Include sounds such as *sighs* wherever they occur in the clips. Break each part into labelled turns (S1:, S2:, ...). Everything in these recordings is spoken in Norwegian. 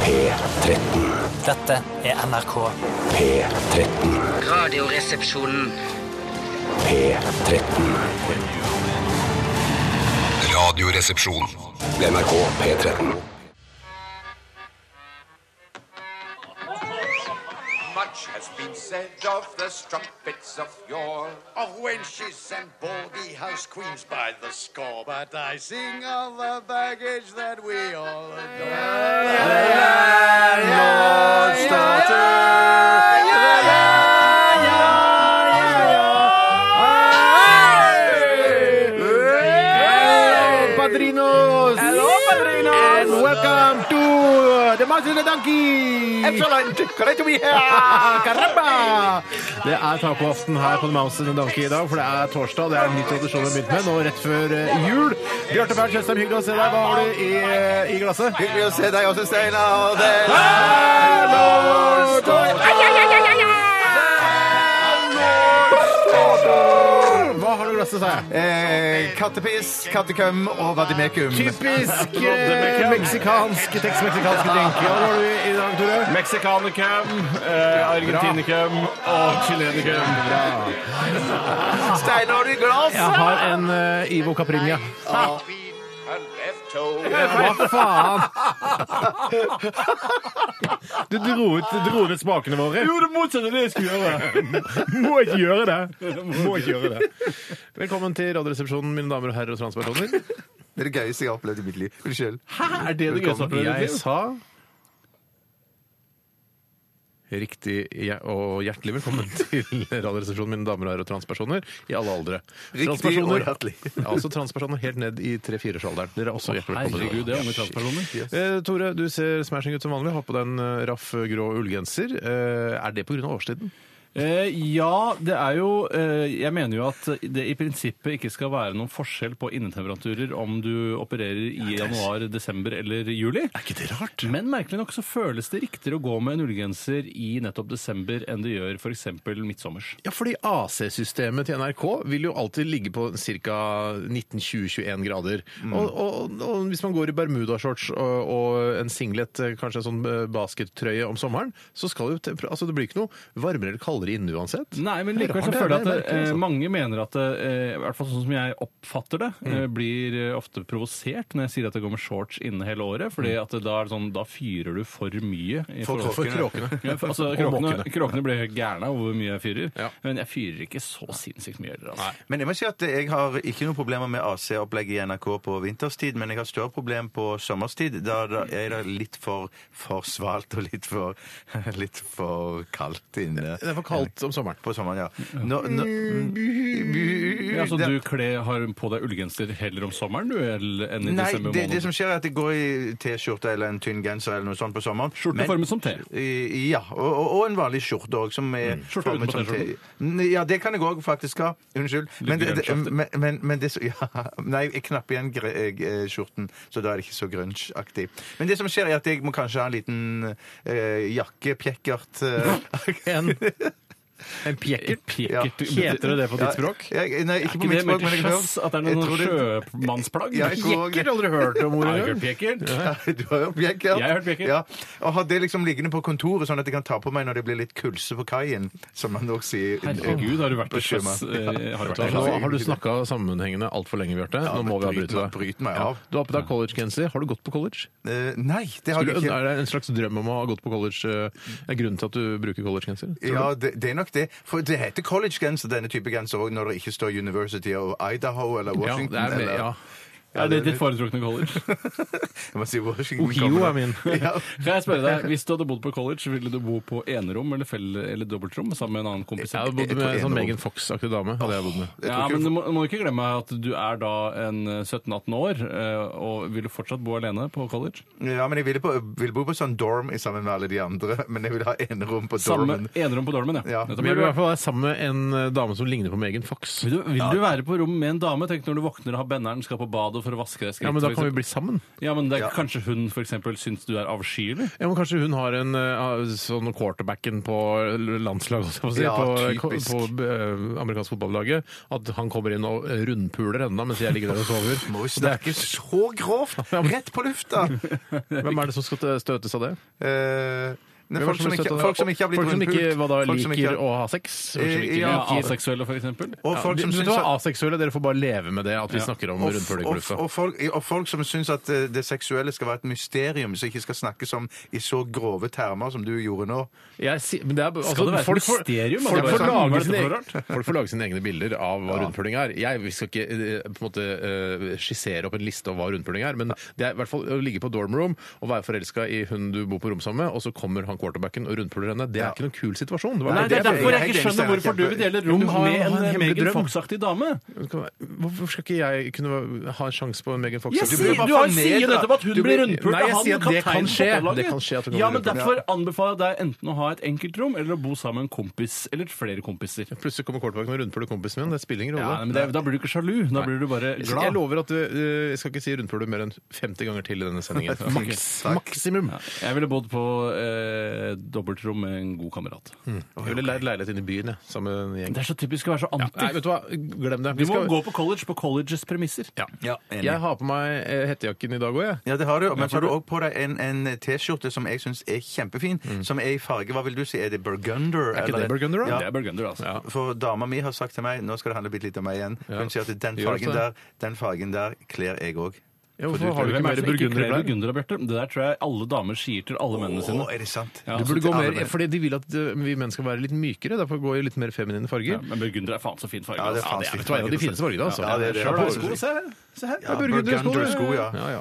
S1: P13.
S2: Dette er NRK.
S1: P13.
S3: Radioresepsjonen.
S1: P13.
S4: Radioresepsjon.
S1: NRK P13.
S5: Much has been said of the strumpets of yore, of wenches and baldy house queens by the score. But I sing of the baggage that we all adore.
S6: Padrinos! Hello, padrinos! And welcome to The Mouse and the Donkey! Excellent! Great to be here! Caramba! Det er tacoaften her på The Mouse and the Donkey i dag, for det er torsdag. Det er en ny tradisjon vi har begynt med nå rett før eh, jul. Bjarte Bernt Tjøstheim, hyggelig å se deg. Hva har du i, i glasset?
S5: Hyggelig å se deg også, Steinar. Og det
S6: Hva har du i glasset, sa jeg?
S5: eh, kattepiss, kattekøm og vadimekum.
S6: Typisk eh, meksikansk, tekstmeksikansk drink. Hva har du i dag, Tore?
S7: Mexicanikum, eh, argentinikum og chilenikum.
S5: Steinar, har du glass?
S6: Jeg har en eh, Ivo Caprinia. Hva faen? Du dro ut, dro ut smakene våre.
S7: Jo, det motsatte av det jeg skulle gjøre.
S6: Må ikke gjøre
S7: *laughs*
S6: det! Må ikke gjøre det. Velkommen til Radioresepsjonen, mine damer og herrer og transpersoner.
S5: Det er det gøyeste jeg har opplevd i mitt liv. Unnskyld.
S7: Hæ, er det det gøyeste
S6: Velkommen. Jeg
S7: jeg
S6: sa Riktig hjer- og hjertelig velkommen *laughs* til Radioresepsjonen, mine damer og herrer og transpersoner i alle aldre.
S5: Riktig og hjertelig.
S6: Ja, altså transpersoner helt ned i 3-4-årsalderen. Dere Altså, er også hjertelig velkommen.
S7: Herregud, det er unge transpersoner.
S6: Eh, Tore, du ser smashing ut som vanlig. Har på deg en eh, raff eh, grå ullgenser. Eh, er det pga. årstiden?
S7: Eh, ja, det er jo eh, Jeg mener jo at det i prinsippet ikke skal være noen forskjell på innetemperaturer om du opererer i januar, desember eller juli.
S6: Er ikke det rart?
S7: Men merkelig nok så føles det riktigere å gå med en ullgenser i nettopp desember enn det gjør f.eks. midtsommers.
S6: Ja, fordi AC-systemet til NRK vil jo alltid ligge på ca. 19-20-21 grader. Og, og, og hvis man går i bermudashorts og, og en singlet, eh, kanskje en sånn eh, baskettrøye om sommeren, så skal jo temper- altså, det blir ikke noe varmere eller kaldere inne uansett.
S7: Nei, men
S6: Det er
S7: likevel så
S6: rart,
S7: føler jeg
S6: det er
S7: at
S6: merkelig,
S7: eh,
S6: altså.
S7: mange mener at det, eh, i hvert fall sånn som jeg oppfatter det,
S8: Mm.
S7: eh, blir eh, ofte provosert når jeg sier at det går med shorts inne hele året, fordi
S8: Mm.
S7: at det da er det sånn, da fyrer du for mye. i forhold-
S6: For kråkene.
S8: *laughs*
S7: Ja, for, altså,
S6: Og
S7: kråkene,
S6: måkene.
S7: kråkene blir helt gærne av hvor mye jeg fyrer,
S6: Ja.
S7: men jeg fyrer ikke så sinnssykt mye heller. Altså.
S8: Men jeg må si at jeg har ikke noen problemer med AC-opplegget i NRK på vinterstid, men jeg har større problem på sommerstid. Da da er det litt for, for svalt og litt for, *laughs* litt for kaldt inne.
S6: Det er for kaldt om sommeren.
S8: På sommeren, ja. Nå, nå,
S5: Mm.
S8: Mm.
S7: Ja, så
S8: Det-
S7: du kle, har på deg ullgenser heller om sommeren du, eller- enn i
S8: Nei,
S7: desember
S8: det, det som
S7: måned?
S8: skjer er at jeg går i T-skjorte eller en tynn genser eller noe sånt på sommeren.
S7: Skjorte
S8: men-
S7: formet som T.
S8: I- Ja, og, og, og en vanlig skjorte òg.
S7: Mm. Skjorte utenpå T-skjorten?
S8: Ja, det kan jeg òg faktisk ha. Unnskyld. Men, det, det,
S7: grønnsaktig.
S8: men, men, men det, som- *laughs* ja, Nei, jeg knapper igjen gre- eh, skjorten, så da er det ikke så grunge-aktig. Men det som skjer, er at jeg må kanskje ha en liten eh, jakke, pjekkert eh, *laughs*
S6: En, en *laughs* pjekkert?
S8: Ja.
S6: Heter det det på ditt språk?
S8: Jeg, nei, ikke på
S7: Ikke det
S8: mitt språk, men
S7: mer til
S8: jeg
S7: sjøs at det er
S8: jeg
S7: noen
S8: tror det-
S7: sjømannsplagg?
S8: Ja, jeg tror-
S6: Pjekkert? Aldri hørt om
S7: Har du
S6: ordet
S7: hørt pjekkert?
S8: Ja, *laughs* Du har hørt Bjekkert?
S7: Jeg har hørt Bjekkert.
S8: Ja. Og har det liksom liggende på kontoret, sånn at jeg kan ta på meg når det blir litt kulse på kaien, som man nok sier.
S7: Herregud, har du vært
S8: På
S7: til sjøs?
S8: sjømann.
S7: eh, Har du vært til
S6: Nå
S7: sjøs?
S6: har du snakka sammenhengende altfor lenge, Bjarte. Nå må vi
S8: men
S6: avbryte
S8: bryt meg-
S6: deg.
S8: bryt meg av.
S6: Du har på deg collegegenser. Har du gått på college?
S8: Eh, nei, det har
S6: Skulle,
S8: jeg
S6: du-
S8: ikke.
S6: er det en slags drøm om å ha gått på college? eh, Er grunnen til at du bruker collegegenser? tror du?
S8: Ja, det, det er nok det. For det heter collegegenser, denne type genser, også når det ikke står University of Idaho eller
S6: Ja,
S8: Washington.
S6: det er mer,
S8: eller,
S6: ja.
S8: *laughs*
S7: Er det ditt foretrukne college?
S8: Jeg må si Washington.
S6: Ohio
S8: kommer
S6: er min.
S8: da. *laughs* Ja.
S7: Kan jeg spørre deg, Hvis du hadde bodd på college, ville du bo på enerom eller, fell, eller dobbeltrom sammen med en annen kompis?
S6: Jeg hadde bodd
S8: Jeg
S6: med en
S8: tror
S6: sånn
S8: en
S6: Megan Fox-aktig dame. hadde jeg bodd med.
S8: Jeg
S7: Ja,
S8: tror ikke-
S7: men du må, du må ikke glemme at du er da en eh, 17-18 år, eh, og vil du fortsatt bo alene på college?
S8: Ja, men jeg ville, på, ville bo på sånn dorm i sammen med alle de andre, *laughs* men jeg vil ha enerom på
S7: Samme
S8: dormen.
S7: enerom på dormen,
S8: Ja,
S7: ja. Nettopp.
S6: Men jeg vil i
S7: Vil,
S6: hvert
S7: du,
S6: fall være sammen med en eh, dame som ligner på Megan Fox.
S7: vil, du, vil du være på rom med en dame? Tenk når du våkner og har benneren, skal på badet, badet for å vaske deg
S6: Ja, men da
S7: for
S6: kan vi
S7: eksempel.
S6: bli sammen.
S7: ja, men det
S8: Ja.
S7: er kanskje hun for eksempel syns du er avskyelig?
S6: Ja, men Kanskje hun har en eh, sånn quarterbacken på landslaget, holdt jeg på, å si,
S8: Ja,
S6: på,
S8: typisk.
S6: på eh, amerikansk fotballaget. At han kommer inn og rundpuler henne mens jeg ligger der og sover.
S8: Må jo
S6: Og det er
S8: snakke så grovt! Rett på lufta!
S6: *laughs* ikke- Hvem er det som skal t- støtes av det?
S8: Eh,
S6: Hvem
S8: nei,
S6: er det
S8: folk som ikke,
S6: støtes av det?
S8: folk som ikke har blitt
S6: Folk som ikke
S8: rundpult.
S6: hva da,
S8: Folk som
S6: liker
S8: ikke har-
S6: å ha sex? Folk som ikke
S8: Ja,
S6: liker
S7: Aseksuelle, for eksempel?
S8: Og folk som
S6: ja,
S8: syns
S6: du er
S8: at
S6: aseksuelle, dere får bare leve med det at vi snakker om
S8: og,
S6: rundpuling på
S8: og,
S6: lufta.
S8: og, folk, og folk som syns at eh, det seksuelle skal være et mysterium, som ikke skal snakkes om i så grove termer som du gjorde nå.
S6: Jeg si- men det er, altså,
S7: det være et
S6: folk får-
S7: mysterium, altså?
S6: Folk,
S7: Hva er
S6: får
S7: det
S6: lage
S7: for
S6: sine,
S7: noe
S6: folk får lage sine egne bilder av hva rundpuling er. Jeg vi skal ikke eh, på en måte eh, skissere opp en liste over hva rundpuling er, men det er i hvert fall å ligge på dorm room og være forelska i hun du bor på rom sammen med, og så kommer han quarterbacken og rundpuler henne. Det er
S8: Ja.
S6: ikke noen kul situasjon. Det var-
S7: Nei, det er
S8: det er-
S7: derfor jeg
S8: jeg
S7: ikke
S8: er
S7: skjønner
S8: enig,
S7: hvorfor du
S8: Steinar.
S7: vil dele
S6: Men
S7: rom
S6: du har-
S7: med
S6: har en
S7: en
S6: hemmelig
S7: Megan
S6: drøm.
S7: Fox-aktig dame.
S6: Hvorfor skal ikke jeg kunne ha en sjanse på Megan Fox?
S7: Jeg
S8: Du
S7: sier,
S8: blir bare
S7: du har
S8: fornedret.
S7: sier nettopp at hun
S6: Du
S7: blir
S6: blir-
S7: rundpult
S6: Nei,
S7: av
S6: jeg
S7: han
S6: sier at det
S7: kapteinen
S6: kan
S7: på
S6: skje.
S7: fotballaget.
S6: Det kan skje at hun kan
S7: Ja,
S6: bli
S7: men
S6: rundpult.
S7: Derfor anbefaler jeg deg enten å ha et enkeltrom eller å bo sammen med en kompis eller flere kompiser.
S6: Plutselig kommer quarterbacken og rundpuler kompisen min. Det spiller ingen rolle.
S7: Ja, nei, men det, Da blir du ikke sjalu. Da blir du bare
S6: Jeg- Jeg
S7: glad.
S6: lover at øh, jeg skal ikke si rundpuler mer enn 50 ganger til i denne
S7: *laughs*
S6: sendingen. Maks,
S8: Takk.
S6: maksimum.
S7: Ja, jeg ville bodd på eh, dobbeltrom med en god kamerat.
S6: Jeg ville leid leilighet inne i byen, jeg, sammen med en gjeng.
S7: Det er så typisk å være så
S6: Nei,
S7: anti.
S6: vet du hva, glem det.
S7: Du må gå på college på colleges premisser.
S6: Ja.
S8: Ja, enig.
S6: Jeg har på meg eh, hettejakken i dag òg, jeg.
S8: Ja, det har du. Men så har du òg på deg en, en T-skjorte som jeg syns er kjempefin. Som er i farge Hva vil du si? Er det burgunder?
S6: Mm. Er ikke
S8: eller-
S6: det burgunder, da?
S8: Ja.
S7: Det er burgunder, altså.
S6: Ja.
S8: For dama mi har sagt til meg Nå skal det handle bitte litt om meg igjen. Hun sier at den
S6: Gjør det.
S8: fargen der, den fargen der kler jeg òg.
S6: Ja,
S8: For du-
S6: hvorfor har du ikke
S7: Hvem er
S6: mer
S7: det som ikke
S6: burgunder i
S7: kler
S6: klær?
S7: burgundere, Bjarte? Det der tror jeg alle damer sier til alle mennene
S8: Å,
S7: sine.
S8: er det sant?
S7: Ja.
S6: Du burde
S8: til
S6: gå
S8: alle
S6: mer,
S8: menn.
S6: fordi De vil at øh, vi menn skal være litt mykere, derfor går jeg i litt mer feminine farger.
S7: Ja, men burgunder er faen så fin farge.
S8: Ja, det er
S7: altså.
S6: Det
S8: faen
S6: er,
S8: stygt.
S6: vet du hva, en av de fineste fargene, altså.
S8: Ja, det er det.
S6: Sjøl har jeg
S8: Ja,
S6: sko, se her. Se her. det er
S8: burgunder
S6: burgundersko. det.
S8: sko, ja.
S6: Ja, ja.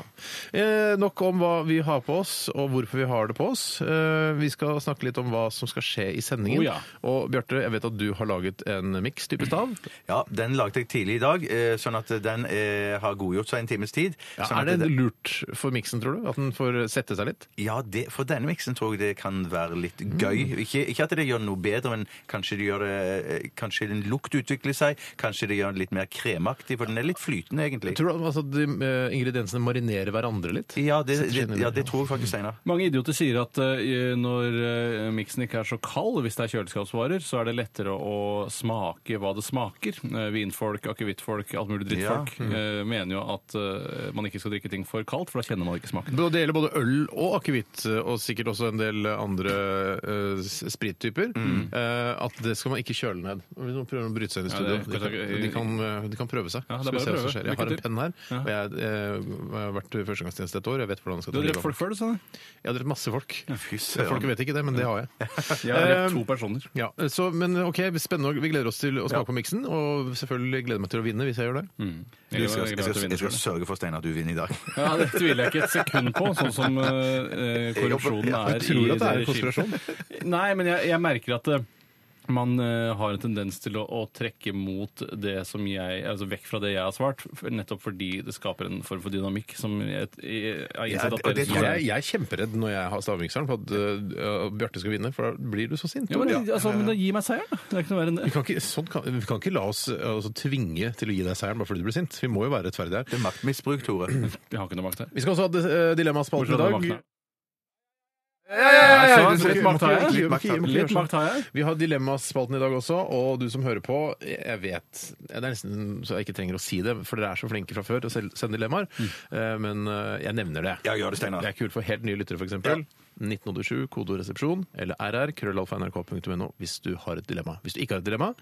S6: Eh, nok om hva vi har på oss, og hvorfor vi har det på oss. Eh, vi skal snakke litt om hva som skal skje i sendingen.
S7: Oh, ja.
S6: Og Bjarte, jeg vet at du har laget en miks type stav.
S8: Ja, den lagde jeg tidlig i dag, eh, sånn at den eh, har godgjort seg en times tid. sånn at
S6: er det lurt for miksen, tror du? At den får sette seg litt?
S8: Ja, det, for denne miksen tror jeg det kan være litt gøy. Ikke, ikke at det gjør noe bedre, men kanskje, det gjør, det- kanskje en lukt utvikler seg. Kanskje det gjør den litt mer kremaktig, for den er litt flytende, egentlig.
S6: Tror du altså, at de eh, ingrediensene marinerer hverandre litt?
S8: Ja, det,
S6: Setter seg inn
S8: det,
S6: i
S8: ja, det tror jeg faktisk, Steinar.
S7: Mange idioter sier at eh, når eh, miksen ikke er så kald, hvis det er kjøleskapsvarer, så er det lettere å smake hva det smaker. Eh, vinfolk, akevittfolk, alt mulig drittfolk eh,
S8: mm.
S7: mener jo at eh, man ikke skal drikke ting for kaldt, for da kjenner man ikke smaken.
S6: Det gjelder både øl og akevitt, eh, og sikkert også en del andre eh, s- sprittyper. eh, at det skal man ikke kjøle ned. Hvis noen prøver å bryte seg inn i
S7: Mm. Ja,
S6: studio,
S7: det-
S6: de, kan, de, kan, eh, de kan prøve seg.
S7: Ja, det er
S6: Skal
S7: bare
S6: vi se
S7: å
S6: hva som
S7: prøve.
S6: skjer. Jeg har
S7: Lykke
S6: en penn her,
S7: Ja.
S6: og jeg, eh, har vært førstegangstjeneste et år. Jeg vet hvordan jeg skal
S7: Du
S6: ta
S7: har
S6: livet
S7: drept
S6: av
S7: folk
S6: meg.
S7: før, du sa det?
S6: Jeg har drept masse folk.
S8: Fy
S6: Folk vet ikke det, men det har jeg.
S7: Jeg har
S6: Eh,
S7: drept to personer.
S6: Ja, så, men ok, spennende. Vi gleder oss til å smake på miksen, og selvfølgelig gleder jeg meg til å vinne hvis jeg gjør det.
S8: Jeg
S7: Jeg
S8: skal, jeg, skal,
S7: gleder meg til å
S8: jeg
S7: vinne
S8: skal
S7: selv.
S8: sørge for, Steinar, at du vinner i dag.
S7: Ja, Det tviler jeg ikke et sekund på, sånn som eh, eh, korrupsjonen er.
S6: Jeg tror
S7: i
S6: at det er en
S7: regimet.
S6: konspirasjon.
S7: Nei, men jeg, jeg merker at eh, man eh, har en tendens til å, å trekke mot det som jeg Altså vekk fra det jeg har svart, f- nettopp fordi det skaper en form for dynamikk som jeg, jeg har
S8: Ja,
S7: innsett
S8: det-
S7: at dere
S8: det
S7: som
S8: tror
S7: er-
S6: Jeg, jeg er kjemperedd når jeg har stavmikseren for at øh, Bjarte skal vinne, for da blir du så sint.
S7: ja, men,
S6: Tore.
S7: altså, men da gi meg seieren, da. Det er ikke noe verre enn
S6: Vi
S7: det.
S6: kan, ikke, sånn kan, vi kan ikke la oss øh, altså, tvinge til å gi deg seieren bare fordi du blir sint. Vi må jo være rettferdige her.
S8: Det er maktmisbruk, Tore.
S7: Vi har ikke noe makt her.
S6: Vi skal også ha øh, dilemmaspalten i
S7: Bortsett fra
S6: dag.
S7: makten her.
S6: Ja,
S8: ja,
S6: så
S8: ja,
S6: litt
S8: ja,
S6: makt har jeg. Må ikke-
S8: litt makt har jeg.
S6: må ikke gjøre
S7: Litt
S6: sånn.
S7: makt har jeg.
S6: Vi har dilemmaspalten i dag også, og du som hører på, jeg vet Det er nesten så jeg ikke trenger å si det, for dere er så flinke fra før til å sel- sende dilemmaer, eh, men eh, jeg nevner det.
S8: Ja, gjør det, Steinar.
S6: Det er kult for helt nye lyttere, f.eks. 1987, kodoresepsjon, eller rr, krøllalfa.nrk.no hvis du har et dilemma. Hvis du ikke har et dilemma,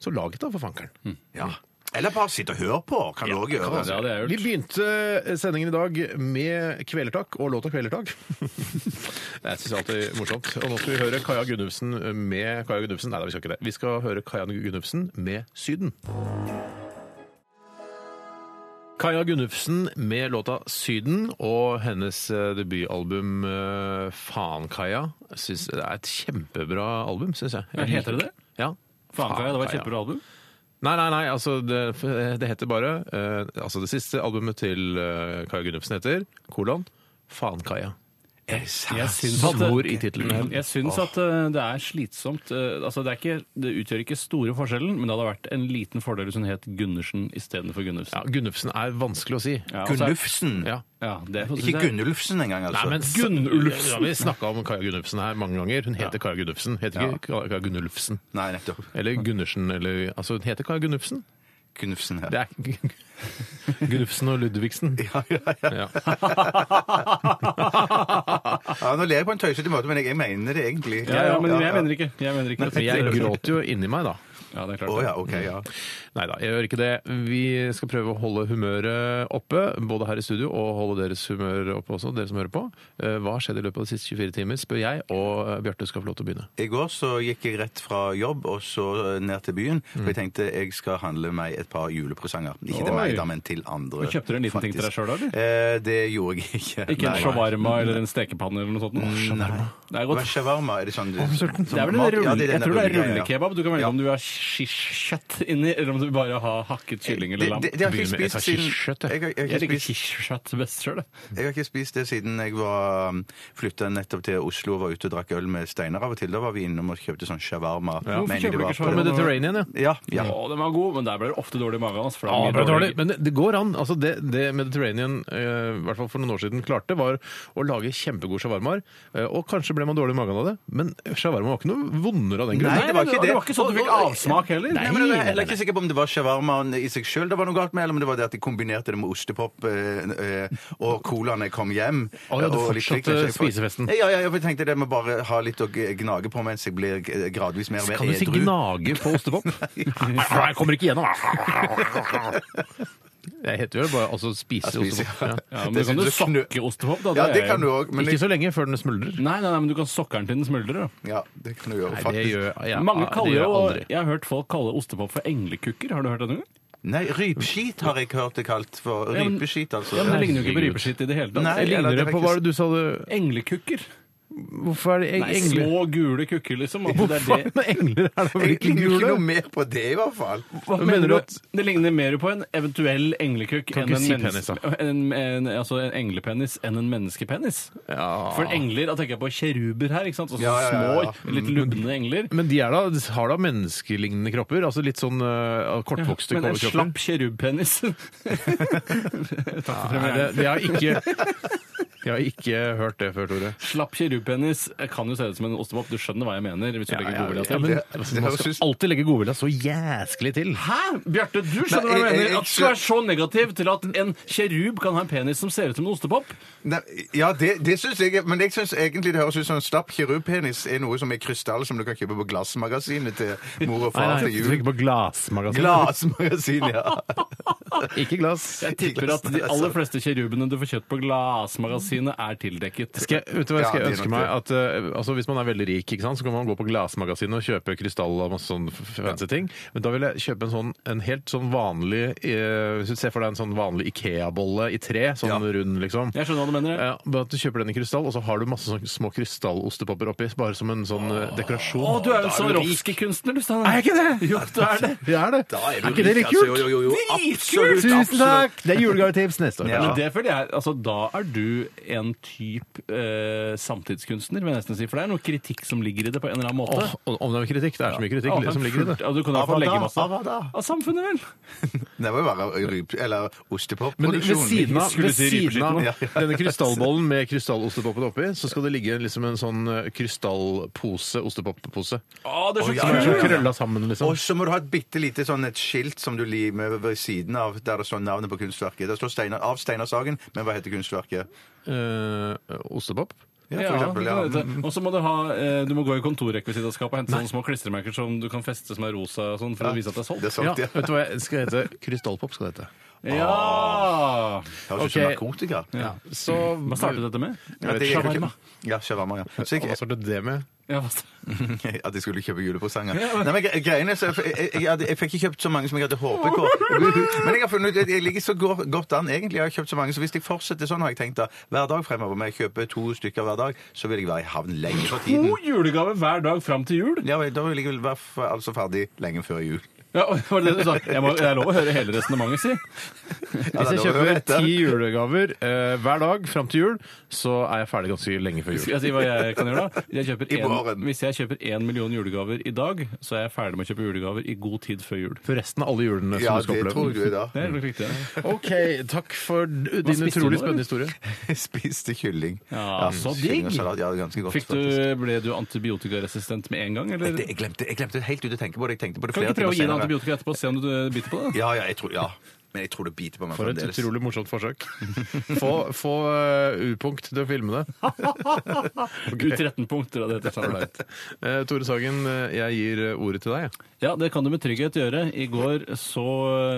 S6: så lag et, da, for fankeren.
S8: Ja. Eller bare sitt og hør på, kan du òg gjøre.
S7: Ja, det er
S6: Vi
S7: gjort.
S6: begynte eh, sendingen i dag med Kvelertak og låta
S7: *laughs*
S6: 'Kvelertak'. Jeg syns *laughs* alltid det er morsomt. Og nå skal vi høre Kaja Gunnufsen med Kaja Gunnufsen. Nei da, vi skal ikke det. Vi skal høre Kaja Gunnufsen med Syden. Kaja Gunnufsen med låta 'Syden' og hennes eh, debutalbum eh, 'Faen, Kaja'. Jeg Synes det er et kjempebra album, syns jeg.
S7: Ja, heter det det?
S6: Ja.
S7: Faen, Kaja, det var
S6: Faen,
S7: et
S6: Kaja.
S7: kjempebra album.
S6: Nei, nei, nei, altså det, *laughs* det heter bare eh, Altså det siste albumet til eh, Kaja Gunnufsen heter kolon Faen Kaja.
S8: Er det sant?
S7: Jeg syns at, Mm.
S6: Banneord i tittelen.
S7: Jeg syns at eh, det er slitsomt. Eh, altså det, er ikke, det utgjør ikke store forskjellen, men det hadde vært en liten fordel hvis hun het Gundersen istedenfor
S6: Ja,
S7: Gunnufsen.
S6: Gunnufsen er vanskelig å si.
S7: Ja, altså-
S8: Gunnufsen?
S6: Ja.
S7: Ja, det er-
S8: Ikke Gunnulfsen engang,
S6: Nei,
S8: altså.
S6: men s-
S7: Gunnulfsen.
S6: Ja, vi snakka om Kaja Gunnulfsen her mange ganger. Hun heter Kaja Gunnulfsen. Heter ikke Kaja Gunnulfsen.
S8: Nei, nettopp.
S6: Eller Gundersen, eller Altså, hun heter Kaja Gunnufsen.
S8: Gunnufsen,
S6: Det
S8: ja.
S6: er *laughs* Gunnufsen og Ludvigsen.
S8: Ja, ja, ja.
S6: Ja.
S8: ja, nå ler jeg på en tøysete måte, men jeg, jeg mener det egentlig.
S7: *laughs* Ja, ja, men jeg mener ikke. Jeg mener ikke.
S6: Men jeg gråter jo inni meg, da.
S7: Ja, det er
S8: Å
S7: klart.
S8: ja, ok, ja.
S6: Nei da, jeg gjør ikke det. Vi skal prøve å holde humøret oppe, både her i studio og holde deres humør oppe også, dere som hører på. Eh, Hva har skjedd i løpet av de siste 24 timer, spør jeg, og eh, Bjarte skal få lov til å begynne.
S8: I går så gikk jeg rett fra jobb og så eh, ned til byen. For jeg tenkte jeg skal handle meg et par julepresanger. Ikke til
S7: Mm. Oi.
S8: meg, da, men til andre.
S7: Du kjøpte du en liten ting til deg
S8: faktisk.
S7: selv, da, eller?
S8: Eh, det gjorde jeg ikke.
S7: Ikke en
S8: Nei.
S7: shawarma eller en stekepanne eller noe sånt? Nei. Det er
S8: Hva
S7: godt.
S8: er shawarma? Er det sånn
S7: Det er vel en rulle, jeg tror det er
S8: rullekebab.
S7: rullekebab. Du kan velge
S8: Ja.
S7: om du har shish-kjøtt inni, eller om du bare har hakket kylling eller lam.
S8: Det, det har ikke
S6: Begynner med- jeg
S8: jeg
S6: tar
S8: spist siden
S6: kirsekjøtt, jeg.
S8: jeg har- jeg har
S7: Jeg
S8: ikke
S7: liker
S8: spist-
S7: shish-kjøtt best sjøl.
S8: jeg har ikke spist det siden jeg var flytta nettopp til Oslo og var ute og drakk øl med Steinar av og til. Da var vi innom og kjøpte sånn shawarma.
S7: Hvorfor
S8: Mener
S7: kjøper
S8: det
S7: du
S8: var
S7: ikke
S8: på-
S7: shawarma?
S6: Mediterranean, ja.
S8: Ja, ja.
S7: Å, den var god, men der ble det ofte dårlig i magen. Altså, for det er mye
S6: det var dårlig,
S7: dårlig.
S6: men det går an. Altså det, det Mediterranean eh, i hvert fall for noen år siden klarte, var å lage kjempegode shawarmaer. Eh, og kanskje ble man dårlig i magen av det, men shawarma var ikke noe vondere av den grunn.
S8: Nei,
S7: Nei,
S8: det var
S7: men
S8: ikke
S7: det
S8: det.
S7: var ikke sånn at du fikk avsmak heller.
S8: Nei, men Jeg er heller ikke sikker på om det var shawarmaen i seg sjøl det var noe galt med, eller om det var det at de kombinerte det med ostepop eh, eh, og colaen jeg kom hjem.
S6: Å, ja, du
S8: og litt slik,
S6: fortsatte
S8: kanskje jeg får-
S6: spisefesten.
S8: Ja, ja, ja, for jeg tenkte det med bare ha litt å g- gnage på mens jeg blir g- gradvis mer og mer
S6: Kan du si
S8: edru.
S6: gnage på ostepop?
S8: *laughs*
S6: Jeg kommer ikke gjennom! Jeg heter jo bare altså spise
S8: Ja, spise,
S6: ostepop. Ja.
S7: Ja, men
S8: Det
S7: da kan du
S8: synes jeg-
S7: sokke ostepop, da.
S8: Ja,
S7: er
S8: det
S7: jeg-
S8: kan du òg, men
S6: Ikke
S8: jeg,
S6: så lenge før den smuldrer.
S7: Nei, nei, nei, men du kan sokkeren til den smuldrer. da.
S8: ja, det kan du gjøre,
S6: Nei, det
S8: faktisk.
S6: gjør jeg, ja,
S7: Mange
S6: det
S7: kaller
S6: gjør jeg
S7: jo
S6: aldri.
S7: Jeg har hørt folk kalle ostepop for englekukker. Har du hørt det noen gang?
S8: Nei, rypskit har jeg hørt det kalt for.
S7: Ja, men-
S8: Rypeskit, altså.
S7: Ja, men det ligner jo ikke på rypeskitt i det hele tatt.
S8: Nei,
S7: Det ligner
S8: eller-
S6: Ligner det på hva var det du sa du
S7: Englekukker.
S6: Hvorfor er det eng-
S7: Nei,
S6: engler? *laughs*
S7: små gule kukker, liksom. At det er det.
S6: Men engler er da vel
S8: Jeg
S6: ikke
S8: ligner ikke
S6: gule?
S8: noe mer på det, i hvert fall.
S7: Hva
S6: mener du at-
S7: Det ligner mer på en eventuell englekukk
S6: Kan
S7: enn
S6: ikke
S7: en,
S6: si penis,
S7: menneske-
S6: da.
S7: *laughs* en, en, altså en englepenis enn en menneskepenis.
S6: Ja.
S7: For engler, da tenker jeg på kjeruber her. ikke sant? Altså,
S8: Ja, ja, ja, ja.
S7: Små, litt lubne engler.
S6: Men de er da, de har da menneskelignende kropper? Altså litt sånn uh, kortvokste
S7: Men en
S6: kropper?
S7: slapp kjerubpenis *laughs*
S6: Nei, det, det har jeg ikke *laughs* Jeg har ikke hørt det før, Tore.
S7: Slapp kjerubpenis kan jo se ut som en ostepop. Du skjønner hva jeg mener. hvis du
S6: Ja,
S7: legger
S6: ja,
S7: godvilja
S6: ja,
S7: til.
S6: men
S8: Det- det
S6: man
S8: høres
S6: skal
S8: ut-
S6: alltid legge godvilja så jæsklig til.
S7: Hæ? Bjarte, du skjønner
S8: Nei,
S7: hva jeg
S8: jeg- jeg-
S7: mener? At du er så negativ til at en kjerub kan ha en penis som ser ut som en ostepop?
S8: Nei, ja, det, det syns jeg. Men jeg syns egentlig det høres ut som en slapp kirurgpenis er noe som er krystall som du kan kjøpe på Glassmagasinet til mor og
S6: Nei,
S8: far
S6: nei,
S8: til
S6: du
S8: jul.
S6: tenker på glassmagasinet.
S8: Glassmagasin, ja.
S6: Ikke glass.
S7: Jeg tipper at de aller fleste kjerubene du får kjøpt på Glassmagasinet, er tildekket.
S6: Skal jeg, vet du hva jeg skal
S8: Ja, det er
S6: ønske
S8: nok
S6: meg?
S8: det.
S6: At, eh, altså, hvis man er veldig rik, ikke sant? så kan man gå på Glassmagasinet og kjøpe krystall og masse sånn f- fancy ting. Men da vil jeg kjøpe en sånn en helt sånn vanlig eh, hvis du Se for deg en sånn vanlig Ikea-bolle i tre, sånn
S8: Ja.
S6: rund, liksom.
S7: Jeg skjønner hva du mener.
S6: Ja, bare at Du kjøper den i krystall, og så har du masse sånne små krystallostepopper oppi. Bare som en sånn eh, dekorasjon.
S7: Å, du er jo en
S6: Da
S7: sånn
S6: rik.
S7: Rofsky-kunstner, du, Steinar.
S6: Er jeg ikke det?
S7: *laughs* Jo, du er det.
S6: Det er det.
S8: Da er, du
S6: ikke det
S8: rik,
S6: litt kult?
S8: altså. Jo, jo, jo, jo. Absolutt.
S6: Tusen
S8: absolutt.
S6: takk! Det er julegavetips neste år.
S8: Ja.
S7: Men det føler jeg, altså Da er du en type eh, samtidskunstner, vil jeg nesten si. For det er noe kritikk som ligger i det på en eller annen måte.
S6: Åh, om det er kritikk. Det er så mye kritikk
S7: Ja, men
S6: som ligger i det.
S7: fullt- Ja, du kan i
S8: Av
S7: hvert
S8: hva
S7: fall
S8: da?
S7: legge masse.
S8: Av hva da?
S7: Av samfunnet, vel.
S8: Det var jo bare ryp... Eller
S6: Men ved
S8: ostepopproduksjon.
S6: siden av,
S7: Skulle
S6: ved
S7: si
S6: siden av
S7: rypeskytten.
S8: Ja, ja.
S6: denne krystallbollen med krystallostepoppen oppi, så skal det ligge en- liksom en sånn eh, krystallpose, ostepoppose.
S7: Å, det er så
S8: Å, ja,
S6: Som er
S7: kult!
S6: så krølla sammen, liksom.
S8: Og så må du ha et bitte lite sånn et skilt som du limer ved siden av, der det står navnet på kunstverket. Der står Steinar, av Steinar Sagen, men hva heter kunstverket?
S6: Eh, ostepop?
S8: Ja,
S7: Ja,
S8: for eksempel.
S7: det kan
S8: Ja.
S7: hete. Og så må du ha eh, Du må gå i kontorrekvisittaskapet og hente sånne små klistremerker som du kan feste som er rosa og sånn, for å vise at det er
S8: Det
S6: Ja,
S8: er
S7: solgt.
S8: sant, ja.
S6: vet du hva jeg skal hete? Krystallpop skal det hete.
S7: Ja!
S8: Høres ut som
S6: Ok.
S8: narkotika.
S6: Ja. Så
S8: Mm.
S7: Hva startet dette med?
S8: Ja, det-
S7: Shawarma.
S8: Ja, shawarma, ja. Så jeg,
S6: Hva startet det med?
S7: Ja, hva startet-
S8: *laughs* At jeg skulle kjøpe julepresanger. Nei, men gre- greiene er så jeg, jeg, jeg, hadde- jeg fikk ikke kjøpt så mange som jeg hadde håpet på. *laughs* Men jeg har funnet ut at jeg ligger så go- godt an, egentlig. Jeg har kjøpt så mange, så hvis jeg fortsetter sånn, har jeg tenkt da, hver dag fremover, men jeg kjøper to stykker hver dag, så vil jeg være i havn lenge for tiden.
S7: God julegave hver dag fram til jul!
S8: Ja, vel, da vil jeg vel være f- altså ferdig lenge før jul.
S7: Ja, var det det du sa? Jeg må, det er lov å høre hele resonnementet, si.
S6: Hvis jeg
S8: det var
S6: kjøper
S8: rett, det.
S6: ti julegaver eh, hver dag fram til jul, så er jeg ferdig ganske lenge før
S7: Skal
S6: jul.
S7: jeg si hva jeg kan gjøre, da? Jeg kjøper
S8: I
S7: en,
S8: morgen.
S7: hvis jeg kjøper én million julegaver i dag, så er jeg ferdig med å kjøpe julegaver i god tid før jul.
S6: For resten av alle julene som
S8: Ja,
S6: du skal
S8: det tror
S6: oppleve.
S8: jeg da. *laughs*
S7: Det er nok riktig.
S6: OK, takk for din
S7: spiste
S6: utrolig
S7: du nå,
S6: spennende historie.
S8: Jeg spiste kylling.
S7: Ja, så
S8: kylling og
S7: digg.
S8: salat, Ja, ganske godt,
S7: Fikk du,
S8: faktisk.
S7: ble du antibiotikaresistent med en gang, eller?
S8: Det- Jeg glemte, jeg glemte helt ut å tenke på det. Jeg tenkte på det
S7: Kan du
S8: flere
S7: ikke prøve å gi deg
S8: timer senere.
S7: antibiotika etterpå og se om du eh, biter på det?
S8: Ja, ja, jeg tror, ja. Men jeg tror det biter på meg
S6: For et
S8: fremdeles.
S6: utrolig morsomt
S8: *laughs*
S6: forsøk. Få, få eh, U-punkt til å filme det.
S8: *laughs*
S7: U13-punkter, det heter sammenlagt.
S6: Eh, Tore Sagen, eh, jeg gir eh, ordet til deg. jeg.
S7: Ja, det kan du med trygghet gjøre. I går så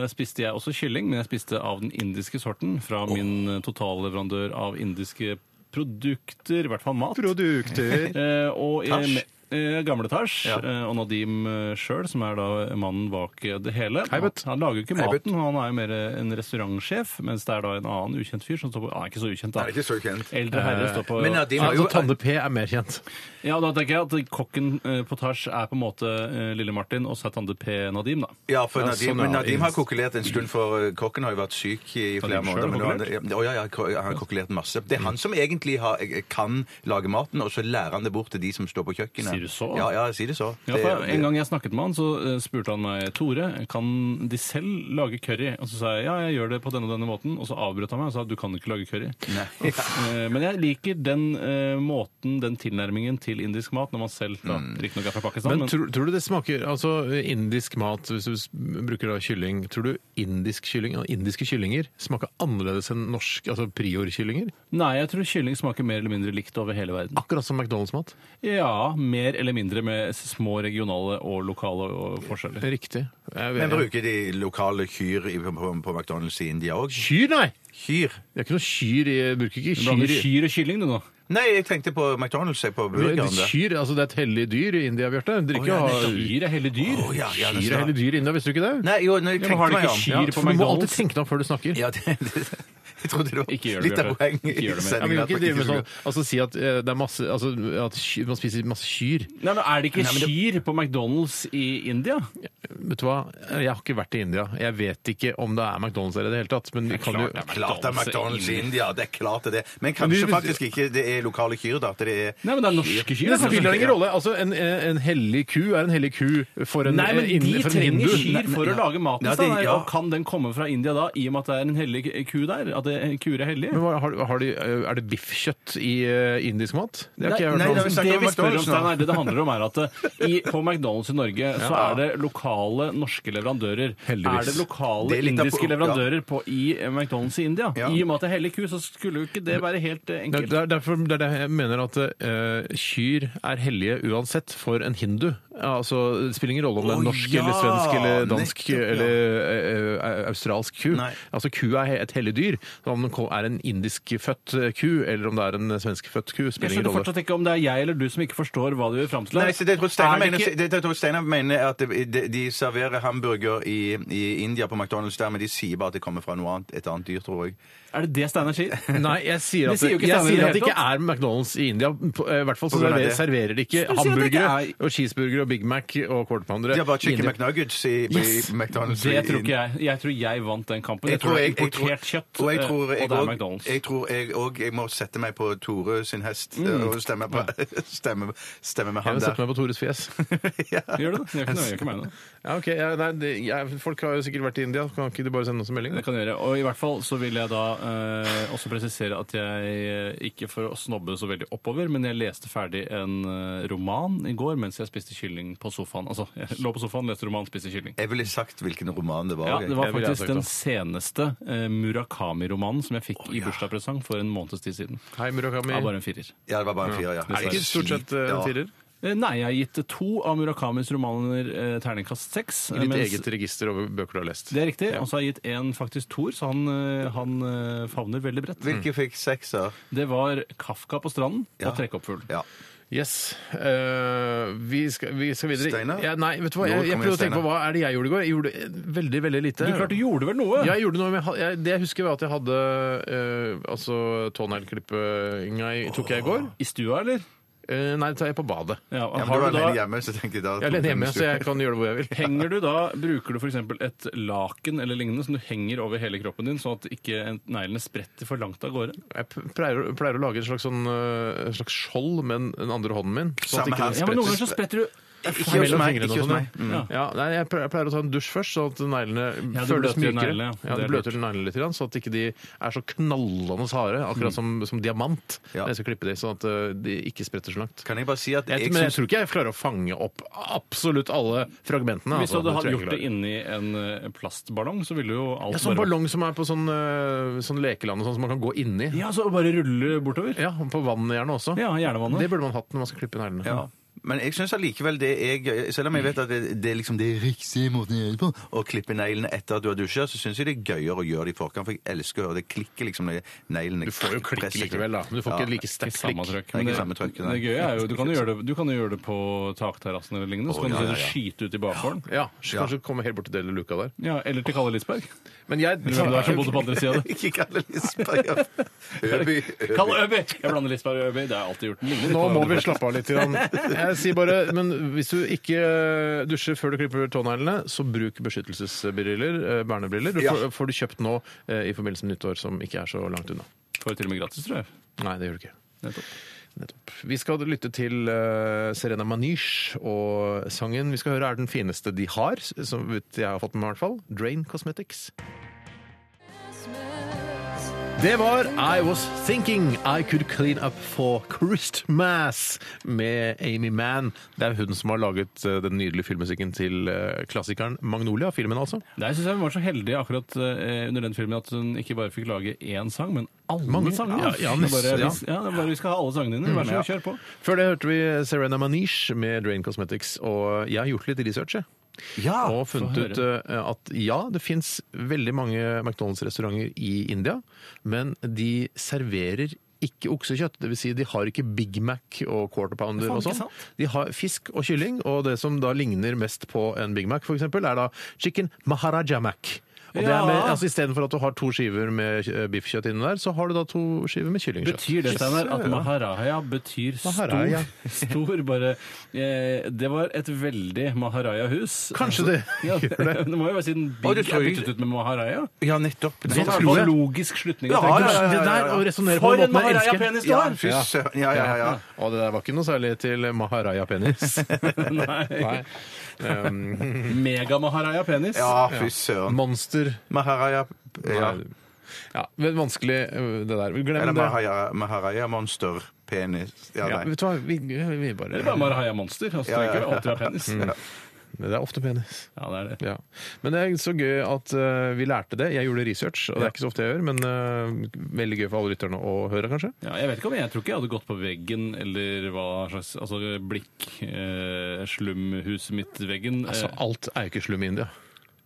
S7: eh, spiste jeg også kylling, men jeg spiste av den indiske sorten fra min eh, totalleverandør av indiske produkter, i hvert fall mat.
S6: Produkter.
S7: *laughs* Eh, og eh,
S8: Tasj.
S7: me- eh, Gamle Tasj
S8: Ja.
S7: eh, og Nadim sjøl, som er da mannen bak eh, det hele.
S6: Hei, Butt.
S7: Han lager jo ikke
S8: Hei, Butt.
S7: maten, han er jo mer eh, en restaurantsjef, mens det er da en annen ukjent fyr som står på Han er ikke så ukjent, da.
S8: Nei, ikke så kjent.
S7: Eldre herre står på
S8: Men ja, de var jo
S6: Altså, Tanne P er mer kjent.
S7: Ja, da tenker jeg at kokken eh, på Tasj er på en måte eh, Lille Martin og Satande P. Nadim, da.
S8: Ja, for
S6: Ja,
S8: Nadim,
S6: sånn,
S8: men
S6: ja.
S8: Nadim har kokulert en stund, for eh, kokken har jo vært syk i flere
S7: Nadim
S8: måneder.
S7: selv
S8: Men nå har han,
S7: har Mm.
S8: Å, ja, ja, ko- han har kokulert masse. Det er han som egentlig har, eh, kan lage maten, og så lærer han det bort til de som står på kjøkkenet.
S7: Sier du så?
S8: Ja, ja, jeg sier det så.
S7: Ja,
S8: Det-
S7: for En gang jeg snakket med han, så eh, spurte han meg Tore, kan de selv lage curry. Og så sa jeg ja, jeg gjør det på denne og denne måten. Og så avbrøt han meg og sa du kan ikke lage curry. *laughs* Eh, Men jeg liker den eh, måten, den tilnærmingen til indisk mat, når man selv da,
S8: Mm.
S7: riktignok er fra Pakistan,
S6: Men
S7: men,
S6: tror, tror du det smaker altså indisk mat, hvis du s- bruker da kylling Tror du indisk kylling, ja, indiske kyllinger smaker annerledes enn norsk, altså priorkyllinger?
S7: nei, jeg tror kylling smaker mer eller mindre likt over hele verden.
S6: Akkurat som McDonald's-mat?
S7: Ja, mer eller mindre med små regionale og lokale og forskjeller.
S6: Riktig. Jeg vet-
S8: Men bruker de lokale kyr i, på, på, på McDonald's i India òg?
S6: Kyr, nei!
S8: Kyr?
S6: Det er ikke noe kyr i jeg Bruker ikke
S7: Du blander
S6: kyr i
S7: kyr og kylling, du nå.
S8: Nei, jeg tenkte på McDonald's jeg, på
S6: Men
S8: burgeren. der.
S6: Kyr, altså Det er et hellig dyr i India, Bjarte. Dere ikke
S8: ja,
S6: ha
S7: Kyr er hele dyr.
S8: Å, ja, ja,
S6: Kyr
S8: det
S6: er
S8: skal-
S6: hellig dyr i India, visste du ikke det?
S8: Nei, jo, nei, jeg
S7: Ja, men
S8: tenkte
S7: har de
S8: meg
S7: ikke
S8: om.
S7: kyr
S6: Ja,
S7: på
S6: for du må alltid
S7: McDonald's?
S6: tenke deg om før du snakker.
S8: Ja, det, det, jeg trodde det var
S7: Ikke gjør det,
S8: litt av
S7: Bjarte.
S8: poenget
S7: Ikke
S6: Ja,
S8: i
S7: gjør det mer.
S6: men vi
S8: sendingen.
S6: kan ikke drive med sånn,
S8: at
S6: altså si at eh, det er masse, altså at kyr, man spiser masse kyr.
S7: Nei, men Er det ikke
S8: Nei, men det-
S7: kyr på McDonald's i India?
S6: Vet du hva, Eh, jeg har ikke vært i India. Jeg vet ikke om det er McDonald's eller i det hele tatt. Men vi kan jo
S8: det er Klart det er McDonald's i India, det er klart det er det. Men
S6: Men
S8: kanskje
S6: vi-
S8: faktisk ikke det er lokale kyr, da. At det er
S7: Nei, men det er norske kyr.
S6: det spiller ingen rolle. Altså, en, en hellig ku er en hellig ku for en,
S7: Nei, men
S6: inn-
S7: de
S6: for en
S7: trenger
S6: hindu.
S7: kyr for å lage maten.
S8: Ja,
S7: sin,
S8: de-
S7: da.
S8: ja.
S7: Og kan den komme fra India da, i og med at det er en hellig ku der? At det, kuer er hellige?
S6: Men hva- har, har de, eh, er det biffkjøtt i eh, indisk mat? Det har ikke jeg hørt
S8: Nei, nei,
S6: om.
S8: vi
S7: det
S8: snakker om
S7: vi spør om,
S8: McDonald's nå.
S7: Stein, er det det handler om, er at eh, i, på McDonald's i Norge så er det lokale norske leverandører.
S6: Heldigvis.
S7: Er det lokale
S8: Det er litt av
S7: indiske
S8: pro-
S7: leverandører på, i eh, McDonald's i India?
S8: Ja.
S7: I og med at det er hellig ku, så skulle jo ikke det være helt
S6: Det
S7: eh, enkelt.
S6: er- det er derfor det er det jeg mener at eh, kyr er hellige uansett for en hindu. Ja, Altså, det spiller ingen rolle om det er
S8: Å,
S6: norsk
S8: ja!
S6: eller svensk eller dansk
S8: Nettopp, ja.
S6: eller eh, eh, australsk ku.
S8: Nei.
S6: Altså, ku er he- et hellig dyr. Så Om det er en indisk født eh, ku eller om det er en svensk født ku,
S7: Jeg
S6: spiller ingen
S7: skjønner
S6: rolle.
S7: fortsatt ikke om det er jeg eller du som ikke forstår hva du vil fram til. her.
S8: Nei, så det tror jeg Steinar
S7: Er det
S8: mener,
S7: ikke-
S8: det, det tror jeg Steinar mener er at de, de, de serverer hamburger i, i India på McDonald's der, men de sier bare at det kommer fra noe annet, et annet dyr, tror jeg.
S7: Er det det Steinar
S8: *laughs*
S7: sier? *laughs*
S6: Nei, jeg sier
S7: Det
S6: at
S7: sier
S6: det,
S7: jo ikke
S6: jeg
S7: Steiner i
S6: sier
S7: det
S6: at det
S7: hele
S6: ikke er McDonald's i India. På, eh, I hvert fall så
S8: På grunn av
S6: serverer,
S8: det.
S6: serverer de ikke
S7: Så du sier at det ikke
S6: hamburgere
S7: er-
S6: og cheeseburgere og Big Mac og quarter pounder.
S8: De har bare chicken
S6: India-
S8: McNuggets i, i McDonald's.
S7: Det
S8: i-
S7: tror ikke jeg. Jeg tror jeg vant den kampen. Jeg, tror det er importert kjøtt,
S8: og jeg
S7: eh,
S8: tror jeg,
S7: og det er
S8: også-
S7: McDonald's.
S8: Jeg tror jeg òg jeg må sette meg på Tore sin hest
S7: Mm.
S8: eh, og stemme, på, *laughs* stemme, stemme med
S6: Jeg
S8: han
S6: vil sette
S8: der.
S6: meg på Tores fjes.
S8: *laughs* Ja.
S7: Gjør det? Jeg kan, jeg kan mene det.
S6: Ja, ok. Ja, nei, det, jeg, folk har jo sikkert vært i India. Kan ikke de bare sende oss en melding?
S7: Det
S6: da?
S7: kan jeg gjøre. Og i hvert fall så vil jeg da eh, også presisere at jeg eh, ikke for å snobbe så veldig oppover, men jeg leste ferdig en eh, roman i går mens jeg spiste kylling på sofaen. Altså, jeg lå på sofaen, leste roman, spiste kylling.
S8: Jeg ville sagt hvilken roman det var.
S7: Ja,
S8: jeg.
S7: Det var
S6: jeg ville
S7: faktisk
S6: sagt
S7: den
S6: det.
S7: seneste eh, Murakami-romanen som jeg fikk i bursdagspresang for en måneds tid siden.
S6: Hei, Murakami.
S7: Det var bare en firer.
S8: Ja, det var bare en firer, ja.
S6: er det ikke stort sett eh, en firer?
S7: Eh, Nei, jeg har gitt to av Murakamis romaner eh, terningkast seks. eh,
S6: I ditt
S7: mens-
S6: eget register over bøker du har lest.
S7: Det er riktig. Og så har jeg gitt én faktisk toer, så han, eh, han eh, favner veldig bredt.
S6: Mm.
S8: Hvilke fikk sekser?
S7: Det var Kafka på stranden
S8: Ja.
S7: og Trekkoppfugl.
S8: Ja.
S6: Yes. Eh, vi, skal, vi skal videre.
S8: Steinar?
S6: Ja, nei, vet du hva?
S8: Nå
S6: Jeg, jeg
S8: kommer
S6: prøvde å tenke
S8: Steinar.
S6: på hva er det jeg gjorde i går. Jeg gjorde eh, veldig, veldig lite.
S7: Du klarte du gjorde vel noe?
S6: Ja, jeg gjorde noe, men jeg ha- jeg, det jeg husker var at jeg hadde eh, altså tånegleklippinga i- tok jeg i går.
S7: I stua, eller?
S6: Eh, Nei, det tar jeg på badet.
S7: Ja,
S8: Ja, men
S7: har
S8: du var
S7: du da,
S8: alene hjemme, så tenkte jeg da
S6: Jeg er alene hjemme, så jeg kan gjøre det hvor jeg vil.
S7: *laughs* Henger du da, Bruker du f.eks. et laken eller lignende som du henger over hele kroppen din, sånn at ikke en- neglene spretter for langt av gårde?
S6: Jeg p- pleier, å- pleier å lage et slags, sånn, eh, et slags skjold med den andre hånden min. sånn at
S8: Samme
S6: ikke den
S8: her.
S7: Ja, men Noen ganger
S6: spretter.
S7: så spretter du
S8: Ikke hos
S6: Mellom
S8: meg.
S6: fingrene og
S8: Ikke hos
S6: sånn,
S8: meg. Mm.
S6: ja. Ja, nei, jeg pleier jeg pleier å ta en dusj først, sånn at neglene
S7: Ja, du
S6: føles
S7: bløter
S6: mykere.
S7: neglene, ja.
S6: ja,
S7: Det
S6: du
S7: er
S6: bløter neglene litt, grann, så at ikke de er så knallende harde,
S7: Mm.
S6: akkurat som, som diamant. Når
S8: Ja.
S6: jeg skal klippe de, sånn at eh, de ikke spretter så langt.
S8: Kan jeg bare si at
S6: Jeg,
S8: jeg
S6: men jeg
S8: syns
S6: tror ikke jeg klarer å fange opp absolutt alle fragmentene.
S7: Hvis du
S6: altså.
S7: hadde
S6: tror
S7: hatt
S6: jeg
S7: gjort
S6: ikke
S7: det
S6: klarer.
S7: inni en eh, plastballong, så ville jo alt
S6: Ja, sånn
S7: bare
S6: ballong som er på sånn, eh, sånn lekeland og sånn som man kan gå inni. Ja,
S7: Ja, så bare rulle bortover.
S6: på vannet gjerne også.
S7: Ja, hjernevannet.
S6: Det burde man hatt når man skal klippe neglene.
S8: ja. Men jeg syns allikevel det er gøy. Selv om
S6: Mm.
S8: jeg vet at det, det er liksom det riktige måten å gjøre det på, å klippe neglene etter at du har dusja, så syns jeg det er gøyere å gjøre det i forkant, for jeg elsker å høre det klikke liksom når neglene
S6: Du får jo klikk likevel,
S8: *laughs*
S6: da. Men du får ikke like
S7: Ikke
S6: sterkt
S7: samme
S6: klikk.
S7: trøkk.
S8: Ikke
S7: Men det,
S8: samme trøkk, nei.
S7: det gøye er jo du kan jo gjøre det, du kan jo gjøre det på takterrassen eller lignende. Så
S8: Å,
S7: kan du
S8: ja, ja, ja.
S7: sitte og skyte ut i bakgården.
S6: Ja, kanskje komme helt bort til delen av luka der.
S7: Ja, eller til Kalle Lisberg.
S6: Men jeg
S7: Eller hvem det er som bodde på andre sida av det.
S8: Ikke kall det Lisberg. Øby.
S6: *laughs*
S7: Kalle Øby! Jeg blander Lisberg og Øby. Det har jeg alltid gjort. Den ligner litt
S6: Nå
S7: på
S6: må vi
S7: hverandre.
S6: slappe av litt. Grann. Jeg sier bare, men Hvis du ikke dusjer før du klipper tåneglene, så bruk beskyttelsesbriller, eh, vernebriller. Du får, får du kjøpt nå eh, i forbindelse med nyttår, som ikke er så langt unna.
S7: Får til og med gratis, tror jeg.
S6: Nei, det gjør du ikke.
S7: Nettopp.
S6: Nettopp. Vi skal lytte til eh, Serena Manish og sangen vi skal høre er den fineste de har, som ut- jeg har fått med meg i hvert fall. Drain Cosmetics. Det var I Was Thinking I Could Clean Up For Christmas med Amy Mann. Det er hun som har laget eh, den nydelige filmmusikken til eh, klassikeren Magnolia, filmen altså.
S7: Der syns jeg hun var så heldig akkurat eh, under den filmen at hun ikke bare fikk lage én sang, men alle
S6: Mange-
S7: sanger.
S6: ja, ja, nesten,
S7: det er bare,
S6: ja. Mm,
S7: vi- ja, det er bare, vi skal ha alle sangene dine. Vær så god, kjør på.
S6: Før det hørte vi Serena Manish med Drain Cosmetics, og jeg har gjort litt research, jeg.
S8: Ja.
S6: og funnet
S7: Ah, få høre.
S6: ut eh, at ja, det fins veldig mange McDonald's-restauranter i India, men de serverer ikke oksekjøtt. Det vil si, de har ikke Big Mac og quarter pounder
S7: Faen,
S6: og
S7: ikke
S6: sånn.
S7: sant?
S6: De har fisk og kylling, og det som da ligner mest på en Big Mac, for eksempel, er da chicken maharaja mac. Og det er med,
S7: Ja.
S6: altså Istedenfor at du har to skiver med eh, biffkjøtt inni der, så har du da to skiver med kyllingkjøtt.
S7: Betyr det, Steinar, at maharaja betyr
S6: Maharaja.
S7: stor? *laughs* Stor, bare eh, Det var et veldig maharaja-hus. Altså,
S6: Kanskje det
S7: *laughs* Ja, det,
S6: gjør det. Sånn
S7: det må jo være siden
S8: Og
S7: Big
S8: det tror
S7: er
S8: jeg-
S7: byttet ut med maharaja. Sånn
S8: Ja, nettopp.
S7: Det
S8: nettopp.
S7: var en logisk slutning. Sånn å
S8: Ja,
S7: trekke.
S8: ja, ja, ja.
S6: Det der å resonnere på
S7: For
S6: den
S7: en
S6: måten jeg elsker.
S7: maharaja-penis du har!
S8: Fy søren. Ja, ja, ja. ja.
S6: Og det der var ikke noe særlig til maharaja-penis.
S7: *laughs*
S6: Nei. Um,
S7: Mega-maharaja-penis.
S8: Ja, fy søren.
S6: monster
S8: Maharaja ja.
S6: Nei. Ja, men vanskelig øh, det der. Vi
S8: Eller
S6: Glem det.
S8: Maharaja, Maharaja Monster Penis. Ja,
S6: Ja,
S8: nei.
S6: vet du hva? Vi, vi bare,
S7: Eller bare maharaja-monster. Altså,
S8: Ja, ja,
S7: trenger
S8: ja.
S7: ikke alltid ha penis.
S6: det er ofte penis.
S7: Ja, det er det.
S6: Ja. Men det er så gøy at øh, vi lærte det. Jeg gjorde research, og det er ikke så ofte jeg gjør, men øh, veldig gøy for alle lytterne å høre, kanskje.
S7: Ja, jeg vet ikke om jeg tror ikke jeg hadde gått på veggen eller hva slags altså blikk eh, slumhuset mitt veggen.
S6: Altså, alt er jo ikke slum i India.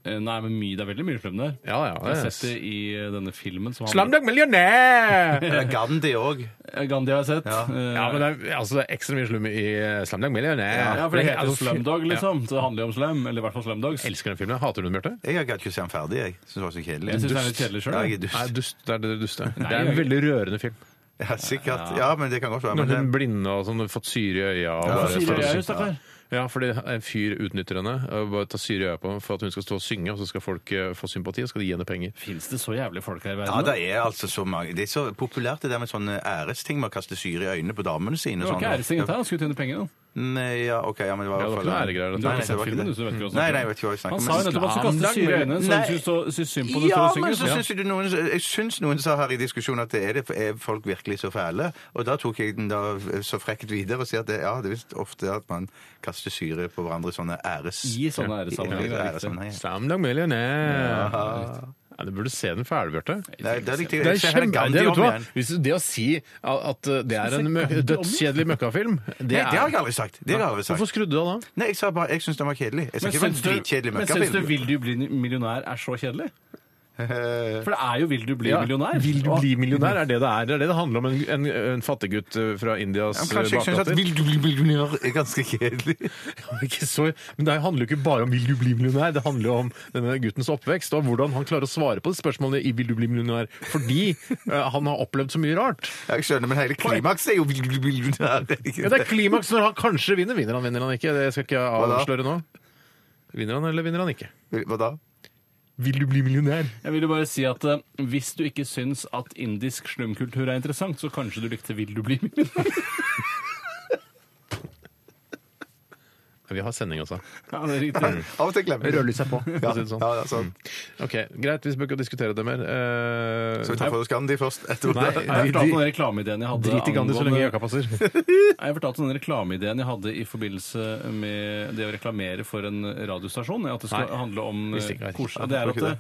S7: eh, nei, men mye, det er veldig mye slum der.
S6: Ja, ja.
S7: Jeg har
S6: det er-
S7: sett det i eh, denne filmen som
S6: Slam dunk *laughs* millionær!
S8: Eller Gandhi òg.
S7: han, Gandhi har jeg sett.
S8: Ja.
S7: Eh,
S6: Ja, men det er, altså, det er ekstra mye slum i Slam dunk millionær.
S7: ja, for det heter
S6: Altså, fy-
S7: Slumdog, liksom. Så det handler jo om slum. Eller i hvert fall Slumdogs.
S6: Jeg elsker den filmen. Hater du den, Bjarte?
S8: Jeg gadd ikke å se han ferdig. jeg. Syns det var så kjedelig.
S7: Jeg syns det er litt kjedelig
S8: Ja,
S7: sjøl.
S8: jeg er
S6: Nei,
S8: dust.
S6: dust. Det er det duste. Det
S7: jeg
S6: er en
S7: gjør
S6: veldig rørende film.
S8: Ja, sikkert. Ja, men det kan godt være.
S6: Når
S8: Men
S6: hun
S8: det,
S6: blinde og sånn, har fått syre i øya. Og
S8: Ja,
S6: bare,
S8: syre i øya,
S7: stakkar.
S6: Ja, fordi en fyr utnytter henne eh, og bare tar syre i øya på henne for at hun skal stå og synge, og så skal folk eh, få sympati, og skal de gi henne penger.
S7: Fins det så jævlige folk her i
S8: ja,
S7: verden?
S8: det er altså så mange Det er så populært det der med sånne æresting med å kaste syre i øynene på damene sine.
S7: det var
S8: og
S7: ikke
S8: sånn.
S7: æresting, dette. Han skulle tjene penger. da.
S8: Nei, ja, ok, ja, men det var
S6: Ja, det var ikke
S8: i hvert
S6: noe
S8: fall-
S6: æregreier, dette.
S8: Nei,
S7: Du
S8: nei,
S7: har ikke
S8: det
S7: sett
S8: var ikke
S7: filmen, du,
S8: det.
S7: så du vet ikke
S8: Nei,
S7: hva han
S8: nei, jeg
S7: snakker om.
S8: vet ikke hva jeg snakker
S7: Han
S8: om.
S7: sa jo nettopp at han skulle kaste syre i øynene, så
S8: Nei.
S7: hun syntes så- syntes synd på det.
S8: Ja,
S7: så hun
S8: men så
S7: synger.
S8: syns jeg noen, jeg syns noen sa her i diskusjonen at det er, det, er folk virkelig så fæle? Og da tok jeg den da eh, så frekt videre og sier at det, ja, det er visst ofte at man kaster syre på hverandre i sånne æres...
S7: I sånne æressammenhenger, det er riktig.
S8: æressammenhenger.
S6: Sam Lang Millionaire. Ja, du burde se den ferdig, Bjarte.
S8: Nei, det er litt
S6: Det er
S8: jeg ser hele
S6: kjempe...
S8: Gandhi
S6: Det, vet
S8: om
S6: du hva?
S8: igjen.
S6: Hvis det å si at at det er en mø- dødskjedelig møkkafilm, det
S8: Nei, det har
S6: er
S8: jeg aldri sagt. Det har jeg aldri
S6: Hvorfor
S8: sagt.
S6: skrudde du av da?
S8: Nei, jeg sa bare jeg syns den var kjedelig. Jeg sa
S7: Men
S8: ikke det var en
S7: syns du-
S8: dritkjedelig
S7: Men syns du
S8: møkkafilm. *laughs*
S7: 'Vil du bli millionær' er så kjedelig? For det er jo 'Vil du bli
S6: Ja,
S7: millionær'?
S6: Vil du
S7: Og-
S6: bli millionær? Er det det er? Det er det det handler om? En, en, en fattiggutt eh, fra Indias
S8: Ja, men
S6: eh,
S8: kanskje jeg syns at
S6: bakgater?
S8: 'Vil du bli millionær' er ganske kjedelig.
S6: Ikke så, men det handler jo ikke bare om 'vil du bli millionær', det handler jo om denne guttens oppvekst og hvordan han klarer å svare på de spørsmålene i 'vil du bli millionær', fordi eh, han har opplevd så mye rart.
S8: Jeg skjønner, men hele klimakset er jo 'Vil du bli millionær'. er det ikke
S6: Ja, det er klimaks når han kanskje vinner. Vinner han, vinner han ikke? Det skal ikke jeg
S8: da?
S6: avsløre nå. Vinner han eller vinner han ikke?
S8: det? Hva da?
S6: Vil du bli millionær?
S7: Jeg vil jo bare si at eh, Hvis du ikke syns at indisk slumkultur er interessant, så kanskje du likte 'Vil du bli millionær'?
S6: Vi har sending, altså.
S7: *laughs* Ja, det er riktig.
S8: Av og til glemmer jeg det.
S6: Rødlyset er på. for
S8: Ja,
S6: å si det sånn.
S8: ja, ja, sånn.
S6: Ok, Greit, vi skal ikke diskutere det mer. Eh,
S8: Skal vi ta for oss Gandhi først? etterpå?
S6: Nei,
S8: *laughs*
S7: Jeg har
S6: vi-
S7: fortalt om den reklameideen jeg hadde
S6: Drit i Gandhi så lenge
S7: angående-
S6: jakka passer. *laughs*
S7: Nei, Jeg fortalte om den reklameideen jeg hadde i forbindelse med det å reklamere for en radiostasjon. At det skal
S6: Nei,
S7: handle om
S6: visste ikke jeg.
S7: kos. Ja, Det er at det,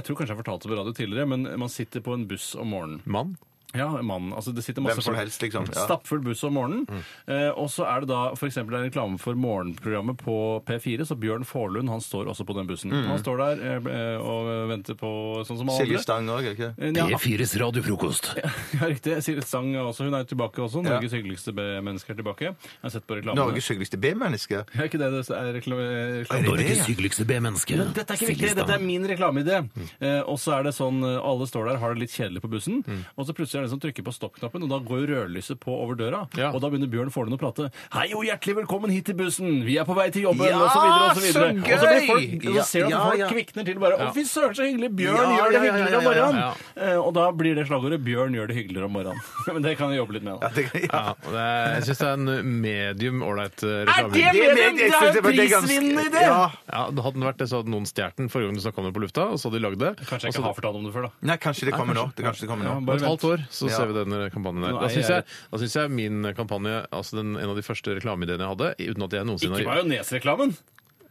S7: Jeg tror kanskje jeg fortalte det på radio tidligere, men man sitter på en buss om morgenen.
S6: Mann?
S7: Ja, mann. Altså, det sitter
S8: Hvem
S7: masse
S8: som
S7: folk.
S8: helst, liksom. Ja.
S7: Stappfull buss om morgenen. Eh, og så er det da f.eks. en reklame for morgenprogrammet på P4, så Bjørn Forlund han står også på den bussen. Han står der eh, og venter på sånn som alle
S8: Silje
S7: andre.
S8: Stang òg, ikke
S7: Eh, ja,
S6: P4s radiofrokost.
S7: ja, *laughs* riktig. Silje Stang også. Hun er jo tilbake også. Norges hyggeligste mennesker er tilbake. Jeg har sett på reklamen.
S8: Norges hyggeligste B-menneske.
S7: Er ikke det det er reklame...
S8: Er det det?
S6: hyggeligste B-menneske.
S7: Dette er ikke viktig, dette er min reklameidé.
S8: Mm.
S7: Eh, og så er det sånn, eh, alle står der, har det litt kjedelig på bussen,
S8: Mm.
S7: og så plutselig er det en som trykker på stoppknappen, og da går jo rødlyset på over døra,
S6: Ja.
S7: og da begynner Bjørn Forlund å prate. Hei og hjertelig velkommen hit til bussen, vi er på vei til jobben,
S8: Ja,
S7: og så videre, og så videre.
S8: så
S7: Og så blir folk,
S8: gøy!
S7: og så ser du at
S8: Ja,
S7: folk
S8: ja, ja.
S7: kvikner til bare, å fy søren så hyggelig, Bjørn
S8: Ja,
S7: gjør det
S8: ja, ja, ja,
S7: hyggeligere om
S8: ja,
S7: morgenen.
S6: ja.
S7: Eh, og da blir det slagordet, Bjørn gjør det hyggeligere om morgenen. *laughs* Men det kan jeg jobbe litt med da.
S8: Ja, det, ja.
S6: Ja, og det er, jeg syns det er en medium ålreit eh,
S7: Er
S6: reklame.
S8: Det
S7: det
S8: er med- jeg
S7: medium? Det er
S8: synes
S7: jo
S8: det var- det er ganske-
S7: prisvinnende idé!
S8: Ja.
S6: Ja, det hadde den vært det, så hadde noen stjålet den forrige gang du snakka om det på lufta. Og så hadde de lagd det.
S7: Kanskje jeg
S6: Og
S8: Altså,
S6: så-
S7: ikke har fortalt om det før, da.
S8: Nei, kanskje det kommer nå. Det, kanskje det kommer nå.
S6: Om et
S7: Bare
S6: halvt år så
S8: Ja.
S6: ser vi den eh, kampanjen der.
S7: Nå
S6: Da
S7: er
S6: syns jeg,
S7: jeg-
S6: da synes jeg min kampanje, altså den, en av de første reklameideene jeg hadde, uten at jeg noensinne
S7: Ikke majonesreklamen.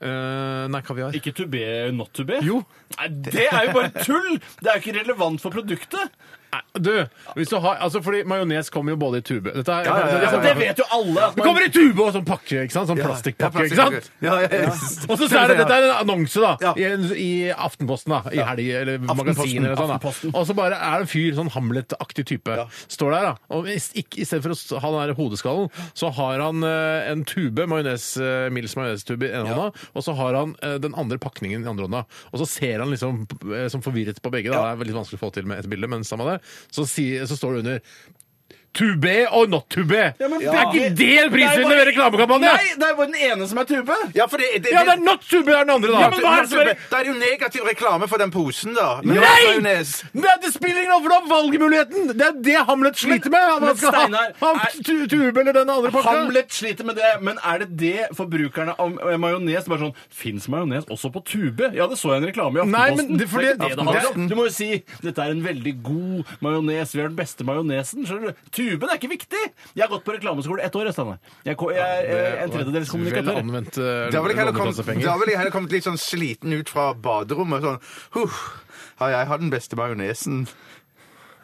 S6: Eh, Nei, kaviar.
S7: Ikke to be, not to be.
S6: Jo.
S7: Nei, det er jo bare tull! Det er jo ikke relevant for produktet.
S6: Nei, Du, hvis du har Altså, fordi majones kommer jo både i tube Dette er
S8: ja, ja, ja.
S7: Altså, det vet jo alle. At
S6: Det
S7: man,
S6: kommer i tube og sånn pakke, ikke sant? Sånn
S8: Ja.
S6: plastikkpakke,
S8: Ja,
S6: ikke sant?
S8: Ja, ja, ja.
S6: *laughs* Og så er det, dette er en annonse da,
S8: Ja.
S6: i, en, i Aftenposten da, i helg, eller magasin eller sånn da.
S7: Aftenposten.
S6: Og så bare er det en fyr, sånn Hamlet-aktig type, står der da, og i, ikke, i stedet for å s- ha den her hodeskallen, så har han eh, en tube, majones, eh, Mills majonestube i en hånda, og så har han eh, den andre pakningen i den andre hånda, og så ser han liksom eh, som forvirret på begge, da. det er veldig vanskelig å få til med et bilde, men samme det, så, si, så står det under, to be og not to be.
S7: men
S6: Det er ikke
S7: begge-
S6: det prisvinnende ved reklamekampanjen!
S7: nei, det er bare den ene som er tube.
S8: Ja, for det, det,
S6: Ja, det er not to be er den andre da.
S7: Ja, men hva er det som er-
S8: Da er det jo negativ reklame for den posen, da. Men
S6: Nei!
S8: majones.
S6: Nei, det spiller ingen rolle, for du har valgmuligheten! Det er det Hamlet sliter med! Han
S7: men
S6: skal ha-
S7: Steinar,
S6: ha
S7: er-
S6: tu- tube eller den andre pakka.
S7: Hamlet sliter med det, men er det det forbrukerne av eh, majones bare sånn Fins majones også på tube? Ja, det så jeg en reklame i
S6: Nei,
S7: Aftenposten.
S6: men det- fordi-
S7: er ikke det det handler
S6: Aftenposten.
S7: om. Du må jo si dette er en veldig god majones. Vi har den beste majonesen. Skjønner du? Tuben er ikke viktig! Jeg har gått på reklameskole ett år, jeg, Steinar. Jeg, ko- jeg er eh, en tredjedels
S6: Vel
S7: kommunikatør.
S6: anvendt eh,
S8: Da ville jeg heller kommet- da
S6: lånekassepenger.
S8: ville jeg heller kommet litt sånn sliten ut fra baderommet. Sånn Huff. Ja, jeg har den beste majonesen.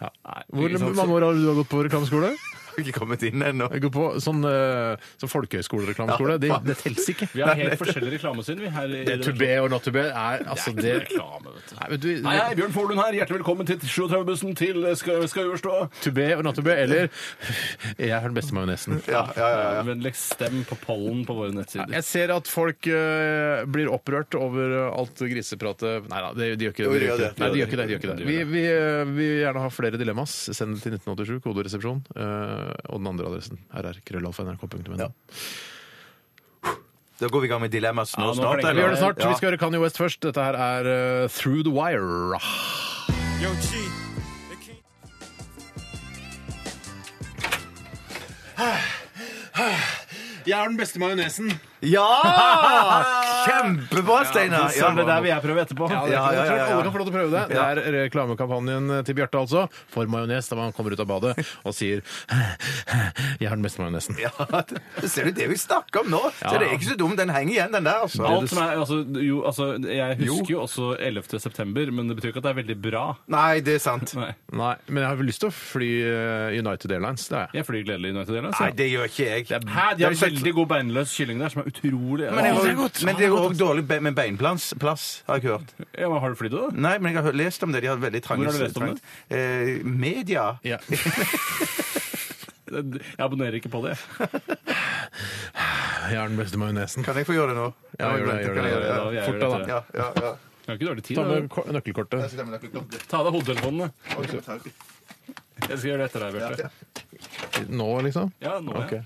S7: Nei,
S6: Hvor
S7: ikke sant.
S6: mange år har du gått på reklameskole?
S8: Har ikke kommet inn ennå.
S6: Jeg går på sånn, eh, sånn folkehøyskolereklameskole. Det, det teller ikke.
S7: Vi har helt forskjellige reklamesyn, vi her i
S6: Det to be og not to be er altså det
S7: reklame, vet du.
S6: Nei, men du-
S7: Hei, hei, Bjørn Forlund her. Hjertelig velkommen til 37-bussen til eh, Skal skal overstå.
S6: To be og not to be, eller Jeg har den beste majonesen.
S8: Ja, ja, ja, ja.
S7: Vennligst stem på pollen på våre nettsider.
S6: Jeg ser at folk eh, blir opprørt over eh, alt grisepratet. Nei da, de, de gjør ikke det.
S8: Jo,
S6: De gjør
S8: de
S6: ikke
S8: gjør
S6: det. Nei, de gjør ikke det, de gjør ikke det. Vi, vi, eh, vi vil gjerne ha flere dilemmas. Send det til 1987, koderesepsjon. eh, Og den andre adressen rr krøllalfa.nrk.no.
S8: Ja. Da går vi i gang med dilemmas nå
S7: Ja, nå
S8: snart.
S7: klinger
S6: Vi gjør det snart.
S8: Ja.
S6: Vi skal høre Kanye West først. Dette her er eh, Through the Wire. *sighs* Jeg er den beste majonesen.
S8: Ja! Kjempebra, Steinar! Ja,
S7: det der vil jeg prøve etterpå.
S6: Ja, det er
S8: Ja,
S6: ikke det. Jeg
S8: ja, ja,
S6: tror
S8: ja.
S6: alle kan få lov til å prøve det. Det er reklamekampanjen til Bjarte, altså, for majones, da man kommer ut av
S8: *laughs*
S6: badet og sier Jeg har den beste majonesen.
S8: Ja, det- ser du det vi snakker om nå? Så det er ikke så dumt. Den henger igjen, den der. altså.
S7: Alt som er, altså, jo, altså, jeg husker jo også 11. september, men det betyr ikke at det er veldig bra.
S8: Nei, det er sant.
S7: Nei.
S6: Nei, men jeg har vel lyst til å fly eh, United Airlines. Det er jeg.
S7: Jeg flyr gledelig i United Airlines.
S8: Nei,
S7: ja.
S8: det gjør ikke jeg.
S7: Hæ, de
S8: Det
S7: har
S8: er jo
S7: veldig god beinløs kylling der, som er utrolig
S8: Men, jeg, var- men det er er òg dårlig be med beinplass, plass, har jeg hørt.
S7: Ja, men Har du flydd, da?
S8: Nei, men jeg har lest om det. De har veldig trange
S7: Hvor har du lest om det?
S8: trangt- Eh, media.
S6: *laughs*
S7: Ja. Jeg abonnerer ikke på det. jeg.
S6: Jeg har den beste majonesen.
S8: Kan jeg få gjøre det nå?
S6: Ja, gjør det, gjør det, gjør det.
S7: Da, jeg
S6: Fort
S7: gjør
S6: da,
S7: dette.
S6: da.
S8: Ja, ja, ja.
S7: Jeg har ikke dårlig tid.
S6: Ta med
S7: Da.
S6: ko- nøkkelkortet.
S7: Ta av deg hodetelefonene.
S8: Ok.
S7: Jeg skal gjøre det etter deg, Bjarte.
S6: Nå, liksom?
S7: Ja, nå, ja.
S6: Ok.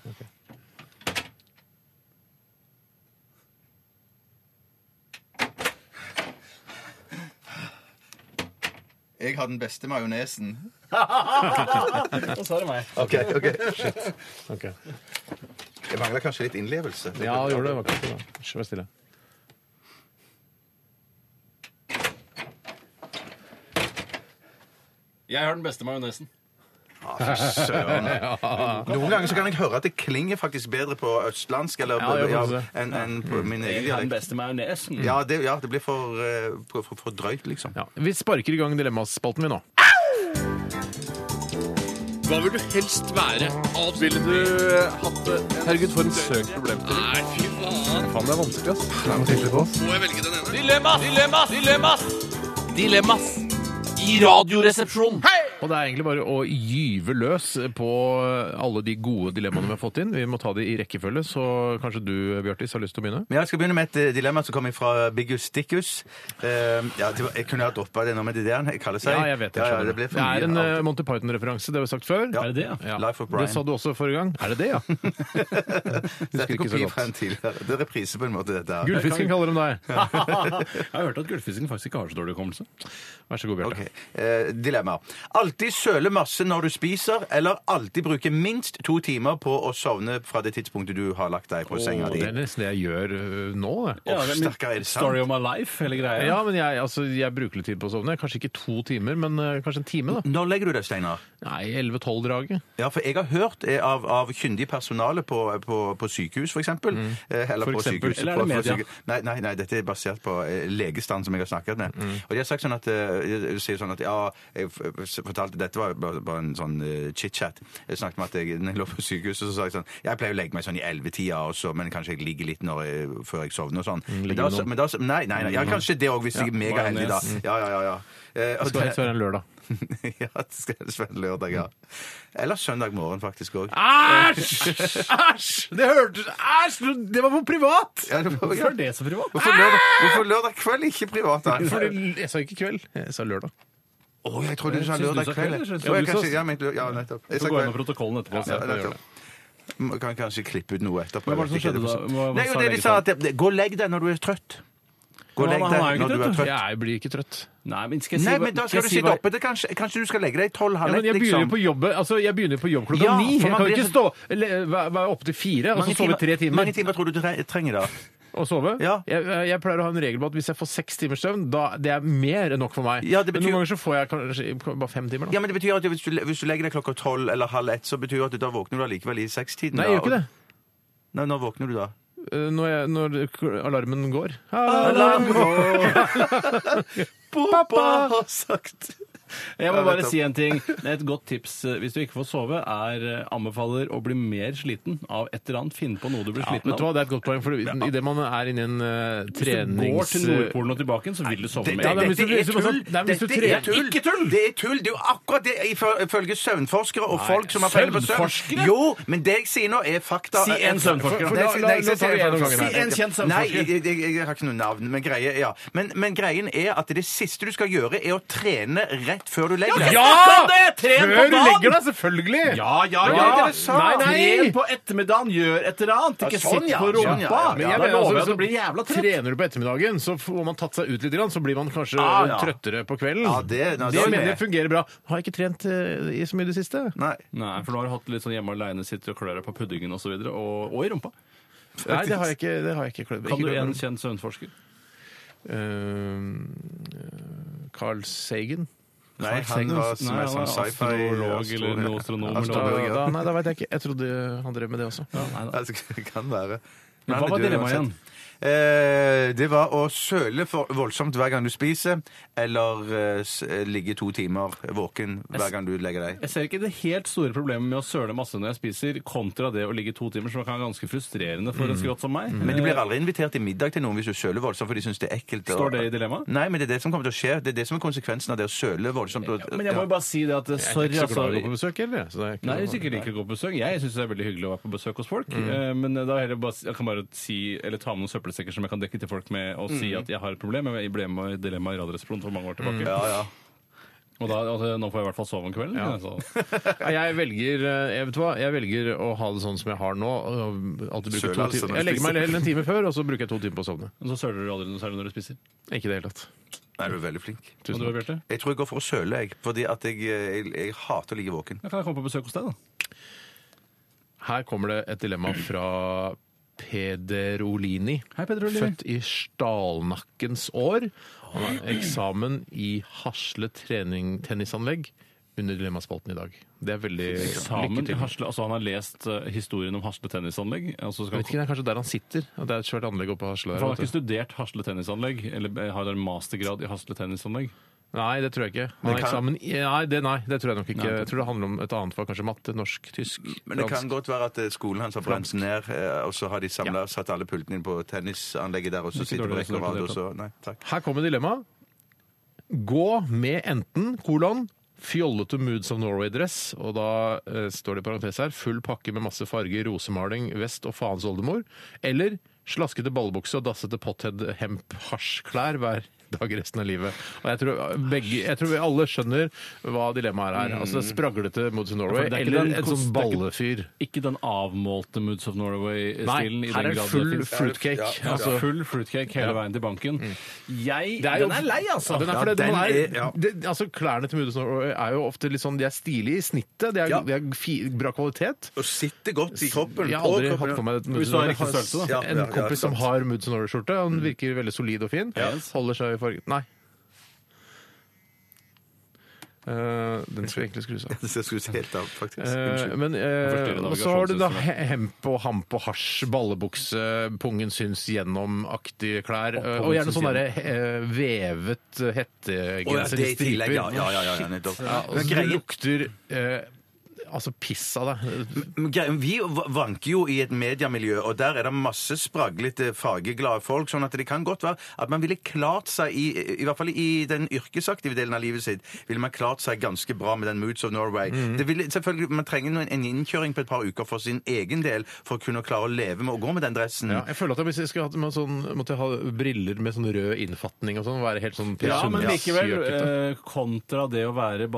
S9: Jeg har den beste majonesen.
S7: Og så er det meg.
S8: Ok, ok.
S6: ok.
S8: Jeg mangler kanskje litt innlevelse.
S6: Ja, det gjorde det. det. Var ikke så bra. Hysj, vær stille.
S7: Jeg har den beste majonesen.
S8: Søren. Noen ganger så kan jeg høre at det klinger faktisk bedre på østlandsk eller
S6: Ja, jeg
S8: ja,
S6: får se.
S8: enn enn på
S6: Mm.
S8: min
S7: Jeg
S8: egen
S7: har den
S8: dialekt.
S7: beste majonesen.
S8: Ja, det, ja, det blir for, eh, for, for, for drøyt, liksom.
S6: Ja. Vi sparker i gang dilemmaspalten vi nå.
S10: Hva vil du helst være? Ville du eh, hatt det? Herregud, for en søk problemstilling. Nei, fy faen. Faen, det er vanskelig, ass. Det er noe tydelig på oss. Må jeg velge den ene? Dilemmas! Dilemmas! Dilemmas! Dilemmas! I radioresepsjonen.
S6: Og det er egentlig bare å gyve løs på alle de gode dilemmaene vi har fått inn. Vi må ta de i rekkefølge, så kanskje du, Bjartis, har lyst til å begynne?
S8: Men jeg skal begynne med et eh, dilemma som kommer fra Biggus Dickus. Eh, ja, det var, jeg kunne ha droppa det nå med det der han kaller seg.
S6: Ja, jeg vet det.
S8: Ja, ja,
S6: skjønner.
S8: det, ble
S6: det,
S8: for mye
S6: er en
S8: av-
S6: eh, Monty Python-referanse, det har vi sagt før.
S8: Ja.
S7: Er det det, ja?
S6: Ja.
S8: Life of Brian.
S6: Det sa du også forrige gang. Er det det, ja?
S8: Dette
S6: Husker
S8: er
S6: ikke så
S8: kopi fra en
S6: godt.
S8: tidligere. Det er reprise på en måte, dette her.
S6: Gullfisken kaller de deg.
S7: Jeg har hørt at gullfisken faktisk ikke har så dårlig hukommelse.
S6: Vær så god,
S8: Ok,
S6: Bjarte.
S8: eh, Dilemma. Alltid søle masse når du spiser, eller alltid bruke minst to timer på å sovne fra det tidspunktet du har lagt deg på senga
S6: Og
S8: di.
S6: Det er nesten det jeg gjør øh, nå. det.
S7: Ja, det er min
S8: stakkar, er det sant?
S7: Story of my life, hele greia.
S6: Ja, men jeg, altså, jeg bruker litt tid på å sovne. Kanskje ikke to timer, men øh, kanskje en time. da.
S8: Når legger du deg, Steinar?
S6: Nei, 11-12-draget.
S8: Ja, for jeg har hørt eh, av, av kyndig personale på, på, på sykehus, for eksempel. eh, Eller
S6: For
S8: på
S6: eksempel.
S8: sykehus-
S7: Eller er det
S8: på- på
S7: media?
S8: syke- Nei, nei, nei, dette er basert på eh, legestand som jeg har snakket med. Og de har sagt sånn at, eh, de sier sånn at ja, jeg f- f- fortalte, dette var bare, bare en sånn eh, chit-chat. Jeg snakket med at jeg, når jeg lå på sykehuset, så sa jeg sånn, jeg pleier å legge meg sånn i 11-tida også, men kanskje jeg ligger litt når jeg, før jeg sovner og sånn. Men da,
S6: med noen.
S8: men da, nei, nei, nei, ja, kanskje det også hvis jeg er megaheldig da.
S7: majones.
S8: Ja, ja, ja, ja. Eh,
S6: Det
S8: og
S6: skal
S8: det-
S6: helst være en lørdag.
S8: *laughs* ja, det skal helst være lørdag, ja. Eller søndag morgen, faktisk
S7: Ah,
S8: òg.
S6: Æsj! *laughs* Æsj! Det hørtes Æsj! Det var for privat!
S8: Ja, det var- ja.
S7: Hvorfor er det så privat?
S8: Hvorfor lørdag, hvorfor lørdag kveld, ikke privat? da?
S6: Fordi, jeg sa ikke kveld, jeg sa lørdag.
S8: Å, jeg trodde du sa
S7: Synes du
S8: lørdag
S7: sa
S8: kveld.
S7: kveld, eller synes du-
S8: Ja, jeg
S7: du
S8: kanskje-
S7: sa-
S8: Ja, men lø- ja, nettopp. Jeg
S7: Så
S8: sa
S7: går jeg inn i
S8: kveld.
S7: protokollen etterpå. og
S8: Ja,
S7: ser at jeg gjør
S8: nettopp.
S7: det.
S8: Man kan kanskje klippe ut noe etterpå.
S7: Hva var det som
S8: jeg vet ikke,
S7: skjedde da?
S8: det
S7: Hva-
S8: var-
S7: hva
S8: Nei, jo,
S7: sa
S8: det de
S7: legen
S8: sa
S7: da?
S8: at det- Gå og legg deg når du er trøtt. Gå og legg deg
S7: Men han- han er jo
S8: når du
S7: ikke
S8: er
S7: trøtt,
S8: trøtt.
S6: Jeg blir ikke trøtt.
S7: Nei, men skal jeg si
S8: Nei,
S7: hva-
S8: men da
S7: skal
S8: skal
S7: jeg
S8: du
S7: si
S8: sitte
S7: hva-
S8: oppe til kanskje, kanskje du skal legge deg
S6: Ja,
S8: tolv-halv
S6: men
S8: ett,
S6: jeg begynner jo
S8: liksom.
S6: på jobb altså, jeg begynner på jobb klokka
S8: Ja,
S6: ni.
S8: for
S6: Jeg
S8: man
S6: kan
S8: blir
S6: ikke
S8: så-
S6: stå eller, være være oppe til fire og så sove i tre
S8: Hvor mange
S6: timer.
S8: timer tror du du tre- trenger da?
S6: Og sove.
S8: Ja.
S6: Jeg, eh, jeg pleier å ha en regel på at hvis jeg får seks timers søvn, da det er mer enn nok for meg.
S8: Ja, det
S6: Men
S8: betyr-
S6: noen ganger så får jeg kanskje bare fem timer. Da.
S8: Ja, men det betyr at hvis du, hvis du legger deg klokka tolv eller halv ett, så betyr det at da våkner du allikevel i sekstiden.
S6: Nei,
S8: da,
S6: jeg gjør ikke
S8: og-
S6: det.
S8: Nei, når våkner du da?
S6: Eh, Når, jeg, når k- alarmen går.
S8: Alarm Pappa
S7: *laughs*
S8: har sagt
S7: Jeg
S8: Ja,
S7: må bare
S8: nettopp.
S7: si en ting. Et godt tips eh, hvis du ikke får sove, er eh, anbefaler å bli mer sliten av et eller annet. Finn på noe du blir sliten
S6: Vet du hva,
S7: av.
S6: Det er et godt poeng, for idet man er inne i en eh,
S7: Hvis du går
S6: trenings...
S7: til Nordpolen og tilbake igjen, så vil du sove
S8: Det,
S7: mer.
S6: Ja, nei, men hvis
S8: det,
S6: du-
S8: *laughs* det er
S6: hvis du-
S8: tull!
S6: nei, men hvis du
S8: Dette
S6: tre-
S8: er tull!
S7: Ikke tull!
S8: Det er tull! Det er jo akkurat det ifø- ifølge søvnforskere og folk som har peiling på søvn.
S7: søvnforskere?
S8: Jo, men det jeg sier nå, er fakta. Altså,
S7: Si en søvnforsker, da.
S8: Nei,
S6: La-
S8: si-
S6: la- la-
S8: nei, si-
S6: ta det
S8: si-
S6: gjennom gangen her.
S7: Si en kjent søvnforsker.
S8: Nei, jeg, jeg, jeg, jeg har ikke noe navn, men greie, ja. men, men greien er at det siste du skal gjøre, er å trene rett før du legger deg.
S7: Ja! Tren
S6: Før du legger deg, selvfølgelig!
S7: Ja, ja,
S6: Ja,
S7: ja!
S6: det er det sa. Nei, nei.
S7: Tren på ettermiddagen, gjør et eller annet. Ikke
S8: sånn,
S7: sitt
S8: ja.
S7: på rumpa.
S8: Sånn, ja, ja, ja.
S6: Men
S7: Da
S6: jeg mener,
S7: lover jeg
S6: altså,
S7: at du blir jævla trett.
S6: Trener du på ettermiddagen, så får man tatt seg ut litt, grann, så blir man kanskje
S8: Ah, ja.
S6: trøttere på kvelden.
S8: Ja, det- nei,
S6: det
S8: det er
S6: mener
S8: med.
S6: jeg fungerer bra. Har jeg ikke trent eh, i så mye i det siste.
S8: Nei.
S7: Nei, for nå har du hatt litt sånn hjemme aleine, sitter og klør deg på puddingen osv. Og, så videre, og, og i rumpa.
S6: Nei, det har jeg ikke. Det har jeg ikke klødd.
S7: Kan
S6: ikke
S7: du en
S6: klødd.
S7: kjent søvnforsker?
S6: Eh, Carl Sagan?
S8: Nei, han
S7: Nei,
S8: var som er
S7: han
S8: sånn
S7: er
S8: sci-fi
S7: astrolog eller noe astronom.
S6: Altså,
S8: Astrolog,
S7: eller noe.
S8: ja.
S6: Da, nei, da veit jeg ikke. Jeg trodde han drev med det også.
S7: Ja, nei da.
S8: Altså, det kan være. Men han
S7: Hva var
S8: er død
S7: dilemmaet igjen?
S8: uansett. Eh, det var å søle for voldsomt hver gang du spiser, eller eh, s ligge to timer våken hver gang du legger deg.
S7: Jeg ser ikke det helt store problemet med å søle masse når jeg spiser, kontra det å ligge to timer, som kan være ganske frustrerende for en skrått som meg.
S8: Men du blir
S7: Eh,
S8: aldri invitert til middag til noen hvis du søler voldsomt, for de syns det er ekkelt. og-
S7: Står det i dilemmaet?
S8: Nei, men det er det som kommer til å skje. Det er det som er konsekvensen av det å søle voldsomt. og-
S7: Men jeg må jo bare si det at eh,
S6: Jeg er
S7: sorry,
S6: ikke så glad i å gå på
S7: altså.
S6: besøk, eller? Så det er ikke
S7: Nei,
S6: noe-
S7: jeg syns ikke
S6: *laughs*
S7: jeg liker å gå på besøk. Jeg syns det er veldig hyggelig å være på besøk hos folk.
S6: Mm.
S7: Eh, Men da heller bare, si- jeg kan bare si, eller ta med noen søppelsekker som jeg kan dekke til folk med, og
S6: Mm.
S7: si at jeg har et problem. Jeg ble med i dilemmaet i Radioresepsjonen for mange år tilbake.
S8: Ja, ja.
S7: Og da, altså, nå får jeg i hvert fall sove om kvelden.
S6: Ja.
S7: Altså.
S6: Nei, Jeg velger, eh, jeg vet hva, jeg velger å ha det sånn som jeg har nå. og Alltid bruke
S8: Søl,
S6: to
S8: altså,
S6: timer.
S8: når du
S6: Jeg legger meg heller en time før, og så bruker jeg to timer på å sovne.
S7: Og så søler du aldri noe særlig når du spiser.
S6: Ikke i det hele tatt.
S8: Nei, du er veldig flink.
S7: Og du, Bjarte?
S8: Jeg tror jeg går for å søle, jeg. Fordi at jeg, eh, jeg, jeg hater å ligge våken.
S7: Da kan jeg komme på besøk hos deg, da.
S6: Her kommer det et dilemma fra Pederolini.
S7: Hei, Peder Olin.
S6: Født i stalnakkens år. Han har eksamen i Hasle trening, tennisanlegg under dilemmaspalten i dag. Det er veldig
S7: Eksamen
S6: lykke
S7: i
S6: til.
S7: Hasle, altså Han har lest eh, historien om Hasle tennisanlegg. Altså
S6: Jeg
S7: skal
S6: vet ikke, det er kanskje der han sitter. og Det er et svært anlegg oppe på Hasle. der,
S7: for han har
S6: vet
S7: ikke
S6: du.
S7: studert Hasle tennisanlegg, eller eh, har en mastergrad i Hasle tennisanlegg.
S6: Nei, det tror jeg ikke. Han har eksamen i, nei, det, nei, det tror jeg nok ikke. Jeg tror det handler om et annet fag. Kanskje matte, norsk, tysk,
S8: Men det kan
S6: fransk.
S8: godt være at eh, skolen hans har brent ned, eh, og så har de samla satt alle pultene inn på tennisanlegget der, og så
S7: Ikke
S8: sitter på
S7: dårlig
S8: rekke og rad,
S7: resonert i
S8: og
S7: det
S8: så Nei, takk.
S6: Her kommer dilemmaet. Gå med enten kolon fjollete Moods of Norway-dress, og da eh, står det i parentes her, full pakke med masse farger, rosemaling, vest og faens oldemor, eller slaskete ballbukse og dassete pothead-hemp-hasjklær hver dag resten av livet. Og jeg tror, eh, begge, jeg tror vi alle skjønner hva dilemmaet er her. Altså spraglete Moods of Norway,
S7: Mm. Ja, for det er ikke
S6: eller
S7: den
S6: en
S7: kost-
S6: sånn
S7: det er ikke-
S6: ballefyr.
S7: Ikke den avmålte Moods of
S6: Nei,
S7: Norway-stilen. i
S6: her
S7: den
S6: er
S7: grad
S6: full
S7: det finnes.
S6: fruitcake.
S8: Ja, ja.
S6: Altså,
S7: Altså full fruitcake
S6: Ja.
S7: hele veien til banken. Jeg
S6: Det er jo-
S7: Den er lei, altså!
S6: Ja, den er,
S8: Ja,
S6: for det,
S8: den
S6: man er,
S8: er- ja.
S6: det, altså, klærne til Moods Norway er jo ofte litt sånn De er stilige i snittet, de er,
S8: Ja.
S6: de er fi, bra kvalitet.
S8: Og sitter godt i kroppen.
S6: Jeg har
S8: på
S6: aldri
S8: kroppen,
S6: hatt
S8: ja.
S6: på meg et
S7: Hvis
S6: Moods
S7: du har
S6: Norway.
S7: riktig
S8: da.
S7: størrelse,
S6: Jeg har
S8: Ja,
S6: En
S8: ja, ja,
S6: kompis som
S8: sant. Mm.
S6: har Moods Norway-skjorte. Han virker veldig solid og fin.
S7: Yes.
S6: Holder seg i fargen Nei. Eh, den skulle jeg egentlig skrus av.
S8: Så jeg skulle se helt av, faktisk.
S6: Eh,
S8: Unnskyld.
S6: men
S7: forstyrrer
S6: eh, og så har du da
S7: navigasjonssystemet.
S6: he- hemp og hamp og hasj, ballebukse, pungen syns gjennom-aktige klær. eh, Og gjerne
S7: syns
S6: sånn derre eh, vevet
S8: Å, ja,
S6: hettegenser
S8: det
S6: i
S8: i tillegg, ja.
S6: striper.
S8: Ja, ja, ja, ja nettopp.
S6: Ja, og
S8: Men
S6: så
S8: greien-
S6: du lukter eh, altså piss av deg.
S8: Men greien- Vi v- vanker jo i et mediemiljø, og der er det masse spraglete, fargeglade folk. Sånn at det kan godt være at man ville klart seg, i, i hvert fall i den yrkesaktive delen av livet sitt, ville man klart seg ganske bra med den Moods of Norway.
S7: Mhm.
S8: Det ville, selvfølgelig, Man trenger noen- en innkjøring på et par uker for sin egen del for å kunne klare å leve med å gå med den dressen.
S6: Ja, jeg føler at hvis jeg skulle hatt med sånn, måtte jeg ha briller med sånn rød innfatning og sånn, være helt sånn
S7: Ja, men likevel,
S6: Sundnes-jøkete.
S7: eh, kontra det å være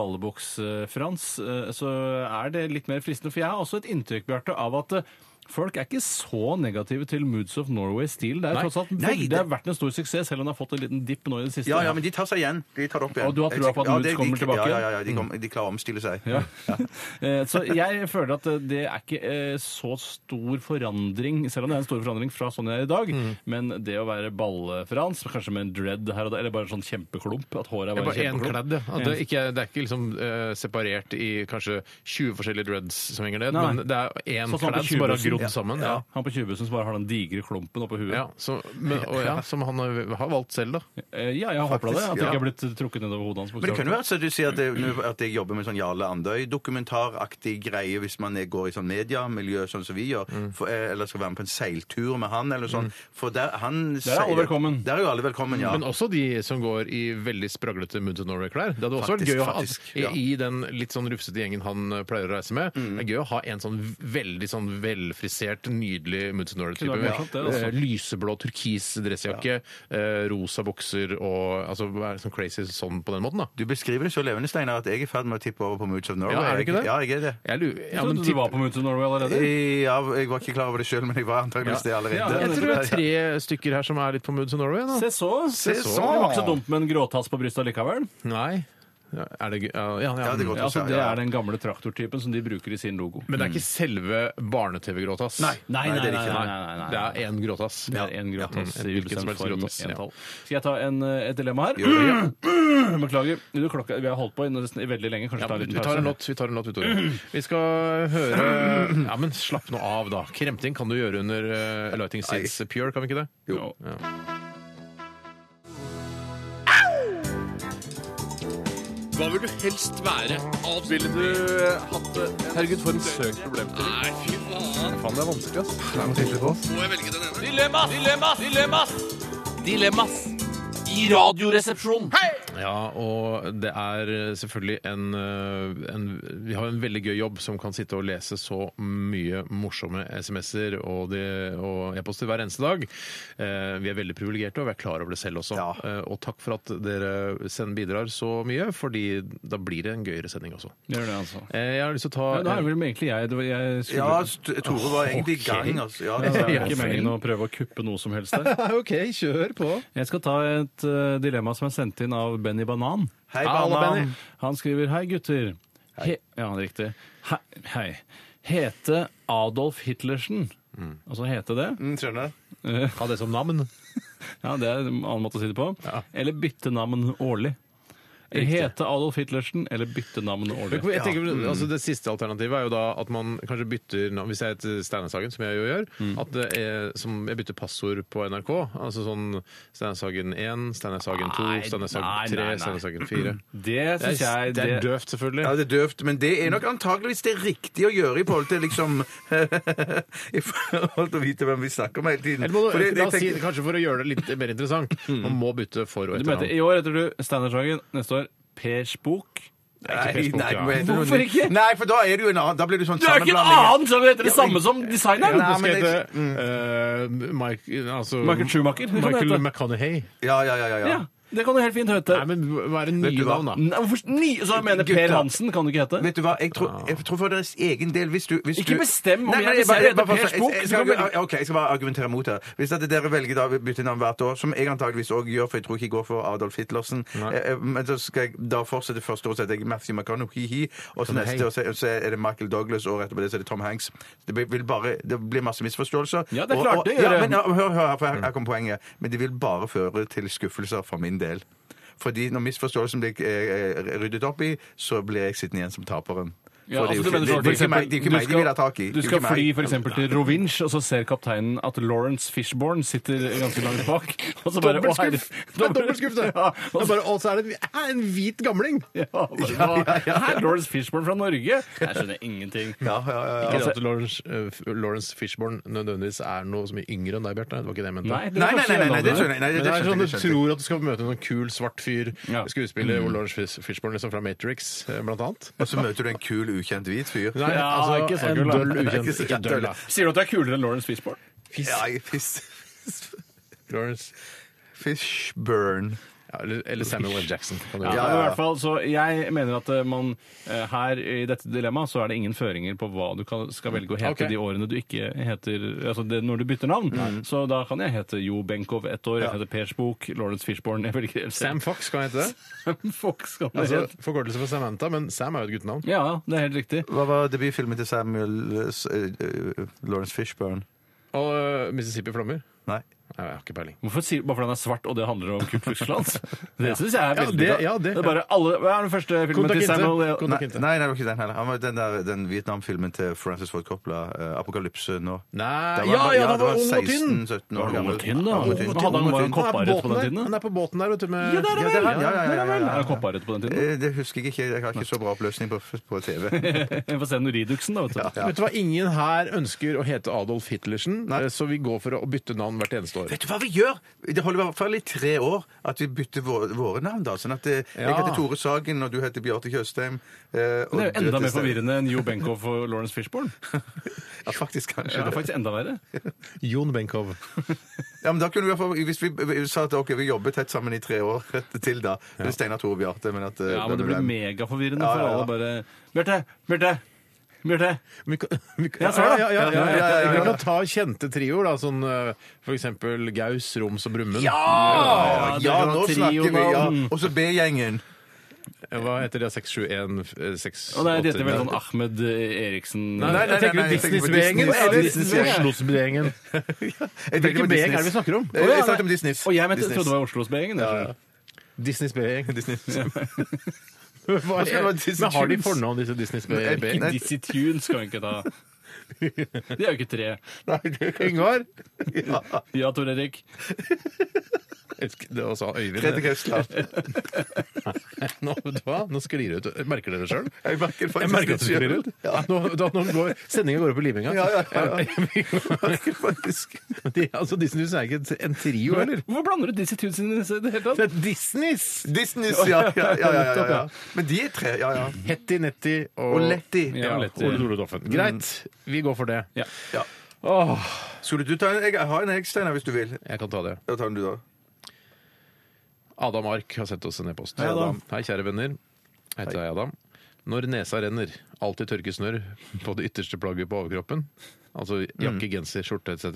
S7: ballebuks-Frans, eh, så er det litt mer fristende. For jeg har også et inntrykk, Bjarte, av at eh, folk er ikke så negative til Moods of Norway-stil. Det er
S6: Nei.
S7: tross alt
S8: Nei,
S7: veldig,
S8: det-
S7: det har vært en stor suksess, selv om det har fått en liten dipp nå i det siste.
S8: Ja, ja, men de tar seg igjen. De tar det opp igjen.
S7: Og du har
S8: Jeg
S7: trua
S8: er
S7: på at
S8: sikker-
S7: Moods
S8: det- de-
S7: kommer tilbake? Mm.
S8: Ja, ja, ja, de, kommer- de klarer å omstille seg.
S7: Ja. *laughs* Eh, Så jeg føler at eh, det er ikke eh, så stor forandring, selv om det er en stor forandring fra sånn jeg er i dag,
S6: Mm.
S7: men det å være balle-Frans, kanskje med en dread her og der, eller bare en sånn kjempeklump, at
S6: Det
S7: håret er
S6: er
S7: bare
S6: bare én
S7: en kjempeklump.
S6: kledd, ja. At Det er ikke, det er ikke liksom eh, separert i kanskje 20 forskjellige dreads som henger ned,
S7: Nei.
S6: men det er én kledd
S7: Sånn som på
S6: som bare har
S7: tjuvbussen.
S6: grodd sammen. Ja.
S7: Ja. Han på tjuvbussen som bare har den digre klumpen oppå huet.
S6: Ja, så, men, og, ja, som han har valgt selv, da.
S7: Eh, ja, jeg håper da det. At det
S8: ja.
S7: ikke har blitt trukket nedover hodet hans.
S8: Men det
S7: bokstavelig
S8: kan jo være så du sier at, det, at jeg jobber med sånn Jarle Andøy-dokumentaraktig greie hvis man er- går i sånn mediemiljø, sånn som vi gjør, for, eh, eller skal være med på en seiltur med han, eller sånn. For der, han
S7: Der er alle
S8: seiler-
S7: velkommen.
S8: Der er jo alle velkommen, ja.
S6: Men også de som går i veldig spraglete Moods of Norway-klær. Det hadde også
S8: Faktisk,
S6: vært gøy å ha
S8: faktisk, ja.
S6: i, i den litt sånn rufsete gjengen han eh, pleier å reise med.
S7: Mm.
S6: Det er gøy å ha en sånn veldig sånn velfrisert, nydelig Moods of Norway-type.
S7: Kunne vært morsomt, det, altså.
S6: Eh, Lyseblå, turkis dressjakke, eh, rosa bokser og altså, være sånn crazy sånn på den måten, da.
S8: Du beskriver det så levende, Steinar, at jeg er i ferd med å tippe over på Moods of Norway.
S6: Ja, er du ikke det?
S8: Ja, jeg er det.
S6: Jeg lurer, ja,
S7: talt.
S6: men
S7: Trodde
S6: tipp-
S7: du var på Moods of Norway allerede?
S8: Eh, Ja, jeg var ikke klar over det sjøl, men jeg var antakeligvis det
S7: Ja,
S8: allerede.
S7: men-
S6: jeg tror det er tre
S7: *laughs*
S6: stykker her som er litt på Moods of Norway. Da.
S7: Se så!
S8: Se så.
S7: Det var ikke så dumt med en gråtass på brystet likevel.
S6: Nei. Ja, Er det, gøy? ja, ja, ja.
S8: Ja, det går til å
S7: Altså,
S8: si,
S7: det
S8: ja.
S7: er den gamle traktortypen som de bruker i sin logo.
S6: Men det er ikke selve barne-TV-gråtass?
S7: Mm. Nei,
S8: Nei,
S7: nei, nei,
S8: det er
S7: nei,
S8: ikke-
S7: nei, nei, nei,
S6: Det er én gråtass.
S7: Det er en gråtass.
S6: Ja, en hvilken som helst gråtass, ja.
S7: Skal jeg ta en, eh, et dilemma her? *clears throat* Beklager. Du, klokka, vi har holdt på i nesten veldig lenge. Kanskje
S6: Ja,
S7: ta en
S6: vi
S7: liten
S6: tar en
S7: pause?
S6: låt, vi tar en låt, Victoria. Vi skal høre Ja, men slapp nå av, da. Kremting kan du gjøre under uh, Lighting Since Pure, kan vi ikke det?
S7: Jo.
S10: Hva vil du helst være? Ville du
S6: eh,
S10: hatt det? Herregud, for en søk problem til. Nei, fy faen.
S9: Faen, det er vanskelig, ass.
S10: Må jeg velge den ene? Dilemmas! Dilemmas! Dilemmas! Dilemmas i Radioresepsjonen.
S6: Ja, og det er selvfølgelig en, eh, en Vi har en veldig gøy jobb som kan sitte og lese så mye morsomme SMS-er og, de- og e-poster hver eneste dag. Eh, Vi er veldig privilegerte, og vi er klar over det selv også.
S8: Ja.
S6: Eh, Og takk for at dere send bidrar så mye, fordi da blir det en gøyere sending også.
S7: Gjør det, altså.
S6: Eh, Jeg har lyst til å ta
S7: Ja, da er det vel egentlig jeg. Det var, jeg skulle, Altså,
S8: Ja, St- Tore var egentlig i gang. Altså. Ja, det
S7: Det
S8: var-
S7: er ikke meningen å prøve å kuppe noe som helst der.
S6: OK, kjør på.
S7: Jeg skal ta et eh, dilemma som er sendt inn av Benny Banan.
S8: Hei,
S6: Hallo,
S8: Banan.
S6: Benny.
S7: Han skriver Hei, gutter. He ja, det er riktig. Hei. Hei. Hete Adolf Hitlersen. Altså hete det.
S8: Mm, Skjønner.
S6: Ha det som navn.
S7: Ja, Det er en annen måte å si det på. Eller bytte navn årlig. Hete Adolf Hitlersen eller bytte navn årlig.
S6: Jeg tenker,
S7: Mm.
S6: altså, det siste alternativet er jo da at man kanskje bytter navn Hvis jeg heter Steinar Sagen, som jeg jo gjør,
S7: Mm.
S6: at det er, som jeg bytter passord på NRK. Altså sånn Steinar Sagen 1, Steinar Sagen 2,
S7: Nei,
S6: Steinar
S7: nei,
S6: Sagen
S7: nei,
S6: 3,
S7: nei.
S6: Steinar Sagen 4.
S7: Det
S6: Det
S7: syns
S6: er,
S7: jeg
S6: det er døvt, selvfølgelig.
S8: Ja, det er døvt, men det er nok antakeligvis det riktige å gjøre i forhold til liksom *laughs* I forhold til å vite hvem vi snakker om hele tiden.
S6: Eller må du,
S8: For det-
S6: la
S8: det-
S6: oss si, det kanskje for å gjøre det litt mer
S7: *laughs*
S6: interessant, man må bytte for og
S7: Mm. Du
S6: etter
S7: mener,
S6: navn.
S7: I år heter du Steinar Sagen, neste år Per Spook.
S8: Nei,
S6: Facebook,
S8: nei,
S6: ja.
S8: men-
S7: Hvorfor ikke?
S8: Nei, for da er det jo en annen Da blir det sånn
S7: Du er ikke en
S8: sammenblanding.
S7: annen som heter det samme som designeren!
S8: Ja,
S6: Du skal
S8: men
S6: hete
S8: det-
S6: eh, Mike, altså,
S7: Mm. Michael Schumacher, kan det
S6: Michael
S7: hete.
S6: McConaughey.
S8: Ja, ja, ja, ja,
S7: Ja,
S8: ja.
S7: det kan du helt fint hete.
S6: Nei, men hva er det
S8: Vet du
S6: nye
S8: hva?
S6: navn, da?
S7: Nei, Hvorfor ni? Så jeg mener Per
S8: Gutta.
S7: Hansen kan du ikke hete.
S8: Vet du hva, jeg tror, jeg tror for deres egen del hvis du, hvis
S7: Ikke
S8: du-
S7: bestem om
S8: Nei,
S7: jeg
S8: men
S7: vil si det,
S8: bare-
S7: det er Pers
S8: bare-
S7: bok.
S8: jeg
S7: Du kan
S8: skal-
S7: velge.
S8: Ok, jeg skal bare argumentere mot det. Hvis at dere velger da å bytte navn hvert år, som jeg antageligvis også gjør, for jeg tror ikke jeg går for Adolf Hitlersen, eh, eh, men så skal jeg da fortsette første år, så heter jeg Matthew McConaughey, hi-hi, og så neste år så så er det Michael Douglas, og rett på det så er det Tom Hanks. Det blir, vil bare, det blir masse misforståelser.
S7: Ja, det er
S8: Og-
S7: klart
S8: og-
S7: det gjør
S8: Ja,
S7: det. Mm.
S8: men ja, hør, hør, her, for her, her kommer poenget. Men det vil bare føre til skuffelser for min del. Fordi når misforståelsen blir eh, eh, ryddet opp i, så blir jeg sittende igjen som taperen.
S7: Ja,
S8: For det er jo
S7: altså, du
S8: ikke-
S7: mener
S8: det-
S7: sånn,
S8: det er jo
S7: for
S8: ikke meg- det er jo ikke
S7: eksempel,
S8: meg de vil ha tak i.
S7: Du
S8: Det er jo
S7: skal
S8: ikke
S7: fly
S8: meg.
S7: f.eks. til Rovinj, og så ser kapteinen at Lawrence Fishborn sitter ganske langt bak. Og så bare, å, herre-
S6: Dobbeltskuff! Det er dobbeltskuff, det!
S7: *laughs* Ja,
S6: Det
S7: og
S6: er
S7: så,
S6: bare- Og så er det en, en hvit gamling!
S7: *laughs* ja, bare, hva? Her er Lawrence Fishborn fra Norge! Jeg skjønner ingenting.
S8: Ja, ja, ja, ja.
S6: Ikke det at Lawrence, eh, F- Lawrence Fishborne nødvendigvis er noe som er yngre enn deg, Bjarte. Det var ikke det jeg mente.
S7: Nei, det
S8: Nei,
S7: var
S8: nei,
S7: kanskje
S8: nei, nei,
S7: en
S8: nei, det
S7: annen.
S8: skjønner jeg. Nei, det,
S6: Men
S8: det
S6: det er sånn
S8: skjønner jeg,
S6: Du
S8: det skjønner jeg.
S6: tror at du skal møte noen kul, svart fyr,
S7: Ja.
S6: skuespiller, og Lawrence Fish- Fishburne liksom fra Matrix, eh, blant annet.
S8: Og så møter du en kul, ukjent hvit fyr.
S6: Nei,
S7: Ja,
S6: altså,
S7: ikke så
S6: en
S7: kul, da.
S6: døll ukjent.
S8: Ikke så
S6: Ikke døll, da.
S7: Sier du at du er kulere enn Lawrence Fishborn?
S8: Ja, jeg- fiss.
S6: Lawrence.
S8: Fishburn.
S6: Ja, eller, eller Samuel L. Jackson. Kan du
S7: Ja,
S6: gjøre.
S7: men i hvert fall, så Jeg mener at eh, man eh, her i dette dilemmaet så er det ingen føringer på hva du kan, skal velge å hete
S6: Ok.
S7: de årene du ikke heter Altså det, når du bytter navn. Så da kan jeg hete Jo Benkow ett år, jeg heter Per Spook, Lawrence Fishborn Jeg velger
S6: Sam Fox, kan han hete det?
S7: Fox kan jeg
S6: Altså,
S7: hete.
S6: forkortelse for Samantha, men Sam er jo et guttenavn.
S7: Ja, det er helt riktig.
S8: Hva var debutfilmen til Samuel eh, s- eh, eh, Lawrence Fishburne?
S6: Og eh, Mississippi Flommer.
S8: Nei.
S6: Nei, jeg har ikke peiling.
S7: Hvorfor sier du bare fordi han er svart og det handler om Ku Klux
S8: *laughs*
S7: Klan? Det syns jeg er
S6: Ja,
S7: veldig
S6: det-
S7: bra.
S6: ja, det-
S7: er bare alle, hva er den første filmen
S6: Konta
S7: til
S6: Kinte.
S7: Samuel
S6: Konta
S8: Nei,
S6: Kinte.
S8: nei, nei, det var ikke den heller. Han var den, der, den Vietnam-filmen til Francis Ford Coppola, eh, 'Apokalypse' nå.
S6: Nei,
S8: Da var
S6: ja, ja,
S8: han- ja,
S6: han
S8: da
S6: var
S8: var
S6: ung og tynn!
S8: 16-17 år
S7: Var han
S8: gammel.
S7: tynn, da?
S8: Ja, han var tynn.
S7: Hva hadde han- var han
S6: er
S7: kopparødt på den tiden? da?
S6: Han er på båten der, vet du. Med...
S7: Ja,
S8: Ja, det
S7: det er
S8: er
S7: vel!
S8: han. Ja, ja, ja, ja, ja, ja.
S7: Er han kopparødt på
S8: *laughs*
S7: den tiden?
S8: Eh, Det husker jeg ikke. Jeg har ikke så bra oppløsning på, på
S6: *laughs*
S8: TV.
S7: Vi får se den Riduxen, da. vet du.
S8: Ja.
S6: Vet du hva, Ingen her ønsker å hete Adolf Hitlersen,
S8: Nei.
S6: eh, så vi går for å bytte navn hvert eneste år.
S8: Vet du hva vi gjør? Det holder i hvert fall i tre år at vi bytter våre, våre navn. da, sånn at eh, Jeg
S6: Ja.
S8: heter Tore Sagen, og du heter Bjarte Tjøstheim. eh, og
S7: Det er jo
S8: du
S7: enda
S8: heter
S7: mer
S8: Stein-
S7: forvirrende enn Jo Benkow og Lawrence Fishborne.
S8: *laughs* Ja, faktisk kanskje.
S7: Det er
S8: Ja.
S7: faktisk enda verre.
S6: Jon Benkow.
S8: men da kunne vi i hvert fall, Hvis vi eh, sa at ok, vi jobber tett sammen i tre år *laughs* til, da Det er Steinar Tore og Bjarte, men at eh,
S7: Ja, men det
S8: hvem
S7: blir
S8: er hvem?
S7: megaforvirrende
S8: Ja,
S7: for
S8: ja, ja.
S7: alle bare Bjarte! Bjarte! Bjarte!
S6: Vi kan, *laughs* vi kan,
S7: Jeg sa det.
S6: Ja, ja, ja, ja,
S8: ja, ja, ja.
S6: Vi kan ta kjente trioer, da. Sånn eh, for eksempel Gaus, Roms og Brumund.
S8: Ja,
S7: Ja,
S8: Ah, ja,
S7: det var
S8: nå snakker vi! ja.
S7: trioen.
S8: Og så B-gjengen.
S6: Eh, Hva heter de 671
S7: Og det er dette vel sånn Ahmed Eriksen eh,
S6: Nei, nei, nei, nei, jeg tenker på Disney-svegen.
S11: Oslosbegjengen.
S6: Hvilken BG er det vi snakker om?
S8: Eh, Jeg snakket om Disney.
S7: Og jeg mente, trodde det sånn. var Oslo-spegjengen. jeg skjønner.
S6: Disneys *laughs* BG.
S11: Hva er- Men har de fornavn, disse Disney-spegene?
S7: Ikke Dizzie Tunes skal vi ikke ta. De er jo ikke tre.
S6: Yngvar?
S7: Ja, Tor Erik.
S6: Elsker det også Øyvind.
S8: Grete Gausland.
S6: Nå, vet du hva? Nå sklir det ut. Merker dere det sjøl?
S8: Jeg merker
S6: *laughs* Jeg merker at du sklir ut.
S8: Ja.
S6: Nå, da, nå går, sendingen går opp i liminga.
S8: Ja, ja, ja, ja.
S6: *laughs* Jeg merker faktisk. De, altså, Disneys er ikke en trio, eller?
S7: Hvorfor blander du Dizzie Tunes inn i det hele tatt?
S6: Det er Disneys!
S8: Disneys, ja. Ja, ja, ja, ja, ja. Men de er tre. Ja, ja.
S6: Hetti, Netti og,
S8: Og Letty. Mm.
S6: Ja,
S7: Ja, Letti.
S6: Ole Dole Doffen. Greit, vi går for det.
S7: Ja.
S8: Ja.
S6: Åh,
S8: Skulle du ta en? Jeg har en egg, Steinar, hvis du vil.
S6: jeg kan ta det.
S8: Da tar den du, da.
S6: Adam Ark har sendt oss en e-post.
S8: Hei, Adam.
S6: Hei, kjære venner. Jeg heter jeg Adam. Når nesa renner, alltid tørke snørr på det ytterste plagget på overkroppen. Altså jakke, genser, skjorte etc.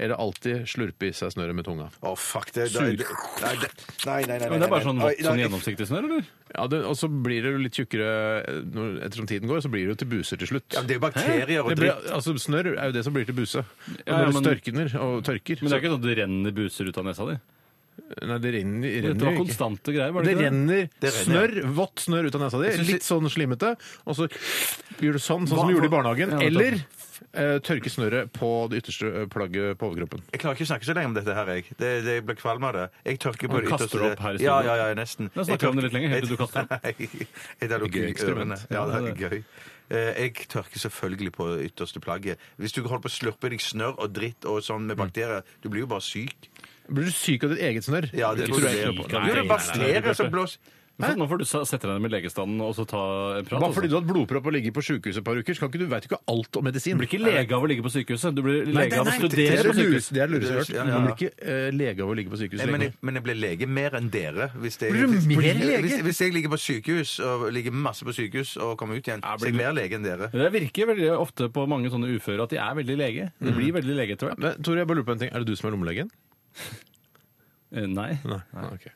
S6: Eller alltid slurpe i seg snørret med tunga.
S8: Å, fuck det. Nei, det- Nei, det- nei, nei. nei, nei,
S7: Men det er bare sånn
S8: nei,
S7: vått, sånn
S8: nei.
S7: gjennomsiktig snørr, eller?
S6: Ja, det, Og så blir det jo litt tjukkere eh, når- ettersom tiden går, så blir det jo til buser til slutt.
S8: Ja, men det er jo bakterier og
S6: Det blir,
S8: dritt.
S6: altså, snørr er jo det som blir til buse. Og
S7: Ja,
S6: når
S7: men-
S6: det størkner og tørker
S7: Men det er ikke sånn at det renner buser ut av nesa di?
S6: så, Nei, det renner,
S7: Dette
S6: renner
S7: var
S6: jo ikke.
S7: konstante greier, var
S6: Det
S7: det ikke det?
S6: renner,
S8: Det renner,
S6: snørr, vått snørr ut av nesa di.
S8: synes
S6: Litt sånn slimete. Og så gjør du sånn, sånn
S7: Hva-
S6: som du gjorde i barnehagen.
S7: Ja, vet du.
S6: Eller eh, tørke snørret på det ytterste eh, plagget på overkroppen.
S8: Jeg klarer ikke å snakke så lenge om dette her, jeg. Det, det, jeg blir kvalm av det. Jeg tørker på
S7: Og kaster
S8: ytterste-
S7: opp her i studio.
S8: Ja, ja, ja, nesten.
S7: Da snakker vi om det litt lenger, helt til du kaster opp.
S8: opp. det er
S6: Gøy eksperiment.
S8: Ja,
S7: Ja,
S8: det
S7: det
S8: er gøy. Eh, Jeg tørker selvfølgelig på det ytterste plagget. Hvis du holder på å slurpe i deg snørr og dritt og sånn med bakterier, du blir jo bare syk.
S6: Blir du syk av ditt eget snørr?
S8: Ja, det
S6: tror jeg
S8: tror
S6: ikke noe på.
S8: jeg. Jo, det basterer som blås.
S7: Så Sånn, nå får du sa- sette deg ned med legestanden og så ta en prat.
S6: Bare fordi
S7: altså.
S6: du har hatt blodpropp og ligget på sjukehuset et par uker, skal ikke du vet jo ikke alt om medisin.
S7: Du blir ikke lege av å ligge på sykehuset. Du blir
S6: Nei,
S7: lege av å
S8: nei,
S6: Det er
S8: det-
S7: studere
S6: det
S7: på sykehus.
S6: lureste det er det lureste jeg har hørt.
S8: Ja, ja.
S6: Man blir ikke eh, lege av å ligge på sykehus
S8: Nei, Men jeg,
S6: lenge.
S8: men jeg blir lege mer enn dere. Hvis det,
S6: Blir du
S8: hvis-
S6: mer
S8: hvis-
S6: lege?
S8: Hvis, hvis jeg ligger på sykehus og ligger masse på sykehus og kommer ut igjen, så er jeg mer lege enn dere.
S7: Det virker veldig ofte på mange sånne uføre at de er veldig lege. De blir veldig lege etter hvert.
S6: Men, Tore, jeg bare lurer på en ting. Er det du som er lommelegen?
S7: Eh, Nei.
S6: Nei. Ah, ok.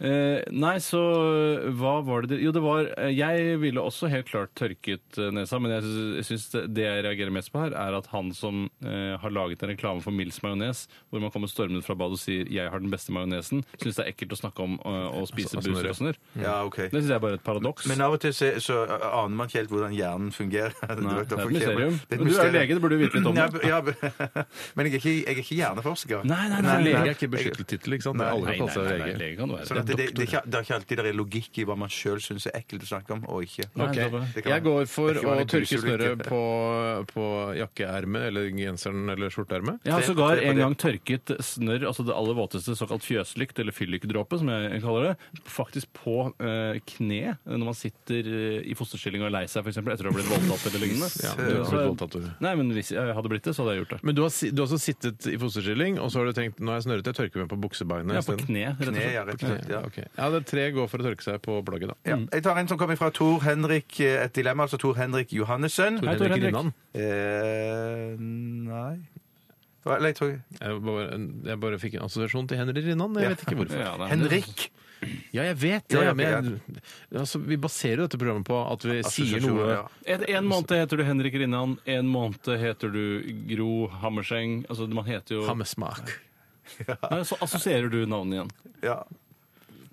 S7: Eh, nei, så eh, hva var det det Jo, det var eh, Jeg ville også helt klart tørket eh, nesa, men jeg sy- syns det- det jeg reagerer mest på her, er at han som eh, har laget en reklame for Mills majones, hvor man kommer stormende fra badet og sier 'jeg har den beste majonesen', syns det er ekkelt å snakke om eh, å spise
S6: altså,
S7: buser og sånn.
S8: Ja, ok.
S7: Det syns jeg er bare et paradoks.
S8: Men av og til så, så aner man ikke helt hvordan hjernen fungerer. *laughs*
S7: Nei,
S8: vet,
S7: det er et
S8: hvorfor ikke-
S7: mysterium.
S8: Det er et
S7: Du er
S8: mysterium.
S7: lege, du burde vite litt om det.
S8: Ja, b- ja, b- *laughs* men jeg er ikke, jeg er ikke hjerneforsker.
S7: Nei, nei, nei,
S6: For Lege er
S8: Jeg-
S6: ikke beskyttet tittel, ikke sant?
S8: Nei,
S6: Alle
S7: nei,
S6: kan kalle
S7: nei,
S6: seg
S7: nei, nei,
S6: lege.
S7: lege kan du være.
S8: Sånn at det, det, det, er ikke- det er ikke alltid det er logikk i hva man sjøl syns er ekkelt å snakke om, og ikke.
S7: Nei,
S6: Ok.
S7: det var-
S8: Det kan
S6: Jeg
S8: man-
S6: går for
S8: det kan
S6: å
S8: være en
S6: tørke
S8: busulykke.
S6: snørret på, på jakkeermet eller genseren eller skjorteermet.
S7: Jeg har
S8: Tre-
S7: sågar
S8: tre på
S7: en
S8: det.
S7: gang tørket snørr, altså det aller våteste såkalt fjøslykt, eller fyllikdråpe, som jeg kaller det, faktisk på eh, kne når man sitter eh, i fosterstilling og er lei seg, f.eks., etter å ha blitt voldtatt eller lignende.
S6: Ja,
S8: du
S6: du har
S7: Så-
S6: blitt voldtatt, Tore.
S7: Nei, men hvis jeg hadde blitt det, så hadde jeg gjort det.
S6: Men du har, si- du har også sittet i fosterstilling, og så har du tenkt nå er jeg snørret, jeg tørker meg på buksebeinet
S7: Ja, på Mm.
S6: isteden.
S7: kne, rett og
S8: Kne,
S7: slett.
S8: ja, rett og slett. Ja.
S6: Ok. Ja, det er tre går for å tørke seg på plagget, da.
S8: Ja. Jeg tar en som kommer fra Tor Henrik, eh, et dilemma, altså Tor Henrik Johannessen.
S7: Hei, Tor Henrik.
S6: Rinnan.
S8: Eh, nei Hva- Eller jeg tror
S6: Jeg bare, jeg bare fikk en assosiasjon til Henry Rinnan, jeg
S8: Ja.
S6: vet ikke hvorfor.
S7: Ja, nei, men det-
S8: Henrik!
S6: Ja, jeg vet
S8: Ja,
S6: det,
S8: ja,
S6: men jeg, altså, vi baserer jo dette programmet på at vi sier
S8: Assosiasjoner,
S6: noe
S8: ja.
S7: En, en måned heter du Henrik Rinnan, en måned heter du Gro Hammerseng. Altså, man heter jo
S6: Hammesmak.
S7: Nei, Så assosierer du navnet igjen.
S8: Ja.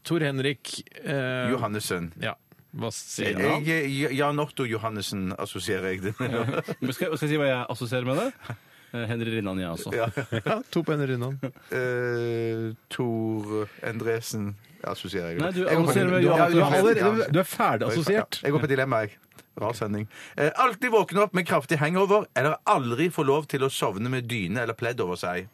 S6: Tor Henrik eh,
S8: Johannessen.
S6: Ja, hva sier han?
S8: Jeg, eh, Jan Otto Johannessen assosierer jeg det med.
S7: Men skal, skal jeg si hva jeg assosierer med det?
S8: *laughs*
S7: Eh, Henry Rinnan, jeg også.
S8: Ja.
S6: *laughs* Ja, to på Henry Rinnan.
S8: Eh, Tor Endresen assosierer jeg det
S7: Nei, du
S8: Jeg går på-
S7: assosierer med
S8: Ja,
S7: Jan Otto
S8: ja,
S7: Johannessen.
S8: ja.
S6: Allerede- du er ferdig assosiert.
S8: Jeg går på dilemma, jeg. Rar sending. Eh, alltid våkne opp med kraftig hangover, eller aldri få lov til å sovne med dyne eller pledd over seg.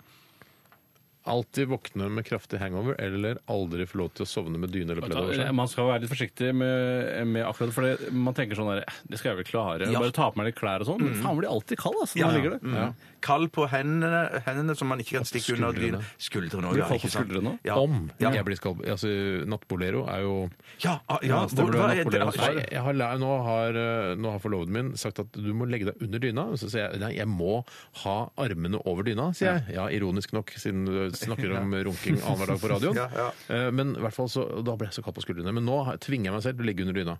S6: Alltid våkne med kraftig hangover, eller aldri få lov til å sovne med dyne eller pledd over seg.
S7: Man skal være litt forsiktig med, med akkurat for det. Man tenker sånn der "Eh, Det skal jeg vel klare.
S8: Ja. Mm.
S7: Bare ta på meg litt klær og sånn. Men Faen, blir alltid kald, altså.
S8: Ja,
S7: Når
S8: ja.
S7: man ligger der.
S8: Mm. Kald på hendene, hendene som man ikke kan stikke under dyna. Skuldrene òg,
S7: Blir kald på skuldrene også?
S8: Ja.
S6: Om
S8: Ja.
S6: jeg blir skalv... Altså, nattbolero er jo
S8: Ja, ah, ja,
S7: Ja,
S8: hvor-
S7: stemmer det,
S8: hva er
S7: Napoleon
S8: det? Ah,
S7: Sverre.
S6: Nei, jeg har, lært- nå, har, eh, nå har forloveden min sagt at du må legge deg under dyna. Så sier jeg nei, jeg må ha armene over dyna, sier jeg. Ja, ironisk nok, siden du snakker
S8: *laughs*
S6: om runking annenhver dag på radioen. Eh, Men i hvert fall så, og da ble jeg så kald på skuldrene. Men nå tvinger jeg meg selv til å ligge under dyna.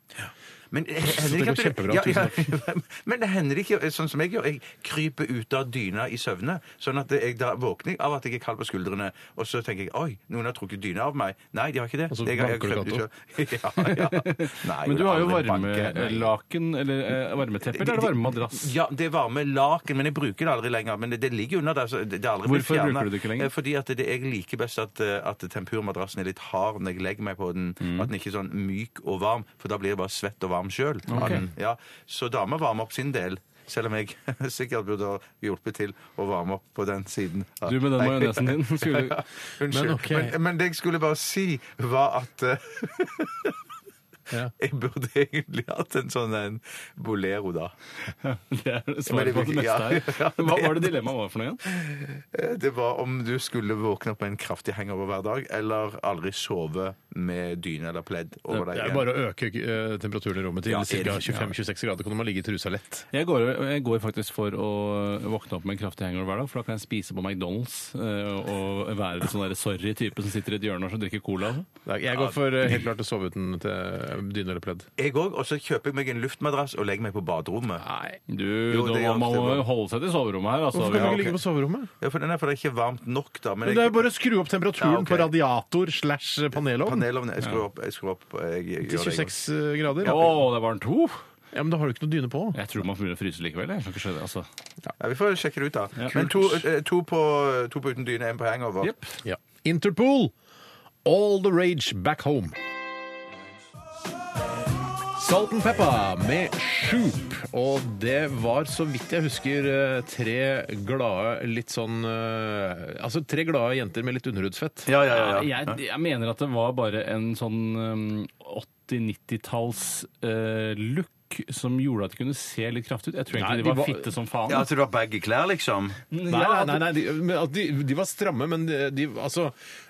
S8: Men hender
S6: det
S8: ikke
S6: går
S8: at du-
S6: kjempebra,
S8: ja,
S6: tusen
S8: ja, *laughs* men det hender ikke, sånn som jeg gjør, jeg kryper ut av dyna i søvne, sånn at jeg da våkner av at jeg er kald på skuldrene, og så tenker jeg, oi, noen har trukket dyna av meg. Nei, de har ikke det.
S6: Og så
S8: jeg, jeg,
S6: banker du
S8: krøpte selv. *laughs* Ja, ja. Nei,
S7: *laughs* Men du
S8: jeg
S7: har jo
S8: aldri banket.
S7: varmelaken, eller eh, varmetepper, eller er det varmemadrass?
S8: Ja, det er varme laken, men jeg bruker det aldri lenger. Men det, det ligger under der. Så det, det er aldri blitt
S7: Hvorfor bruker
S8: fjernet.
S7: du det ikke lenger?
S8: Eh, Fordi at det, jeg liker best at, eh, at tempurmadrassen er litt hard når jeg legger meg på den.
S7: Mm.
S8: At den ikke er sånn myk og varm, for da blir jeg bare svett og varm sjøl. Ja, så dama varmer opp sin del. Selv om jeg *laughs* sikkert burde ha hjulpet til å varme opp på den siden. Ja.
S7: Du med den
S8: Nei.
S7: majonesen din
S8: *laughs*
S7: skulle-
S8: Unnskyld.
S6: Men
S8: Men,
S6: ok.
S8: men, det jeg skulle bare si, var at eh,
S6: Ja.
S8: *laughs* jeg burde egentlig hatt en sånn en bolero, da.
S7: *laughs* Det er
S8: Men det
S7: svaret på det
S8: bruker-
S7: meste
S8: ja, ja,
S7: her. Hva
S8: det-
S7: var det dilemmaet var for noe igjen?
S8: Eh, Det var om du skulle våkne opp med en kraftig hangover hver dag, eller aldri sove med dyne eller pledd
S6: Det
S8: over deg.
S6: er
S8: igjen.
S6: bare å øke eh, temperaturen i rommet til
S8: Ja,
S6: ca.
S8: er det-
S6: 25-26 grader. Kan man ligge i trusa lett.
S7: Jeg går, jeg går faktisk for å våkne opp med en kraftig hangover hver dag, for da kan jeg spise på McDonald's eh, og være en sånn der sorry type som sitter i et hjørne og så drikker cola. altså.
S6: Nei, Jeg går for eh, helt klart å sove uten til dyne eller pledd.
S8: Jeg òg. Og så kjøper jeg meg en luftmadrass og legger meg på baderommet.
S6: Nei.
S7: Du,
S8: Jo,
S7: da
S8: det
S7: må
S8: gjør
S7: man må
S8: det.
S7: jo holde seg til soverommet her. Altså.
S6: Hvorfor kan du
S7: Ja,
S6: ikke ligge på soverommet?
S8: Ja, for, den er, for det er ikke varmt nok, da. Men
S6: Men det er jo bare å skru opp temperaturen
S8: Ja, ok.
S6: på radiator slash panelovn
S8: panelovnen Jeg skrur opp. Jeg skrur opp eh, jeg, jeg,
S6: til
S8: gjør det, jeg
S6: 26 grader.
S7: Å, det er varmt! Uff.
S6: Ja, Men da har du ikke noe dyne på.
S7: Jeg tror man får mulig å fryse likevel. Jeg. Jeg skjønner ikke skjønne, altså.
S8: også. Ja, vi får sjekke det ut, da. Men to, eh, to, på, to på uten dyne, én på hangover.
S7: Jepp.
S6: Ja. Interpol! All the rage back home. Salt and Pepper med Shoop. Og det var, så vidt jeg husker, eh, tre glade litt sånn eh, Altså tre glade jenter med litt underhudsfett.
S8: Ja, ja, ja, ja.
S7: Jeg, jeg mener at det var bare en sånn um, 80-90-talls eh, look som gjorde at de kunne se litt kraftig ut. Jeg
S6: Nei,
S7: tror egentlig
S6: de
S7: de var
S6: var-
S7: fitte som faen.
S8: Ja, altså du har baggy klær, liksom?
S6: Nei, nei, nei, nei de, men at de, de var stramme, men de, de altså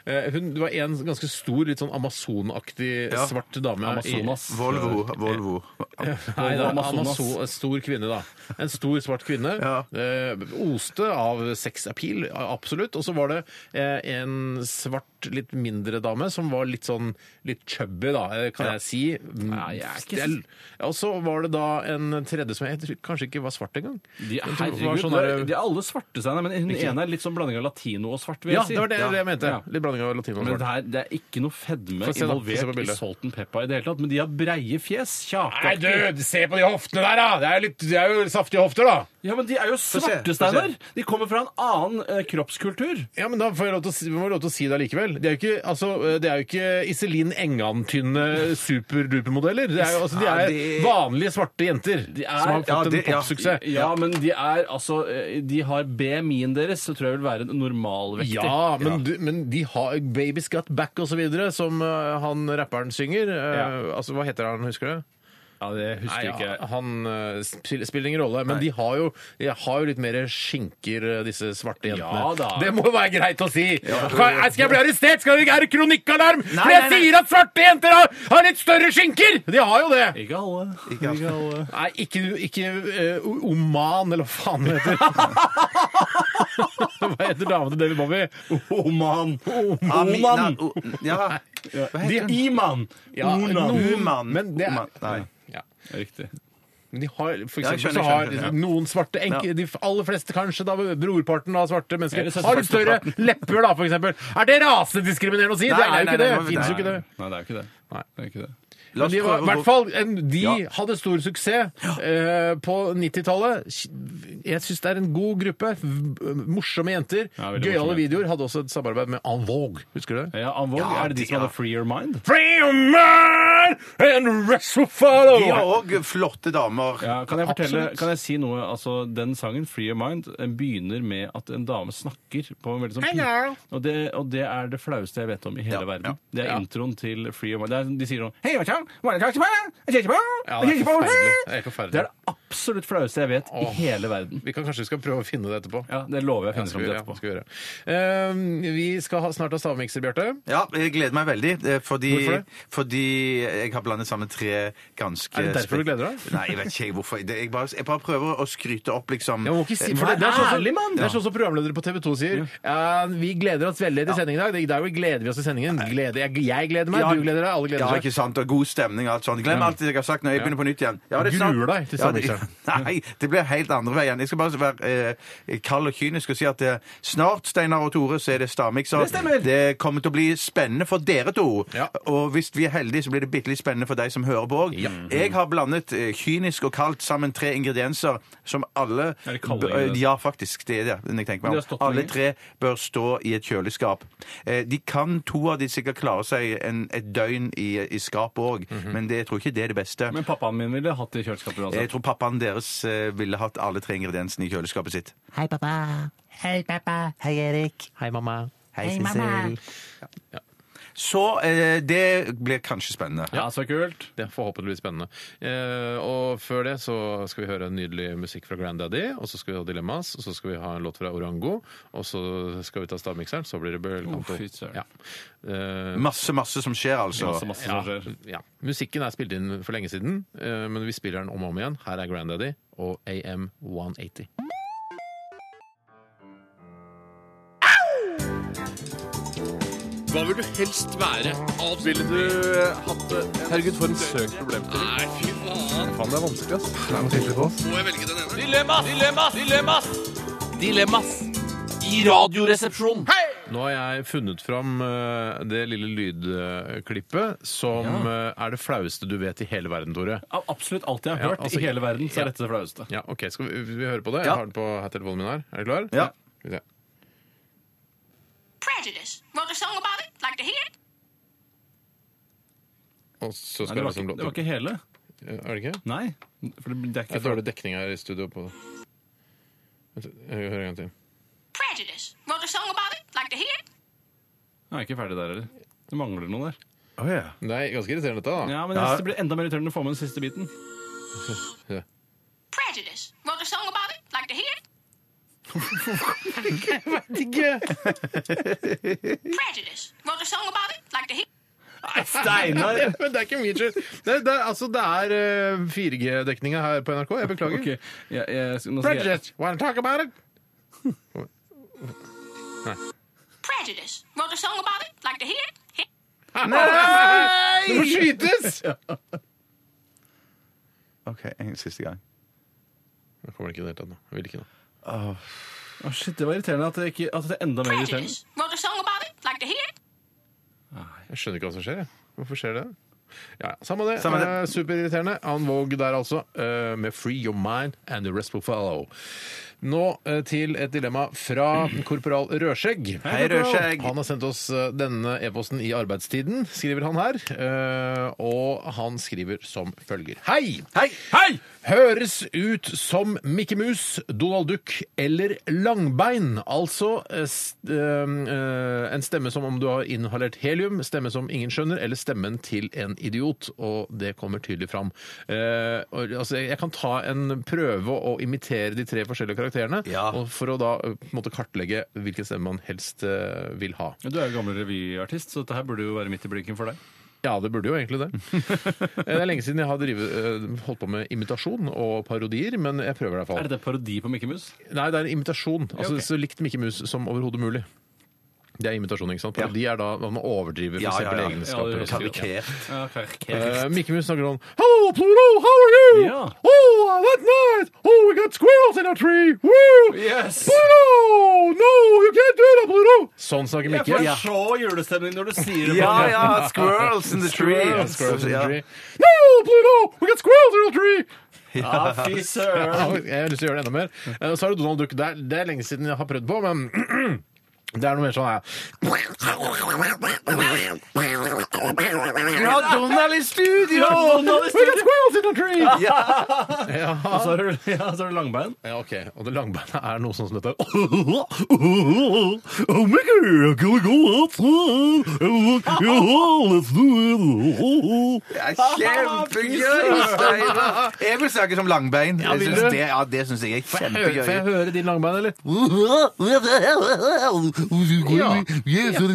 S6: eh, hun, Det var en ganske stor, litt sånn Amazon-aktig
S8: Ja.
S6: svart dame. i-
S7: Amazonas.
S8: Volvo. Volvo.
S6: Nei, det er
S7: Amazonas.
S6: Amazo- en stor kvinne, da. En stor, svart kvinne.
S8: Ja.
S6: Eh, oste av sexappeal, absolutt. Og så var det eh, en svart, litt mindre dame som var litt sånn litt chubby, da, eh, kan jeg si.
S7: Nei, jeg er ikke
S6: Stel- Ja, Og så var det da en tredje som jeg tror kanskje ikke var svart engang.
S7: De,
S6: Men som var
S7: herregud,
S6: sånn
S7: det er-
S6: der-
S7: de er alle svarte, Steinar, men hun ene er litt sånn blanding av latino og svart. vil jeg
S6: ja,
S7: si.
S6: det var det, jeg mente.
S7: Ja.
S6: Litt blanding av latino og
S7: Men det,
S6: svart.
S7: her, det er ikke noe fedme
S6: Få se da, få se på
S7: involvert i
S6: bildet.
S7: Salt and Pepper i det hele tatt, men de har breie fjes.
S6: Nei,
S7: Kjakeaktige.
S6: du, se på de hoftene der, da! Det er jo, litt, det er jo saftige hofter, da!
S7: Ja, men de er jo
S8: se,
S7: svarte,
S8: få se.
S7: Steinar! De kommer fra en annen eh, kroppskultur.
S6: Ja, men da får jeg lov til å si, må jeg lov til å si det likevel. Det er jo ikke, altså, det er jo ikke Iselin Engan-tynne superdupermodeller. Det er jo, altså, de
S8: Nei,
S6: er
S8: det-
S6: vanlige svarte jenter som har fått
S8: ja, det-
S6: en popsuksess. Ja.
S7: Ja, men de er altså eh, De har BMI-en deres, så tror jeg vil være en normalvektig.
S6: men, Du, men de har Baby's Got Back og så videre, som eh, han rapperen synger. Eh, Altså, Hva heter han, husker du?
S7: Ja, det husker jeg
S6: Nei,
S7: ikke.
S6: han eh, spil- spiller ingen rolle, men de har, jo, de har jo litt mer skinker, eh, disse svarte jentene.
S7: Ja da.
S6: Det må være greit å si! Kan- Skal jeg bli arrestert? Skal det være kronikkalarm? For jeg
S8: nei, nei.
S6: sier at svarte jenter har, har litt større skinker! De har jo det!
S7: Ikke alle.
S8: Ikke alle.
S6: Nei, ikke, ikke eh, Oman, eller hva faen det *laughs* heter. hva heter damen til David Bowie?
S7: Oman!
S8: Amina-
S7: Oman!
S8: Ah, O- Ja. Hva heter den?
S7: Iman!
S6: Ja,
S8: Uman.
S6: Men det er,
S8: Oman. Nei.
S6: ja.
S7: Riktig.
S6: Men De har, for eksempel,
S8: Ja, jeg skjønner,
S6: så har
S8: skjønner, ja.
S6: noen svarte enke, De aller fleste, kanskje, da, brorparten av svarte mennesker
S7: Eller så-
S6: har litt større
S7: svarteparten.
S6: lepper, da, for eksempel. Er det rasediskriminerende å si?
S8: Nei,
S6: det er
S8: nei,
S6: jo
S8: nei,
S6: ikke det.
S8: nei, nei,
S6: Fins jo
S8: nei.
S6: ikke det.
S7: Nei, det er jo ikke det. Det er ikke det.
S8: La oss
S6: Men de, var,
S8: prøve å
S6: i
S8: gå-
S6: hvert fall, en- de
S8: Ja.
S6: hadde stor suksess eh, på 90-tallet. Jeg syns det er en god gruppe. v- Morsomme jenter.
S7: Ja,
S6: Gøyale
S7: veldig morsomme jenter.
S6: videoer. Hadde også et samarbeid med En Vogue. Husker du det?
S7: Ja, Anvog, er det de som hadde Free Your Mind?
S6: Free your mind and the rest will follow!
S8: De har òg flotte damer.
S7: Ja, kan, jeg fortelle,
S6: Absolutt.
S7: kan jeg si noe? Altså, Den sangen, 'Free Your Mind', eh, begynner med at en dame snakker på en veldig sånn
S6: Hello.
S7: Og det, og det er det flaueste jeg vet om i hele verden. Det er
S6: Ja.
S7: introen til Free Your Mind. Det er, de sier sånn «Hei, hva skjer? Hva er det som skjer? Hva skjer?
S6: Ja,
S7: Hva
S6: det er
S7: skjer?»
S6: forferdelig. Det er forferdelig.
S7: Det er det absolutt flaueste jeg vet i
S6: Åh.
S7: hele verden.
S6: Vi kan kanskje vi skal prøve å finne det etterpå.
S7: Ja, Det lover jeg å finne fram
S6: vi-
S7: til
S6: ja,
S7: etterpå.
S6: skal vi gjøre. Ehm, vi skal ha, snart ha stavmikser, Bjarte.
S8: Ja, jeg gleder meg veldig. eh, Fordi,
S6: Hvorfor det?
S8: Fordi eh, jeg har blandet sammen tre ganske
S7: Er det derfor du
S8: spek-
S7: gleder deg?
S8: Nei, jeg vet ikke jeg hvorfor. Det- Jeg bare, jeg bare prøver å skryte opp, liksom.
S6: Jeg må ikke si,
S8: Eh,
S6: for det, det er sånn som,
S7: ærlig, mann!
S6: det er sånn som programledere på TV 2 sier. «Ja, vi gleder oss veldig til sendingen i dag. I dag gleder vi oss til sendingen. Gleder, jeg, jeg gleder meg,
S8: Ja.
S6: du gleder deg, alle
S8: Ja,
S6: gleder
S8: ikke
S6: seg.
S8: sant, og god stemning og alt sånt. Glem alt det jeg har sagt når jeg begynner på nytt igjen. Ja,
S6: Du
S8: snart-
S6: gruer deg til
S8: Ja, det-
S6: stemmingsdagen.
S8: *laughs* Nei, det blir helt andre veien. Jeg skal bare være eh, kald og kynisk og si at eh, snart, Steinar og Tore, så er det stavmikser.
S7: Det stemmer.
S8: Det kommer til å bli spennende for dere to.
S6: Ja.
S8: Og hvis vi er heldige, så blir det bitte litt spennende for deg som hører på òg. Jeg har blandet eh, kynisk og kaldt sammen tre ingredienser som alle
S7: Er det kalde
S8: bø- eh,
S7: ingredienser?
S8: Ja, faktisk. Det er det. når jeg tenker
S7: De
S8: meg
S7: har
S8: om.
S7: stått
S8: Alle
S7: lenge.
S8: tre bør stå i et kjøleskap. Eh, De kan, to av de sikkert klare seg en, et døgn i, i skapet òg, men det, jeg tror ikke det er det beste.
S7: Mhm. Men pappaen min ville hatt det i kjøleskapet
S8: Jeg
S7: uansett.
S8: tror pappaen deres eh, ville hatt alle tre ingrediensene i kjøleskapet sitt.
S12: Hei, pappa. Hei, pappa. Hei, Erik.
S6: Hei, mamma.
S12: Hei, mamma.
S8: Så eh, det blir kanskje spennende.
S7: Ja, så kult.
S6: Det er forhåpentligvis spennende. Eh, og før det så skal vi høre nydelig musikk fra Granddaddy, og så skal vi ha Dilemmas, og så skal vi ha en låt fra Orango, og så skal vi ta stavmikseren, så blir det bølgekanto.
S7: Oh, fy søren.
S6: ja. Eh,
S8: Masse, masse som skjer, altså.
S7: Masse, masse som skjer.
S6: ja. Musikken er spilt inn for lenge siden, eh, men vi spiller den om og om igjen. Her er Granddaddy og AM 180.
S13: Hva vil du helst være? Ville du hatt det?
S6: Herregud, for en
S13: Nei, fy faen.
S6: Faen, det er vanskelig, ass.
S13: Må jeg velge den ene? Dilemmas! Dilemmas! Dilemmas! Dilemmas i Radioresepsjonen.
S6: Nå har jeg funnet fram eh, det lille lydklippet som eh, er det flaueste du vet i hele verden, Tore.
S7: Av Absolutt alt jeg har
S6: Ja,
S7: hørt
S6: altså-
S7: i hele verden, så
S6: Ja.
S7: er dette det flaueste.
S6: Ja, ok, skal vi, vi høre på det?
S8: Ja.
S6: Jeg har den på her- telefonen min her. Er du klar?
S8: Ja.
S6: Skal vi se.
S14: prejudice. Wrote a song about it. Like to hear it?
S6: Og så skal
S7: Nei, det,
S6: jeg
S7: var
S6: ha som
S7: ikke,
S6: låt.
S7: det var ikke hele.
S6: Er det ikke?
S7: Nei. For det, det er
S6: Det
S7: ikke
S6: er dårlig dekning her i studio på det. Vent, Jeg hører en gang til.
S14: Prejudice. Wrote a song about it. Like to hear it?
S7: Jeg er ikke ferdig der heller. Det mangler noe der.
S8: Å, ja.
S6: Men Det er ganske irriterende dette, da.
S7: Ja, men jeg synes Det blir enda mer irriterende å få med den siste biten.
S14: Prejudice. Wrote a song about it. Like to hear it? Prejudice. Wrote a song about it. Like to hear it?
S7: Steinar!
S6: *laughs* Men det er ikke min skyld. Det, det, er- altså, det er 4G-dekninga her på NRK. Jeg beklager.
S7: *laughs* Ok, jeg, jeg, nå skal jeg,
S6: Prejudice, wanna talk about it?
S14: Prejudice. Wrote a song about it. Like to hear it? Hit.
S6: Det må
S8: *laughs*
S6: skytes!
S8: OK, en siste gang.
S6: Nå kommer det ikke i det hele tatt nå. Jeg vil ikke nå.
S7: Å, shit, Det var irriterende at det, ikke, at det er enda mer irriterende.
S14: Prejudice. Wrote a song about it. Like to hear it?
S6: Jeg skjønner ikke hva som skjer. Jeg. Hvorfor skjer det? Ja, ja. Samme det.
S8: Samme det.
S6: Eh, Superirriterende. Annen Våg der, altså. eh, Med 'Free Your Mind and The Rest Will Follow'. Nå eh, til et dilemma fra korporal Rødskjegg.
S8: Hei, Rødskjegg.
S6: Han har sendt oss eh, denne e-posten i arbeidstiden, skriver han her. Eh, Og han skriver som følger. Hei!
S8: Hei!
S7: Hei!
S6: Høres ut som Mikke Mus, Donald Duck eller Langbein. Altså eh, st ehm, eh, en stemme som om du har inhalert helium, stemme som ingen skjønner, eller stemmen til en idiot. Og det kommer tydelig fram. Eh, og, altså, jeg kan ta en prøve å imitere de tre forskjellige karakterene
S8: Ja.
S6: og for å da eh, på en måte kartlegge hvilken stemme man helst eh, vil ha.
S7: Ja, Du er jo gammel revyartist, så dette her burde jo være midt i blinken for deg.
S6: Ja, det burde jo egentlig
S7: *laughs*
S6: det. Eh, Det er lenge siden jeg har drivet, eh, holdt på med imitasjon og parodier, men jeg prøver i hvert fall.
S7: Er det en parodi på Mikke Mus?
S6: Nei, det er en imitasjon. Altså,
S7: ok.
S6: Så likt Mikke Mus som overhodet mulig. Det er imitasjon, ikke sant? Parodi er da hva man overdriver for
S8: Ja, ja,
S6: eksempel
S8: ja.
S6: egenskaper.
S7: Ja,
S6: og
S7: det
S6: sånt.
S8: Karikert.
S7: Ja, okay.
S6: Eh, Mikke Mus snakker sånn Hello, Pluto, how are you?
S7: Ja.
S6: Oh, that's nice! Oh, we got squirrels in our tree! Woo!
S7: Yes!
S6: Pluto! No, you can't do that, Pluto! Sånn snakker
S7: Jeg
S6: Mikke.
S7: får så julestemning når du sier det.
S8: Ja,
S7: Bjarte.
S8: ja, squirrels in the tree.
S6: Ja, squirrels in the
S8: Ja.
S6: tree. No, Pluto! We got squirrels in our tree!
S7: Ja, fy søren.
S6: Jeg har lyst til å gjøre det enda mer. Eh, Så er det Donald Duck. Det er, det er lenge siden jeg har prøvd på, men det er noe mer sånn her.
S8: Vi har Donald i studio!
S6: Ja.
S7: *laughs* Og så har du, ja, så har du langbein.
S6: ja, ok. Og det langbeinet er noe sånn som dette. Oh my God, can we go outside? Yeah, let's do it.
S8: Det er
S6: *laughs*
S8: kjempegøy, Steinar! Jeg vil snakke som langbein. Jeg
S6: vil du?
S8: synes det, ja, det syns jeg er
S6: Får jeg høre- får jeg
S8: kjempegøy.
S6: høre din langbein, eller? Ja.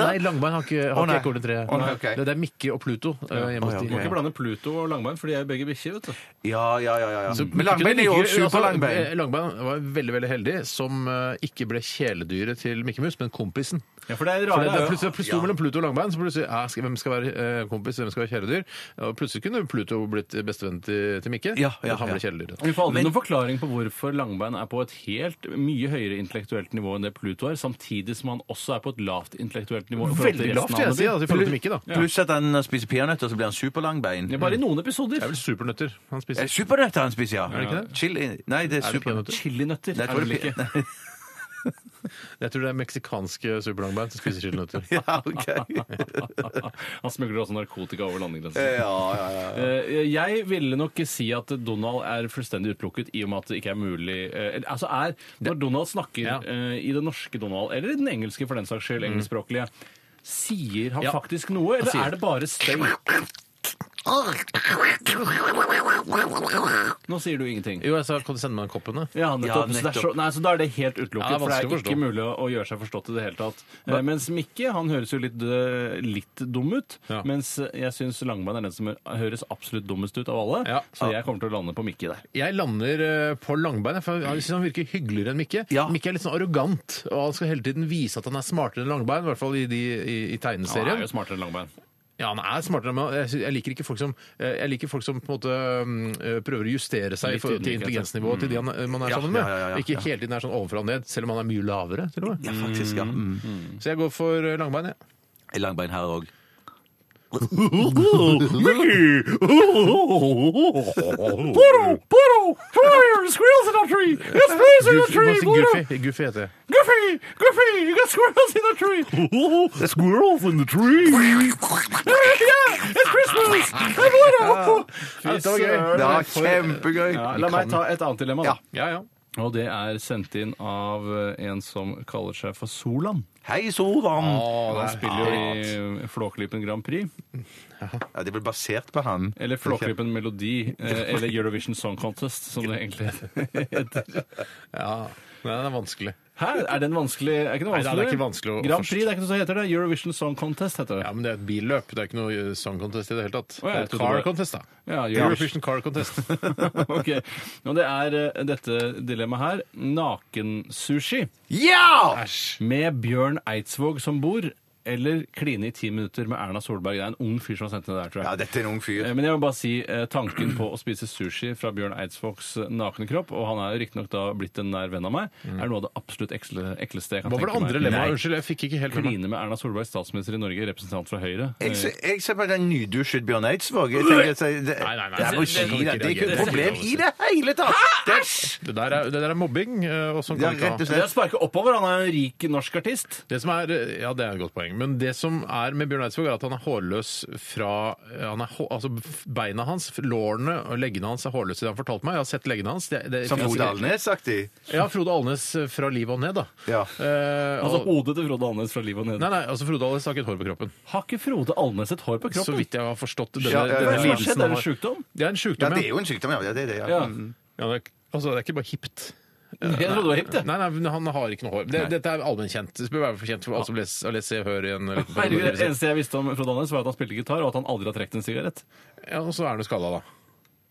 S6: Nei,
S7: Nei,
S6: Langbein har ikke,
S7: Å,
S6: har
S7: nei.
S6: ikke ekornet tre.
S7: Å, nei, ok.
S6: Det det er Mikke og Pluto. eh, hjemme hos
S7: Du
S6: de.
S7: må ikke blande Pluto og Langbein, for de er begge bikkjer. vet du.
S8: Ja, ja, ja. ja, ja.
S6: Så
S8: Men langbein er jo
S6: Mikke-
S8: også
S6: altså,
S8: superlangbein.
S6: eh, Langbein var veldig veldig heldig som eh, ikke ble kjæledyret til Mikke Mus, men kompisen.
S7: Ja, for det er
S6: For
S7: rare
S6: det, det er plutselig,
S7: ja.
S6: plutselig sto mellom Pluto og Langbein, så plutselig ja, skal, hvem skal være eh, kompis, hvem skal være kjæledyr? Og plutselig kunne Pluto blitt bestevennen til, til Mikke,
S7: Ja, ja,
S6: men han ble
S7: ja.
S6: kjæledyret.
S7: Vi får aldri noen forklaring på hvorfor Langbein er på et helt mye høyere intellektuelt nivå enn det Pluto er, samtidig som han også er på et lavt intellektuelt nivå. i forhold til
S6: Veldig
S7: resten
S6: lavt,
S7: av
S6: vil jeg si,
S7: Andeby.
S6: altså, i forhold til Mikke, da.
S7: Ja.
S8: Pluss at han spiser peanøtter, så blir han superlangbein.
S7: Ja, bare i noen episoder.
S6: Det er vel supernøtter han
S8: Er
S6: spiser.
S8: det supernøtter han spiser, ja?
S6: Er det ikke det?
S8: Chili Nei, det er,
S6: Er det
S8: super...
S6: peanøtter?
S7: Chilinøtter
S8: Nei, jeg tror
S7: er det
S8: det
S6: *laughs*
S7: vel
S8: er-
S6: Jeg tror det er meksikanske superlangbein som spiser chilinøtter.
S8: *laughs* Ja, ok.
S7: ikke. *laughs* Han smugler også narkotika over landegrensen.
S8: Ja, ja, ja.
S7: Eh, Jeg ville nok si at Donald er fullstendig utelukket i og med at det ikke er mulig eh, eller, Altså er, Når Donald snakker eh, i det norske Donald, eller i den engelske for den saks skyld, engelskspråklige, sier Mm. han
S6: Ja.
S7: faktisk noe, eller
S6: sier-
S7: er det bare støy? Nå sier du ingenting.
S6: Jo, jeg sa kan du sende meg en koppene?
S7: Ja,
S6: Ja,
S7: nettopp. Så, det er så,
S6: nettopp.
S7: nei, så da er det helt utelukket,
S6: Ja, det er
S7: for det
S6: vanskelig
S7: er
S6: å
S7: ikke
S6: forstå.
S7: mulig å gjøre seg forstått i det hele tatt. Eh, mens Mikke han høres jo litt, eh, litt dum ut,
S6: Ja.
S7: mens jeg syns Langbein er den som høres absolutt dummest ut av alle.
S6: Ja.
S7: Så jeg kommer til å lande på Mikke der.
S6: Jeg lander eh, på langbein. jeg, for Jeg synes han virker hyggeligere enn Mikke. Mikke er litt sånn arrogant, og han skal hele tiden vise at han er smartere enn langbein, i hvert fall i, de, i, i
S7: Han er
S6: tegneserien.
S7: jo smartere enn
S6: *laughs*
S7: Langbein.
S6: Ja, han er smartere enn meg. Jeg, sy- jeg liker ikke folk som, eh, jeg liker folk som på en måte mm, eh, prøver å justere seg i
S7: Litt
S6: forhold til
S7: ydmykhet,
S6: intelligensnivået til de han, eh, man er
S8: Ja,
S6: sammen med.
S8: ja, ja, ja,
S6: Ikke
S8: ja.
S6: hele tiden er sånn ovenfra og ned, selv om han er mye lavere, til og med.
S8: ja, faktisk, ja. Mm.
S6: Så jeg går for eh, langbein, jeg. Ja.
S8: Langbein her òg.
S6: Goofy, Goofy, Goofy heter jeg.
S7: Oh,
S6: Ja, dette var gøy.
S8: Det var kjempegøy.
S7: Ja, la meg ta et annet dilemma, da.
S6: Ja, ja.
S7: Og det er sendt inn av eh, en som kaller seg for Solan.
S8: Hei, Solan!
S7: Han spiller jo i eh, Flåklypen Grand Prix.
S8: Ja, det ble basert på han.
S7: Eller Flåklypen Melodi. eh, Eller Eurovision Song Contest, som det egentlig heter.
S6: ja. Nei, den er vanskelig.
S7: Hæ? Er den vanskelig? Er ikke noe
S6: Nei, det
S7: vanskelig?
S6: er ikke vanskelig å- å
S7: Grand Prix, det er ikke noe som heter det. Eurovision Song Contest heter
S6: Ja,
S7: det.
S6: men det er et billøp. Det er ikke noe eh, song contest i det hele tatt.
S7: Å,
S6: Det
S7: ja,
S6: er
S7: jeg
S6: et
S7: trodde
S6: car
S7: det-
S6: contest, da.
S7: Ja,
S6: Eurovision car contest. *laughs*
S7: *laughs* ok. Og det er eh, dette dilemmaet her. Nakensushi
S6: Ja!
S7: med Bjørn Eidsvåg som bor, eller kline i ti minutter med Erna Solberg. Det er en ung fyr som har sendt det der, tror jeg.
S8: Ja, dette er en ung fyr.
S7: Eh, Men jeg vil bare si eh, tanken på å spise sushi fra Bjørn Eidsvågs eh, nakne kropp, og han er jo riktignok da blitt en nær venn av meg, er noe av det absolutt eksle, ekleste jeg kan
S6: Mm. Hva var det
S7: tenke meg.
S6: andre lemmaet?
S7: Nei.
S6: Unnskyld, jeg fikk ikke helt med meg.
S7: Kline med Erna Solberg, statsminister i Norge, representant fra Høyre.
S6: Eh.
S8: Jeg ser, jeg ser bare en nydusjet Bjørn Eidsvåg. Jeg tenker at det,
S6: Nei, nei, nei.
S8: det er
S6: Det- det- det-
S8: regi, det. Det er ikke
S6: det-
S8: et problem i det hele tatt! Det-
S6: Det der er, det der er mobbing, eh, og sånn
S8: Ja,
S6: kan vi ikke
S8: rett
S6: ha.
S8: og
S7: Det
S8: slett.
S7: er å sparke oppover. Han er en rik norsk artist.
S6: Det som er, eh, ja, det er et godt poeng. Men det som er med Bjørn Eidsvåg, er at han er hårløs fra eh, han er hå, Altså f- beina hans, f- lårene og leggene hans er hårløse. Det har han fortalt meg. Jeg har sett leggene hans. Det, det,
S8: Som Frode Alnes-aktig.
S6: Ja, Frode Alnes eh, fra livet og ned, da.
S8: Ja.
S6: Eh,
S7: Altså
S6: og,
S7: hodet til Frode Alnes fra livet og ned.
S6: nei, nei, altså Frode Alnes har ikke et hår på kroppen.
S7: Har ikke Frode Alnes et hår på
S6: Så
S7: kroppen?
S6: vidt jeg har forstått denne,
S8: Ja, ja, ja.
S7: Hva
S6: denne
S7: er det som har skjedd?
S6: lidelsen
S7: Er
S6: han
S7: det
S6: har.
S7: sykdom?
S6: Det er en
S8: Ja,
S6: sjukdom,
S8: det er jo en sykdom, ja. ja, Det er det, ja.
S7: Ja.
S8: Mm.
S6: Ja, det er, ikke- altså, det er ikke bare hipt.
S7: Jeg trodde det var hipt, jeg.
S6: Nei, nei, men han har ikke noe hår. Det, dette er allmennkjent. Det bør være for kjent for alle som leser, har lest Se og Hør i en liten
S7: Herregud, Det
S6: periode.
S7: eneste jeg visste om Frode Alnes, var at han spilte gitar, og at han aldri har trukket en sigarett.
S6: Ja, og så er han jo skalla, da.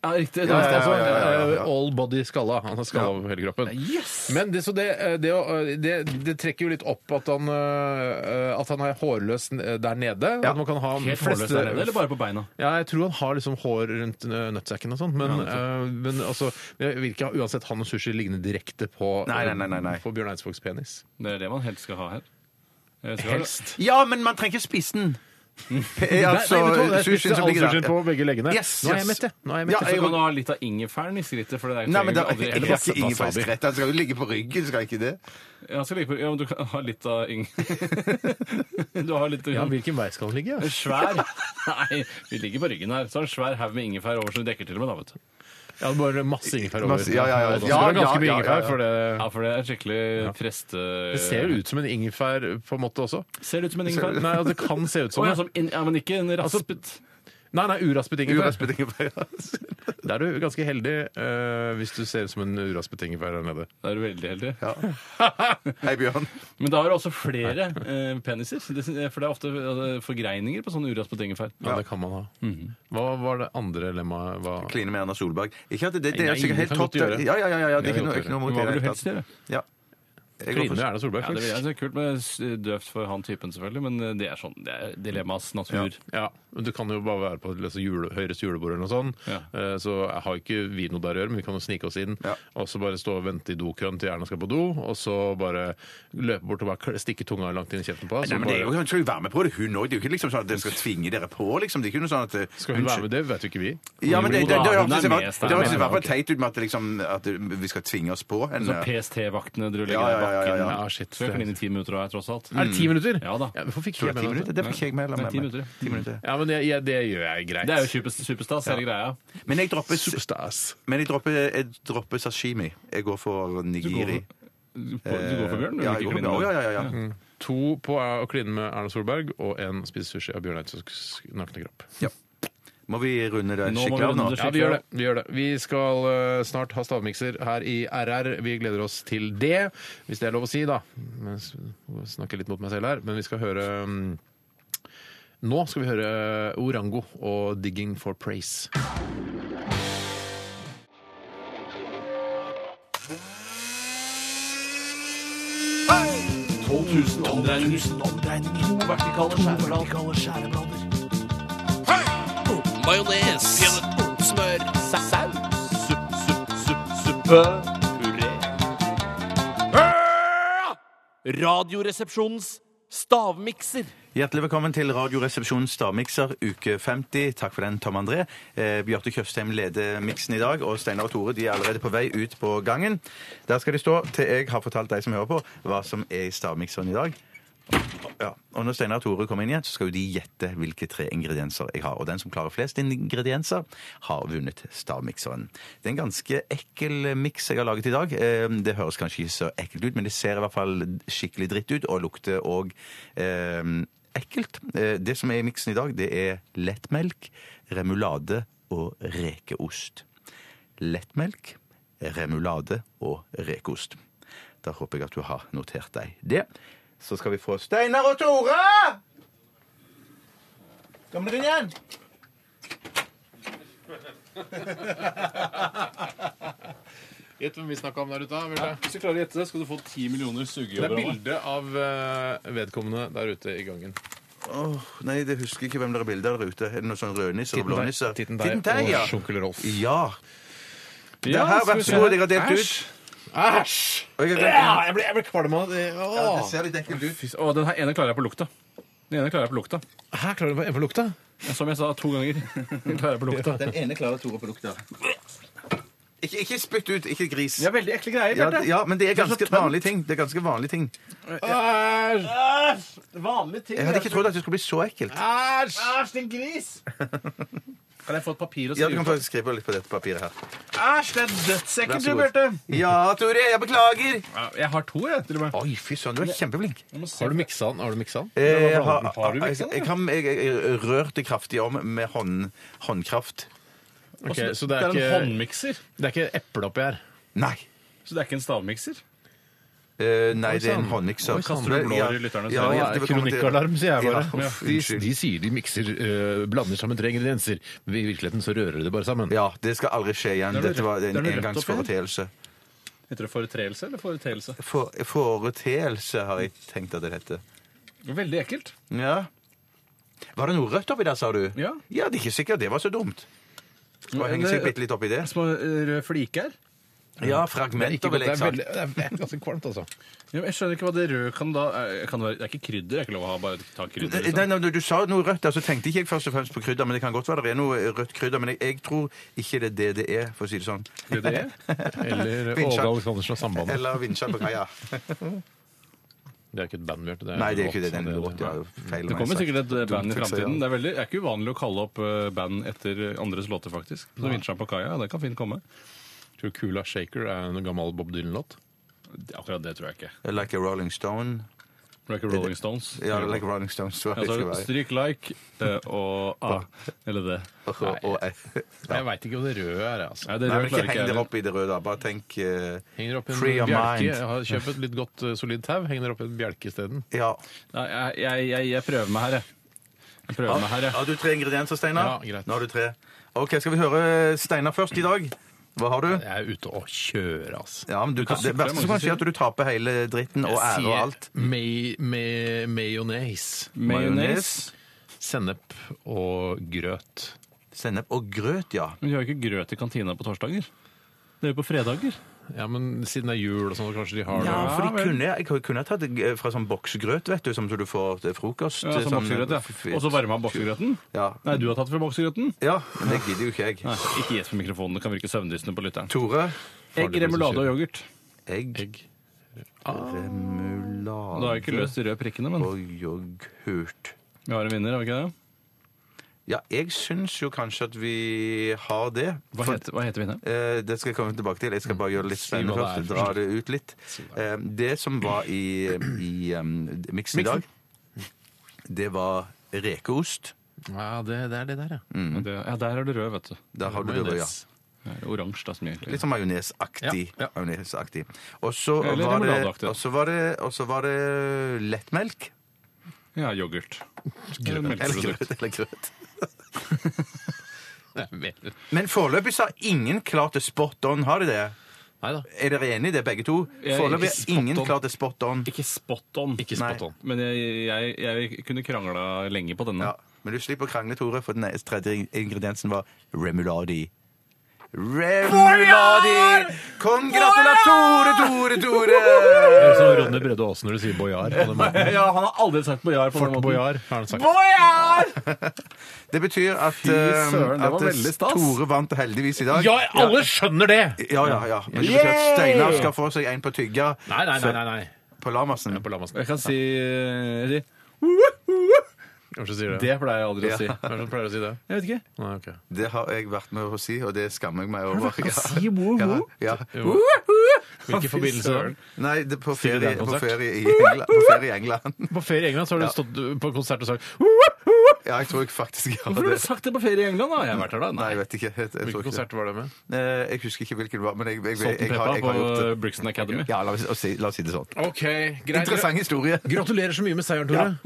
S7: Ja, riktig.
S8: Ja, ja,
S6: Altså,
S8: ja, ja, ja, ja.
S6: eh, All body skalla. Han har skalla over hele kroppen. Men det, så det, eh, det, å, eh, det, det trekker jo litt opp at han, eh, at han er hårløs eh, der nede. At man kan ha
S7: Helt hårløs der nede, eller bare på beina?
S6: Ja, jeg tror han har liksom hår rundt eh, nøttsekken og sånn, men, eh, men altså, jeg vil ikke ha uansett han og sushi liggende direkte på,
S8: Nei, nei, nei, nei, nei.
S6: på Bjørn Eidsvågs penis.
S7: Det er det man helst skal ha her. Jeg skal-
S6: Helst.
S8: Ja, men man trenger ikke spise *laughs* den. Altså,
S6: Mm. nei, vet du hva? Jeg
S8: sushien
S6: spiste
S8: som
S6: all
S8: ligger
S6: sushien
S8: der.
S6: på begge leggene.
S8: Yes,
S6: Nå er jeg
S8: yes.
S6: mett, jeg. Nå er jeg mett.
S8: Ja,
S7: Så
S8: jeg-
S7: kan du ha litt av ingefæren i skrittet, for det er
S8: Nei, men det er
S7: aldri-
S8: ikke
S7: eller
S8: det er ikke
S7: bare-
S8: ingefærskvett. Den skal jo ligge på ryggen, skal ikke det?
S7: Ja, skal ligge på- ja, men du kan ha litt av ing... *laughs* du har litt
S6: Ja, hvilken vei skal han ligge?
S7: En svær Nei, vi ligger på ryggen her. Så har en svær haug med ingefær over som vi dekker til og med, da, vet du.
S6: Ja, bare masse ingefær over.
S8: Masse- ja, ja, ja.
S6: Da skal det være
S8: Ja,
S6: ganske
S8: ja,
S6: mye
S8: ja, ja,
S6: ingefær,
S8: ja.
S6: for
S7: Ja,
S6: det,
S7: for det er skikkelig preste...
S6: det ser jo ut som en ingefær på en måte også.
S7: Ser det ut som en ingefær?
S6: *laughs* Nei, altså, det kan se ut
S7: Å,
S6: som
S7: ja,
S6: det. Altså,
S7: som in, ja, men ikke en raspet.
S6: Nei, nei, uraspet ingefær.
S8: Uraspet *laughs*
S6: Da er du ganske heldig eh, hvis du ser ut som en uraspet ingefær her nede.
S7: Da er du veldig heldig.
S8: Hei, Bjørn.
S7: *laughs* Men da har du også flere eh, peniser. Det, syns- for det er ofte eh, forgreininger på sånn uraspet ingefær.
S6: Ja, det kan man ha.
S7: Mhm.
S6: Hva var det andre lemmaet? Hva...
S8: Kline med Erna Solberg. Ikke at det, det,
S6: Nei,
S8: er
S6: nei,
S8: sikkert
S6: det
S8: helt
S6: kan
S8: topp.
S6: godt gjøre.
S8: Ja, ja, ja, ja, det er
S6: Det
S8: ikke
S6: kan
S8: noe,
S6: godt
S8: ikke noe
S6: gjøre.
S8: mot
S6: Men hva vil
S8: det i
S6: du
S8: det
S6: helst
S8: hele tatt. Ja. Jeg går
S6: Kline med
S8: for-
S6: Erna Solberg,
S7: Ja, det
S6: faktisk.
S7: er kult med s- døvt for han typen, selvfølgelig, men eh, det er sånn, det er dilemmas natur.
S6: Ja, men Du kan jo bare være på liksom, jule, Høyres julebord eller noe sånt. Eh, Så jeg har ikke vi noe der å gjøre, men vi kan jo snike oss inn. Og så bare stå og vente i dokøen til Erna skal på do, og så bare løpe bort og bare kl- stikke tunga langt inn i kjeften på henne. så
S8: Nei, men det er
S6: bare-
S8: jo, hun skal jo være med på det, hun òg. Det er jo ikke liksom sånn at den skal tvinge dere på, liksom. Det er ikke noe sånn at
S6: Skal hun være med? Det vet jo ikke vi.
S8: Ja, men det, det, det, det, det,
S7: Jo da, hun er
S8: det,
S7: med,
S8: det,
S7: Stein.
S8: det høres i
S7: Ja,
S8: hvert fall
S7: ok.
S8: teit ut med at, det liksom, at vi skal tvinge oss på eh, henne.
S7: Sånn PST-vaktene drøller
S8: Ja, ja, ja, ja,
S7: bakken.
S8: ja. Ja,
S6: shit,
S7: Så jeg kan inn i ti minutter da, tross alt.
S6: Er det ti minutter?
S7: Ja da.
S6: hvorfor fikk
S8: mm. Tror jeg det er ti minutter? Det fikk jeg med.
S7: Det er ti minutter.
S8: Ti minutter.
S6: Ja, men det, ja, det gjør jeg greit.
S7: Det er jo superst- superstas, hele greia.
S8: Men jeg dropper Men jeg dropper, jeg dropper sashimi. Jeg går for nigiri.
S7: Du
S6: går for bjørn, du
S8: Eh, Ja,
S6: liker
S8: jeg går for
S6: kline
S8: bjørn.
S6: med.
S8: Ja, ja, ja, ja.
S6: Mm. To på å kline med Erna Solberg og en spise sushi av Bjørn Eidsvågs nakne kropp.
S8: Må vi runde det
S6: Nå må
S8: skikkelig av nå?
S6: Ja, vi gjør det. Vi, gjør det. vi skal eh, snart ha stavmikser her i RR. Vi gleder oss til det, hvis det er lov å si, da. Men s- må Snakke litt mot meg selv her, men vi skal høre mm, Nå skal vi høre Orango og 'Digging for Praise'.
S15: Majones. Smør. Saus. Supp, supp, supp, suppe. Puré. Radioresepsjonens stavmikser.
S8: Hjertelig velkommen til Radioresepsjonens stavmikser uke 50. Takk for den, Tom André. Eh, Bjarte Tjøstheim leder miksen i dag, og Steinar og Tore de er allerede på vei ut på gangen. Der skal de stå til jeg har fortalt deg som hører på, hva som er i stavmikseren i dag. Ja. Og når Steinar og Tore kommer inn igjen, så skal jo de gjette hvilke tre ingredienser jeg har. Og den som klarer flest ingredienser, har vunnet stavmikseren. Det er en ganske ekkel miks jeg har laget i dag. Eh, Det høres kanskje ikke så ekkelt ut, men det ser i hvert fall skikkelig dritt ut, og lukter òg ekkelt. Eh, Det som er i miksen i dag, det er lettmelk, remulade og rekeost. Lettmelk, remulade og rekeost. Da håper jeg at du har notert deg det. Så skal vi få Steinar og Tore! Kom dere inn igjen!
S6: Gjett hvem vi snakka om der ute.
S7: Hvis du klarer å gjette det, skal du få ti millioner
S6: Det er
S7: sugejobber. av meg.
S6: bilde av eh, vedkommende der ute i gangen.
S8: Åh, nei, jeg husker ikke hvem dere er bilder der ute. Er det noen sånn rødnisser og blånisser?
S6: Titten deg og
S8: ja.
S6: Sjunkel Rolf.
S8: Ja. Det
S6: Ja,
S8: her,
S6: skal
S8: vær
S6: vi se.
S8: så god, jeg har delt ut.
S6: Æsj. Æsj!
S8: Og jeg har glemt-
S6: Ja, jeg ble, jeg ble kvalm av det. Åh.
S8: Ja, det ser litt ekkelt ut.
S7: Fy s- Å, den her ene klarer jeg på lukta. Den ene klarer jeg på lukta.
S6: Her klarer du å få lukta.
S7: Som jeg sa to ganger. *laughs* Den klarer jeg på lukta.
S8: Den ene klarer Tore på lukta. Ikke, ikke spytt ut, ikke gris.
S7: Det er veldig ekle greier,
S8: Ja,
S7: Bjarte.
S8: ja, men det er
S7: Det er så
S8: ganske
S7: tømt.
S8: vanlige ting. Det er ganske vanlige ting.
S6: Æsj!
S7: Vanlige ting.
S8: Jeg hadde ikke trodd at det skulle bli så ekkelt.
S6: Æsj!
S7: Æsj, din gris! *laughs* Kan jeg få et papir å
S8: Ja, du kan
S7: skrive på?
S8: faktisk skrive på litt papiret her.
S7: Æsj, det er
S8: Vær
S7: dødsekkelt,
S8: så
S7: du,
S8: god.
S7: Bjarte.
S8: Ja, Tore, jeg beklager.
S7: Jeg har to, jeg, til og med.
S8: Oi, fy søren, du er kjempeflink.
S6: Har du miksa den? Har du miksa den?
S8: Eh, Jeg
S6: Har, har du
S8: jeg,
S7: liksom?
S6: miksa den?
S8: jeg, kan- jeg, jeg rørte kraftig om med hånd, håndkraft.
S6: Ok, så
S7: Det
S6: det
S7: er
S6: er
S7: en
S6: ikke,
S7: håndmikser,
S6: det er ikke eple oppi her?
S8: Nei.
S7: så det er ikke en stavmikser.
S8: Eh, nei, det er en
S6: sann.
S8: håndmikser.
S6: Oi, sann.
S7: sånn. Kaster du blår i lytterne?
S8: Ja,
S6: Ja,
S8: hjertelig velkommen til-
S6: Kronikkalarm, sier jeg bare.
S8: Ja, uff,
S6: de,
S8: unnskyld.
S6: de sier de mikser, øh, blander sammen tre ingredienser, men i virkeligheten så rører de bare sammen.
S8: Ja, det skal aldri skje igjen.
S7: Det er noe
S8: Dette var en
S7: rett- det er noe rett oppi
S8: engangsforeteelse.
S7: Heter det foretreelse eller foreteelse?
S8: For, foreteelse har jeg tenkt at det heter.
S7: Veldig ekkelt.
S8: Ja. Var det noe rødt oppi der, sa du?
S7: Ja.
S8: det er ikke sikkert det var så dumt. Skal bare henge seg bitte litt oppi det.
S7: Små eh, røde fliker.
S8: Ja,
S6: Det er
S8: fragmenter,
S6: ikke
S8: vil
S6: godt, det
S8: jeg
S6: er,
S8: sagt.
S6: veldig, det er ganske kvalmt,
S8: *laughs*
S6: altså.
S7: Ja, men jeg skjønner ikke hva det røde kan da er- kan det være, Det er ikke krydder? Det er ikke lov å ha bare ta krydder?
S8: Eh, Nei,
S7: Liksom.
S8: nei, når du sa noe rødt, der, så tenkte ikke jeg først og fremst på krydder. Men det kan godt være det er noe eh, rødt krydder, men jeg, jeg tror ikke det er det det er, for å si det sånn.
S7: Det er.
S6: Eller Åge
S8: Vinsja.
S6: Aleksandersen og Sambandet.
S8: Eller vinsjer på *laughs* kaia.
S6: Det er ikke et band, Bjarte. det er
S8: Nei, det er
S6: en
S8: ikke det. Det er en
S6: låt,
S8: låt. Ja, feil altså.
S7: Det
S8: om jeg
S7: kommer
S8: har
S7: sikkert et eh,
S8: sagt.
S7: band i
S8: Dumt fikse,
S7: framtiden.
S8: ja.
S7: Det er, veldig, det er ikke uvanlig å kalle opp eh, band etter andres låter, faktisk. Så Vinsjan på kaia, det kan fint komme.
S6: Tror du Kula Shaker er en gammel Bob Dylan-låt?
S7: Akkurat det tror jeg ikke.
S8: Like a Rolling Stone.
S7: Like Rolling Stones.
S8: Ja, like Rolling Stones. tror jeg
S7: Ja,
S8: det
S7: så
S8: skal være.
S7: stryk like eh, og A. Eller det.
S6: Jeg veit ikke om det røde er altså.
S7: Nei, det
S8: Nei,
S7: røde
S8: men ikke
S7: klarer ikke
S8: heng
S7: jeg.
S8: dere opp i det røde, da. Bare tenk eh,
S6: Henger opp i en
S8: free your
S6: bjelke.
S8: mind.
S6: Jeg har kjøpt et litt godt, eh, solid tau. Henger det opp i en bjelke isteden.
S8: Ja.
S7: Nei, jeg, jeg, jeg, jeg prøver meg her, jeg. Jeg prøver meg her, jeg.
S8: Har du tre ingredienser, Steinar?
S6: Ja, greit.
S8: Nå har du tre. OK, skal vi høre eh, Steinar først i dag? Hva har du?
S6: Jeg er ute og kjører, altså.
S8: Ja, men du kan,
S6: sykle,
S8: Det verste
S6: må
S8: som
S6: du
S8: kan skje,
S6: si.
S8: er at du taper hele dritten og ære og alt.
S6: May, may, mayonnaise.
S7: Mayonnaise.
S6: Sennep og grøt.
S8: Sennep og grøt, ja.
S7: Men vi har jo ikke grøt i kantina på torsdager. Det er jo på fredager.
S6: Ja, men siden det er jul og sånn, så kanskje de har
S8: Ja, for
S6: det.
S8: de kunne, jeg kunne ha tatt eh, fra sånn boksgrøt, vet du, som du får til frokost.
S7: Ja, som
S8: sånn-
S7: boksegrøt, ja.
S8: f- f-
S7: Og så varma boksegrøten?
S8: Ja.
S7: Nei, du har tatt fra boksegrøten?
S8: Ja, men det gidder jo ikke jeg.
S7: Nei, ikke gjett på mikrofonen, det kan virke søvndyssende på lytteren.
S8: Tore,
S7: Egg, remulade og yoghurt.
S8: egg, Ah.
S7: Da har jeg ikke
S8: remulade
S7: løst de røde prikkene, men
S8: og yoghurt.
S7: vi har en vinner, har vi ikke det?
S8: Ja, jeg syns jo kanskje at vi har det.
S7: Hva
S8: For-
S7: heter, Mm. hva heter vinneren?
S8: Eh, Det skal jeg komme tilbake til. Jeg skal bare gjøre det litt spennende
S6: hva det
S8: først. Dra det ut litt. Eh, Det som var i, i um, miksen i dag, det var rekeost.
S6: Ja, det, det er det der, ja.
S8: Mm.
S7: Det, ja, der er det rød, vet du.
S8: Der har du det, ja.
S6: Majones.
S7: Det er Oransje, da, som gjelder.
S8: Litt sånn majonesaktig.
S6: Ja, ja.
S8: Majonesaktig. Og så
S7: Eller
S8: var det,
S7: limonadeaktig.
S8: og så var det, og så var det lettmelk. *laughs*
S7: Ja, yoghurt. Grøt.
S8: Eller grøt. Eller grøt.
S6: Det er mer-
S8: Men foreløpig så har ingen klart det spot on. Har de det?
S6: Neida.
S8: Er dere enig i det, begge to?
S7: Jeg er
S8: Foreløpig
S7: ikke
S8: har
S7: spot
S8: ingen
S7: on.
S8: klart det spot on.
S7: Ikke spot on.
S6: Ikke
S8: Nei.
S6: spot on.
S7: Men jeg, jeg, jeg kunne krangla lenge på denne.
S8: Ja. Men du slipper å krangle, Tore, for den tredje ingrediensen var remuladi. Remuladi! Kongratulerer, Tore, Tore,
S6: Det
S8: Tore!
S6: er som Ronny Brede Aas når du sier bojar. på den måten.
S7: *laughs* Ja, han har aldri sagt bojar på
S6: Fort bojar, har han sagt.
S8: Det betyr at, eh,
S7: søren, det var
S8: at
S7: veldig stas.
S8: Tore vant heldigvis i dag.
S6: Ja, alle skjønner det!
S8: Ja, ja, ja. Men det betyr at Steinar skal få seg en på tygga
S6: Nei, nei, nei. nei, nei.
S8: på Lamassen.
S6: På Lamassen.
S7: Jeg kan si, jeg
S6: Kanskje sier
S7: sier-
S6: det.
S7: Det pleier jeg
S8: *laughs*
S7: aldri å si.
S6: Hvem er det som pleier å si det?
S7: Jeg vet ikke.
S6: Nei, ok.
S8: Det har jeg vært med å si, og det skammer jeg meg over. Ja.
S7: Si wo,
S8: Ja,
S7: wo.
S8: ja.
S6: Jo. Hvilken forbindelse da?
S8: Nei, det, på,
S6: Stille
S8: ferie, på,
S6: Dan-konsert.
S8: ferie i England, på ferie i England. *laughs*
S6: På ferie i England så har du stått på konsert og sagt
S8: Ja, jeg tror jeg faktisk jeg har
S7: Hvorfor har
S8: det.
S7: du sagt det på ferie i England? da? Jeg har vært her da.
S8: Nei, jeg vet ikke. Jeg, jeg,
S6: Hvilken
S8: tror ikke.
S6: konsert var det med?
S8: det. Eh, jeg husker ikke hvilken det var, men jeg, jeg, jeg,
S7: Salt and
S8: jeg, har,
S7: Pepper
S8: jeg har gjort
S7: på
S8: det.
S7: Brixton Academy.
S8: Ja, la oss, la oss si, la oss si det sånn.
S6: Ok, greit.
S8: Interessant historie.
S6: Gratulerer så mye med seieren, Tore.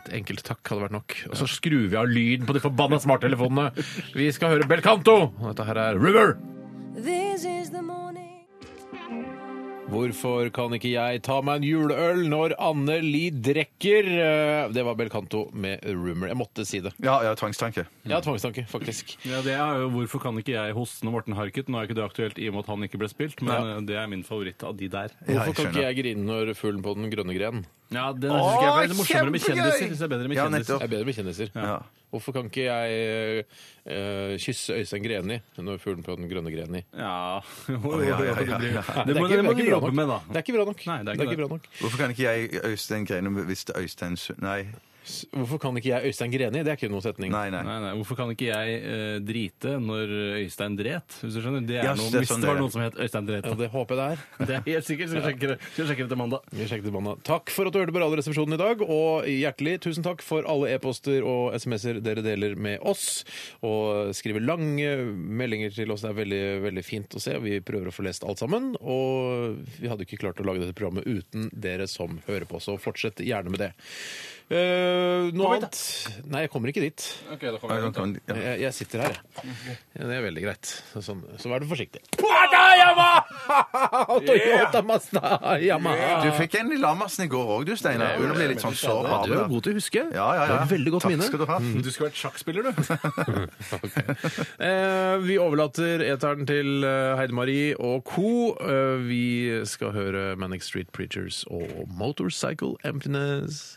S6: Et enkelt takk hadde vært nok. Og så skrur vi av lyden på de forbanna smarttelefonene. Vi skal høre Belcanto! Og Dette her er River! Hvorfor kan ikke jeg ta meg en juleøl når Anne Li drikker? Eh, Det var Belcanto med Rumor. Jeg måtte si det.
S8: Ja, ja, tvangstanke.
S6: Jeg har tvangstanke, faktisk.
S7: Ja, det er jo Hvorfor kan ikke jeg hoste når Morten Harket? Nå er ikke det aktuelt i og med at han ikke ble spilt, men eh, det er min favoritt av de der.
S8: Ja,
S6: Hvorfor
S8: jeg
S6: kan ikke
S8: skjønner.
S6: jeg grine når fuglen på den grønne gren?
S7: Ja, Det synes ikke jeg for det er morsommere med
S8: kjempegøy!
S7: kjendiser. Synes jeg er bedre med
S8: Ja,
S7: kjendiser.
S6: Jeg er bedre med kjendiser.
S8: Ja.
S6: Hvorfor kan ikke jeg eh, kysse Øystein Greni når fuglen på den grønne greni?
S7: *laughs* Ja,
S8: ja, ja, ja, ja.
S7: Det må
S6: er
S7: det må
S6: ikke- det er ikke bra
S7: du jobbe
S6: nok.
S7: med, da.
S6: Det er ikke bra nok.
S7: Nei, det er ikke det.
S6: bra nok.
S8: Hvorfor kan ikke jeg Øystein Grene hvis det er Øystein Sund- Nei,
S6: Hvorfor kan ikke jeg Øystein Greni? Det er ikke noen setning.
S8: nei. nei.
S7: Nei, nei, Hvorfor kan ikke jeg eh, drite når Øystein dret? Hvis du skjønner? Det er
S8: Ja,
S7: noe,
S8: det er
S7: hvis
S8: sånn
S7: det var
S8: det er.
S7: noen som het Øystein Dret.
S6: Ja, det håper jeg det er.
S7: Det er helt sikkert. Skal vi sjekke det, skal vi sjekke det til mandag.
S6: Vi sjekker tilbake. Takk for at du hørte på Radioresepsjonen i dag, og hjertelig tusen takk for alle e-poster og SMS-er dere deler med oss. Og skriver lange meldinger til oss. Det er veldig, veldig fint å se. Vi prøver å få lest alt sammen. Og vi hadde ikke klart å lage dette programmet uten dere som hører på, så fortsett gjerne med det. Eh, noe annet? Nei, jeg kommer ikke dit.
S8: Ja, da sånn kan- ja.
S6: Jeg, jeg sitter her, jeg. Ja, det er veldig greit. Så, sånn, så vær du forsiktig. *laughs* Toyota Mazda Yamaha.
S8: Du fikk en i Lamassen i går òg, du, Steinar.
S6: Eh,
S8: Hun ble litt sånn sår på
S6: Du er
S8: armen. da.
S6: god til å huske.
S8: Ja, ja,
S6: Det
S8: ja.
S6: var et veldig godt
S8: Takk
S6: minne.
S8: skal du ha.
S7: Du skulle vært sjakkspiller, du.
S6: *laughs* Eh, vi overlater eteren til eh, Heide Marie og co. Eh, vi skal høre Manic Street Preachers og Motorcycle Emptiness.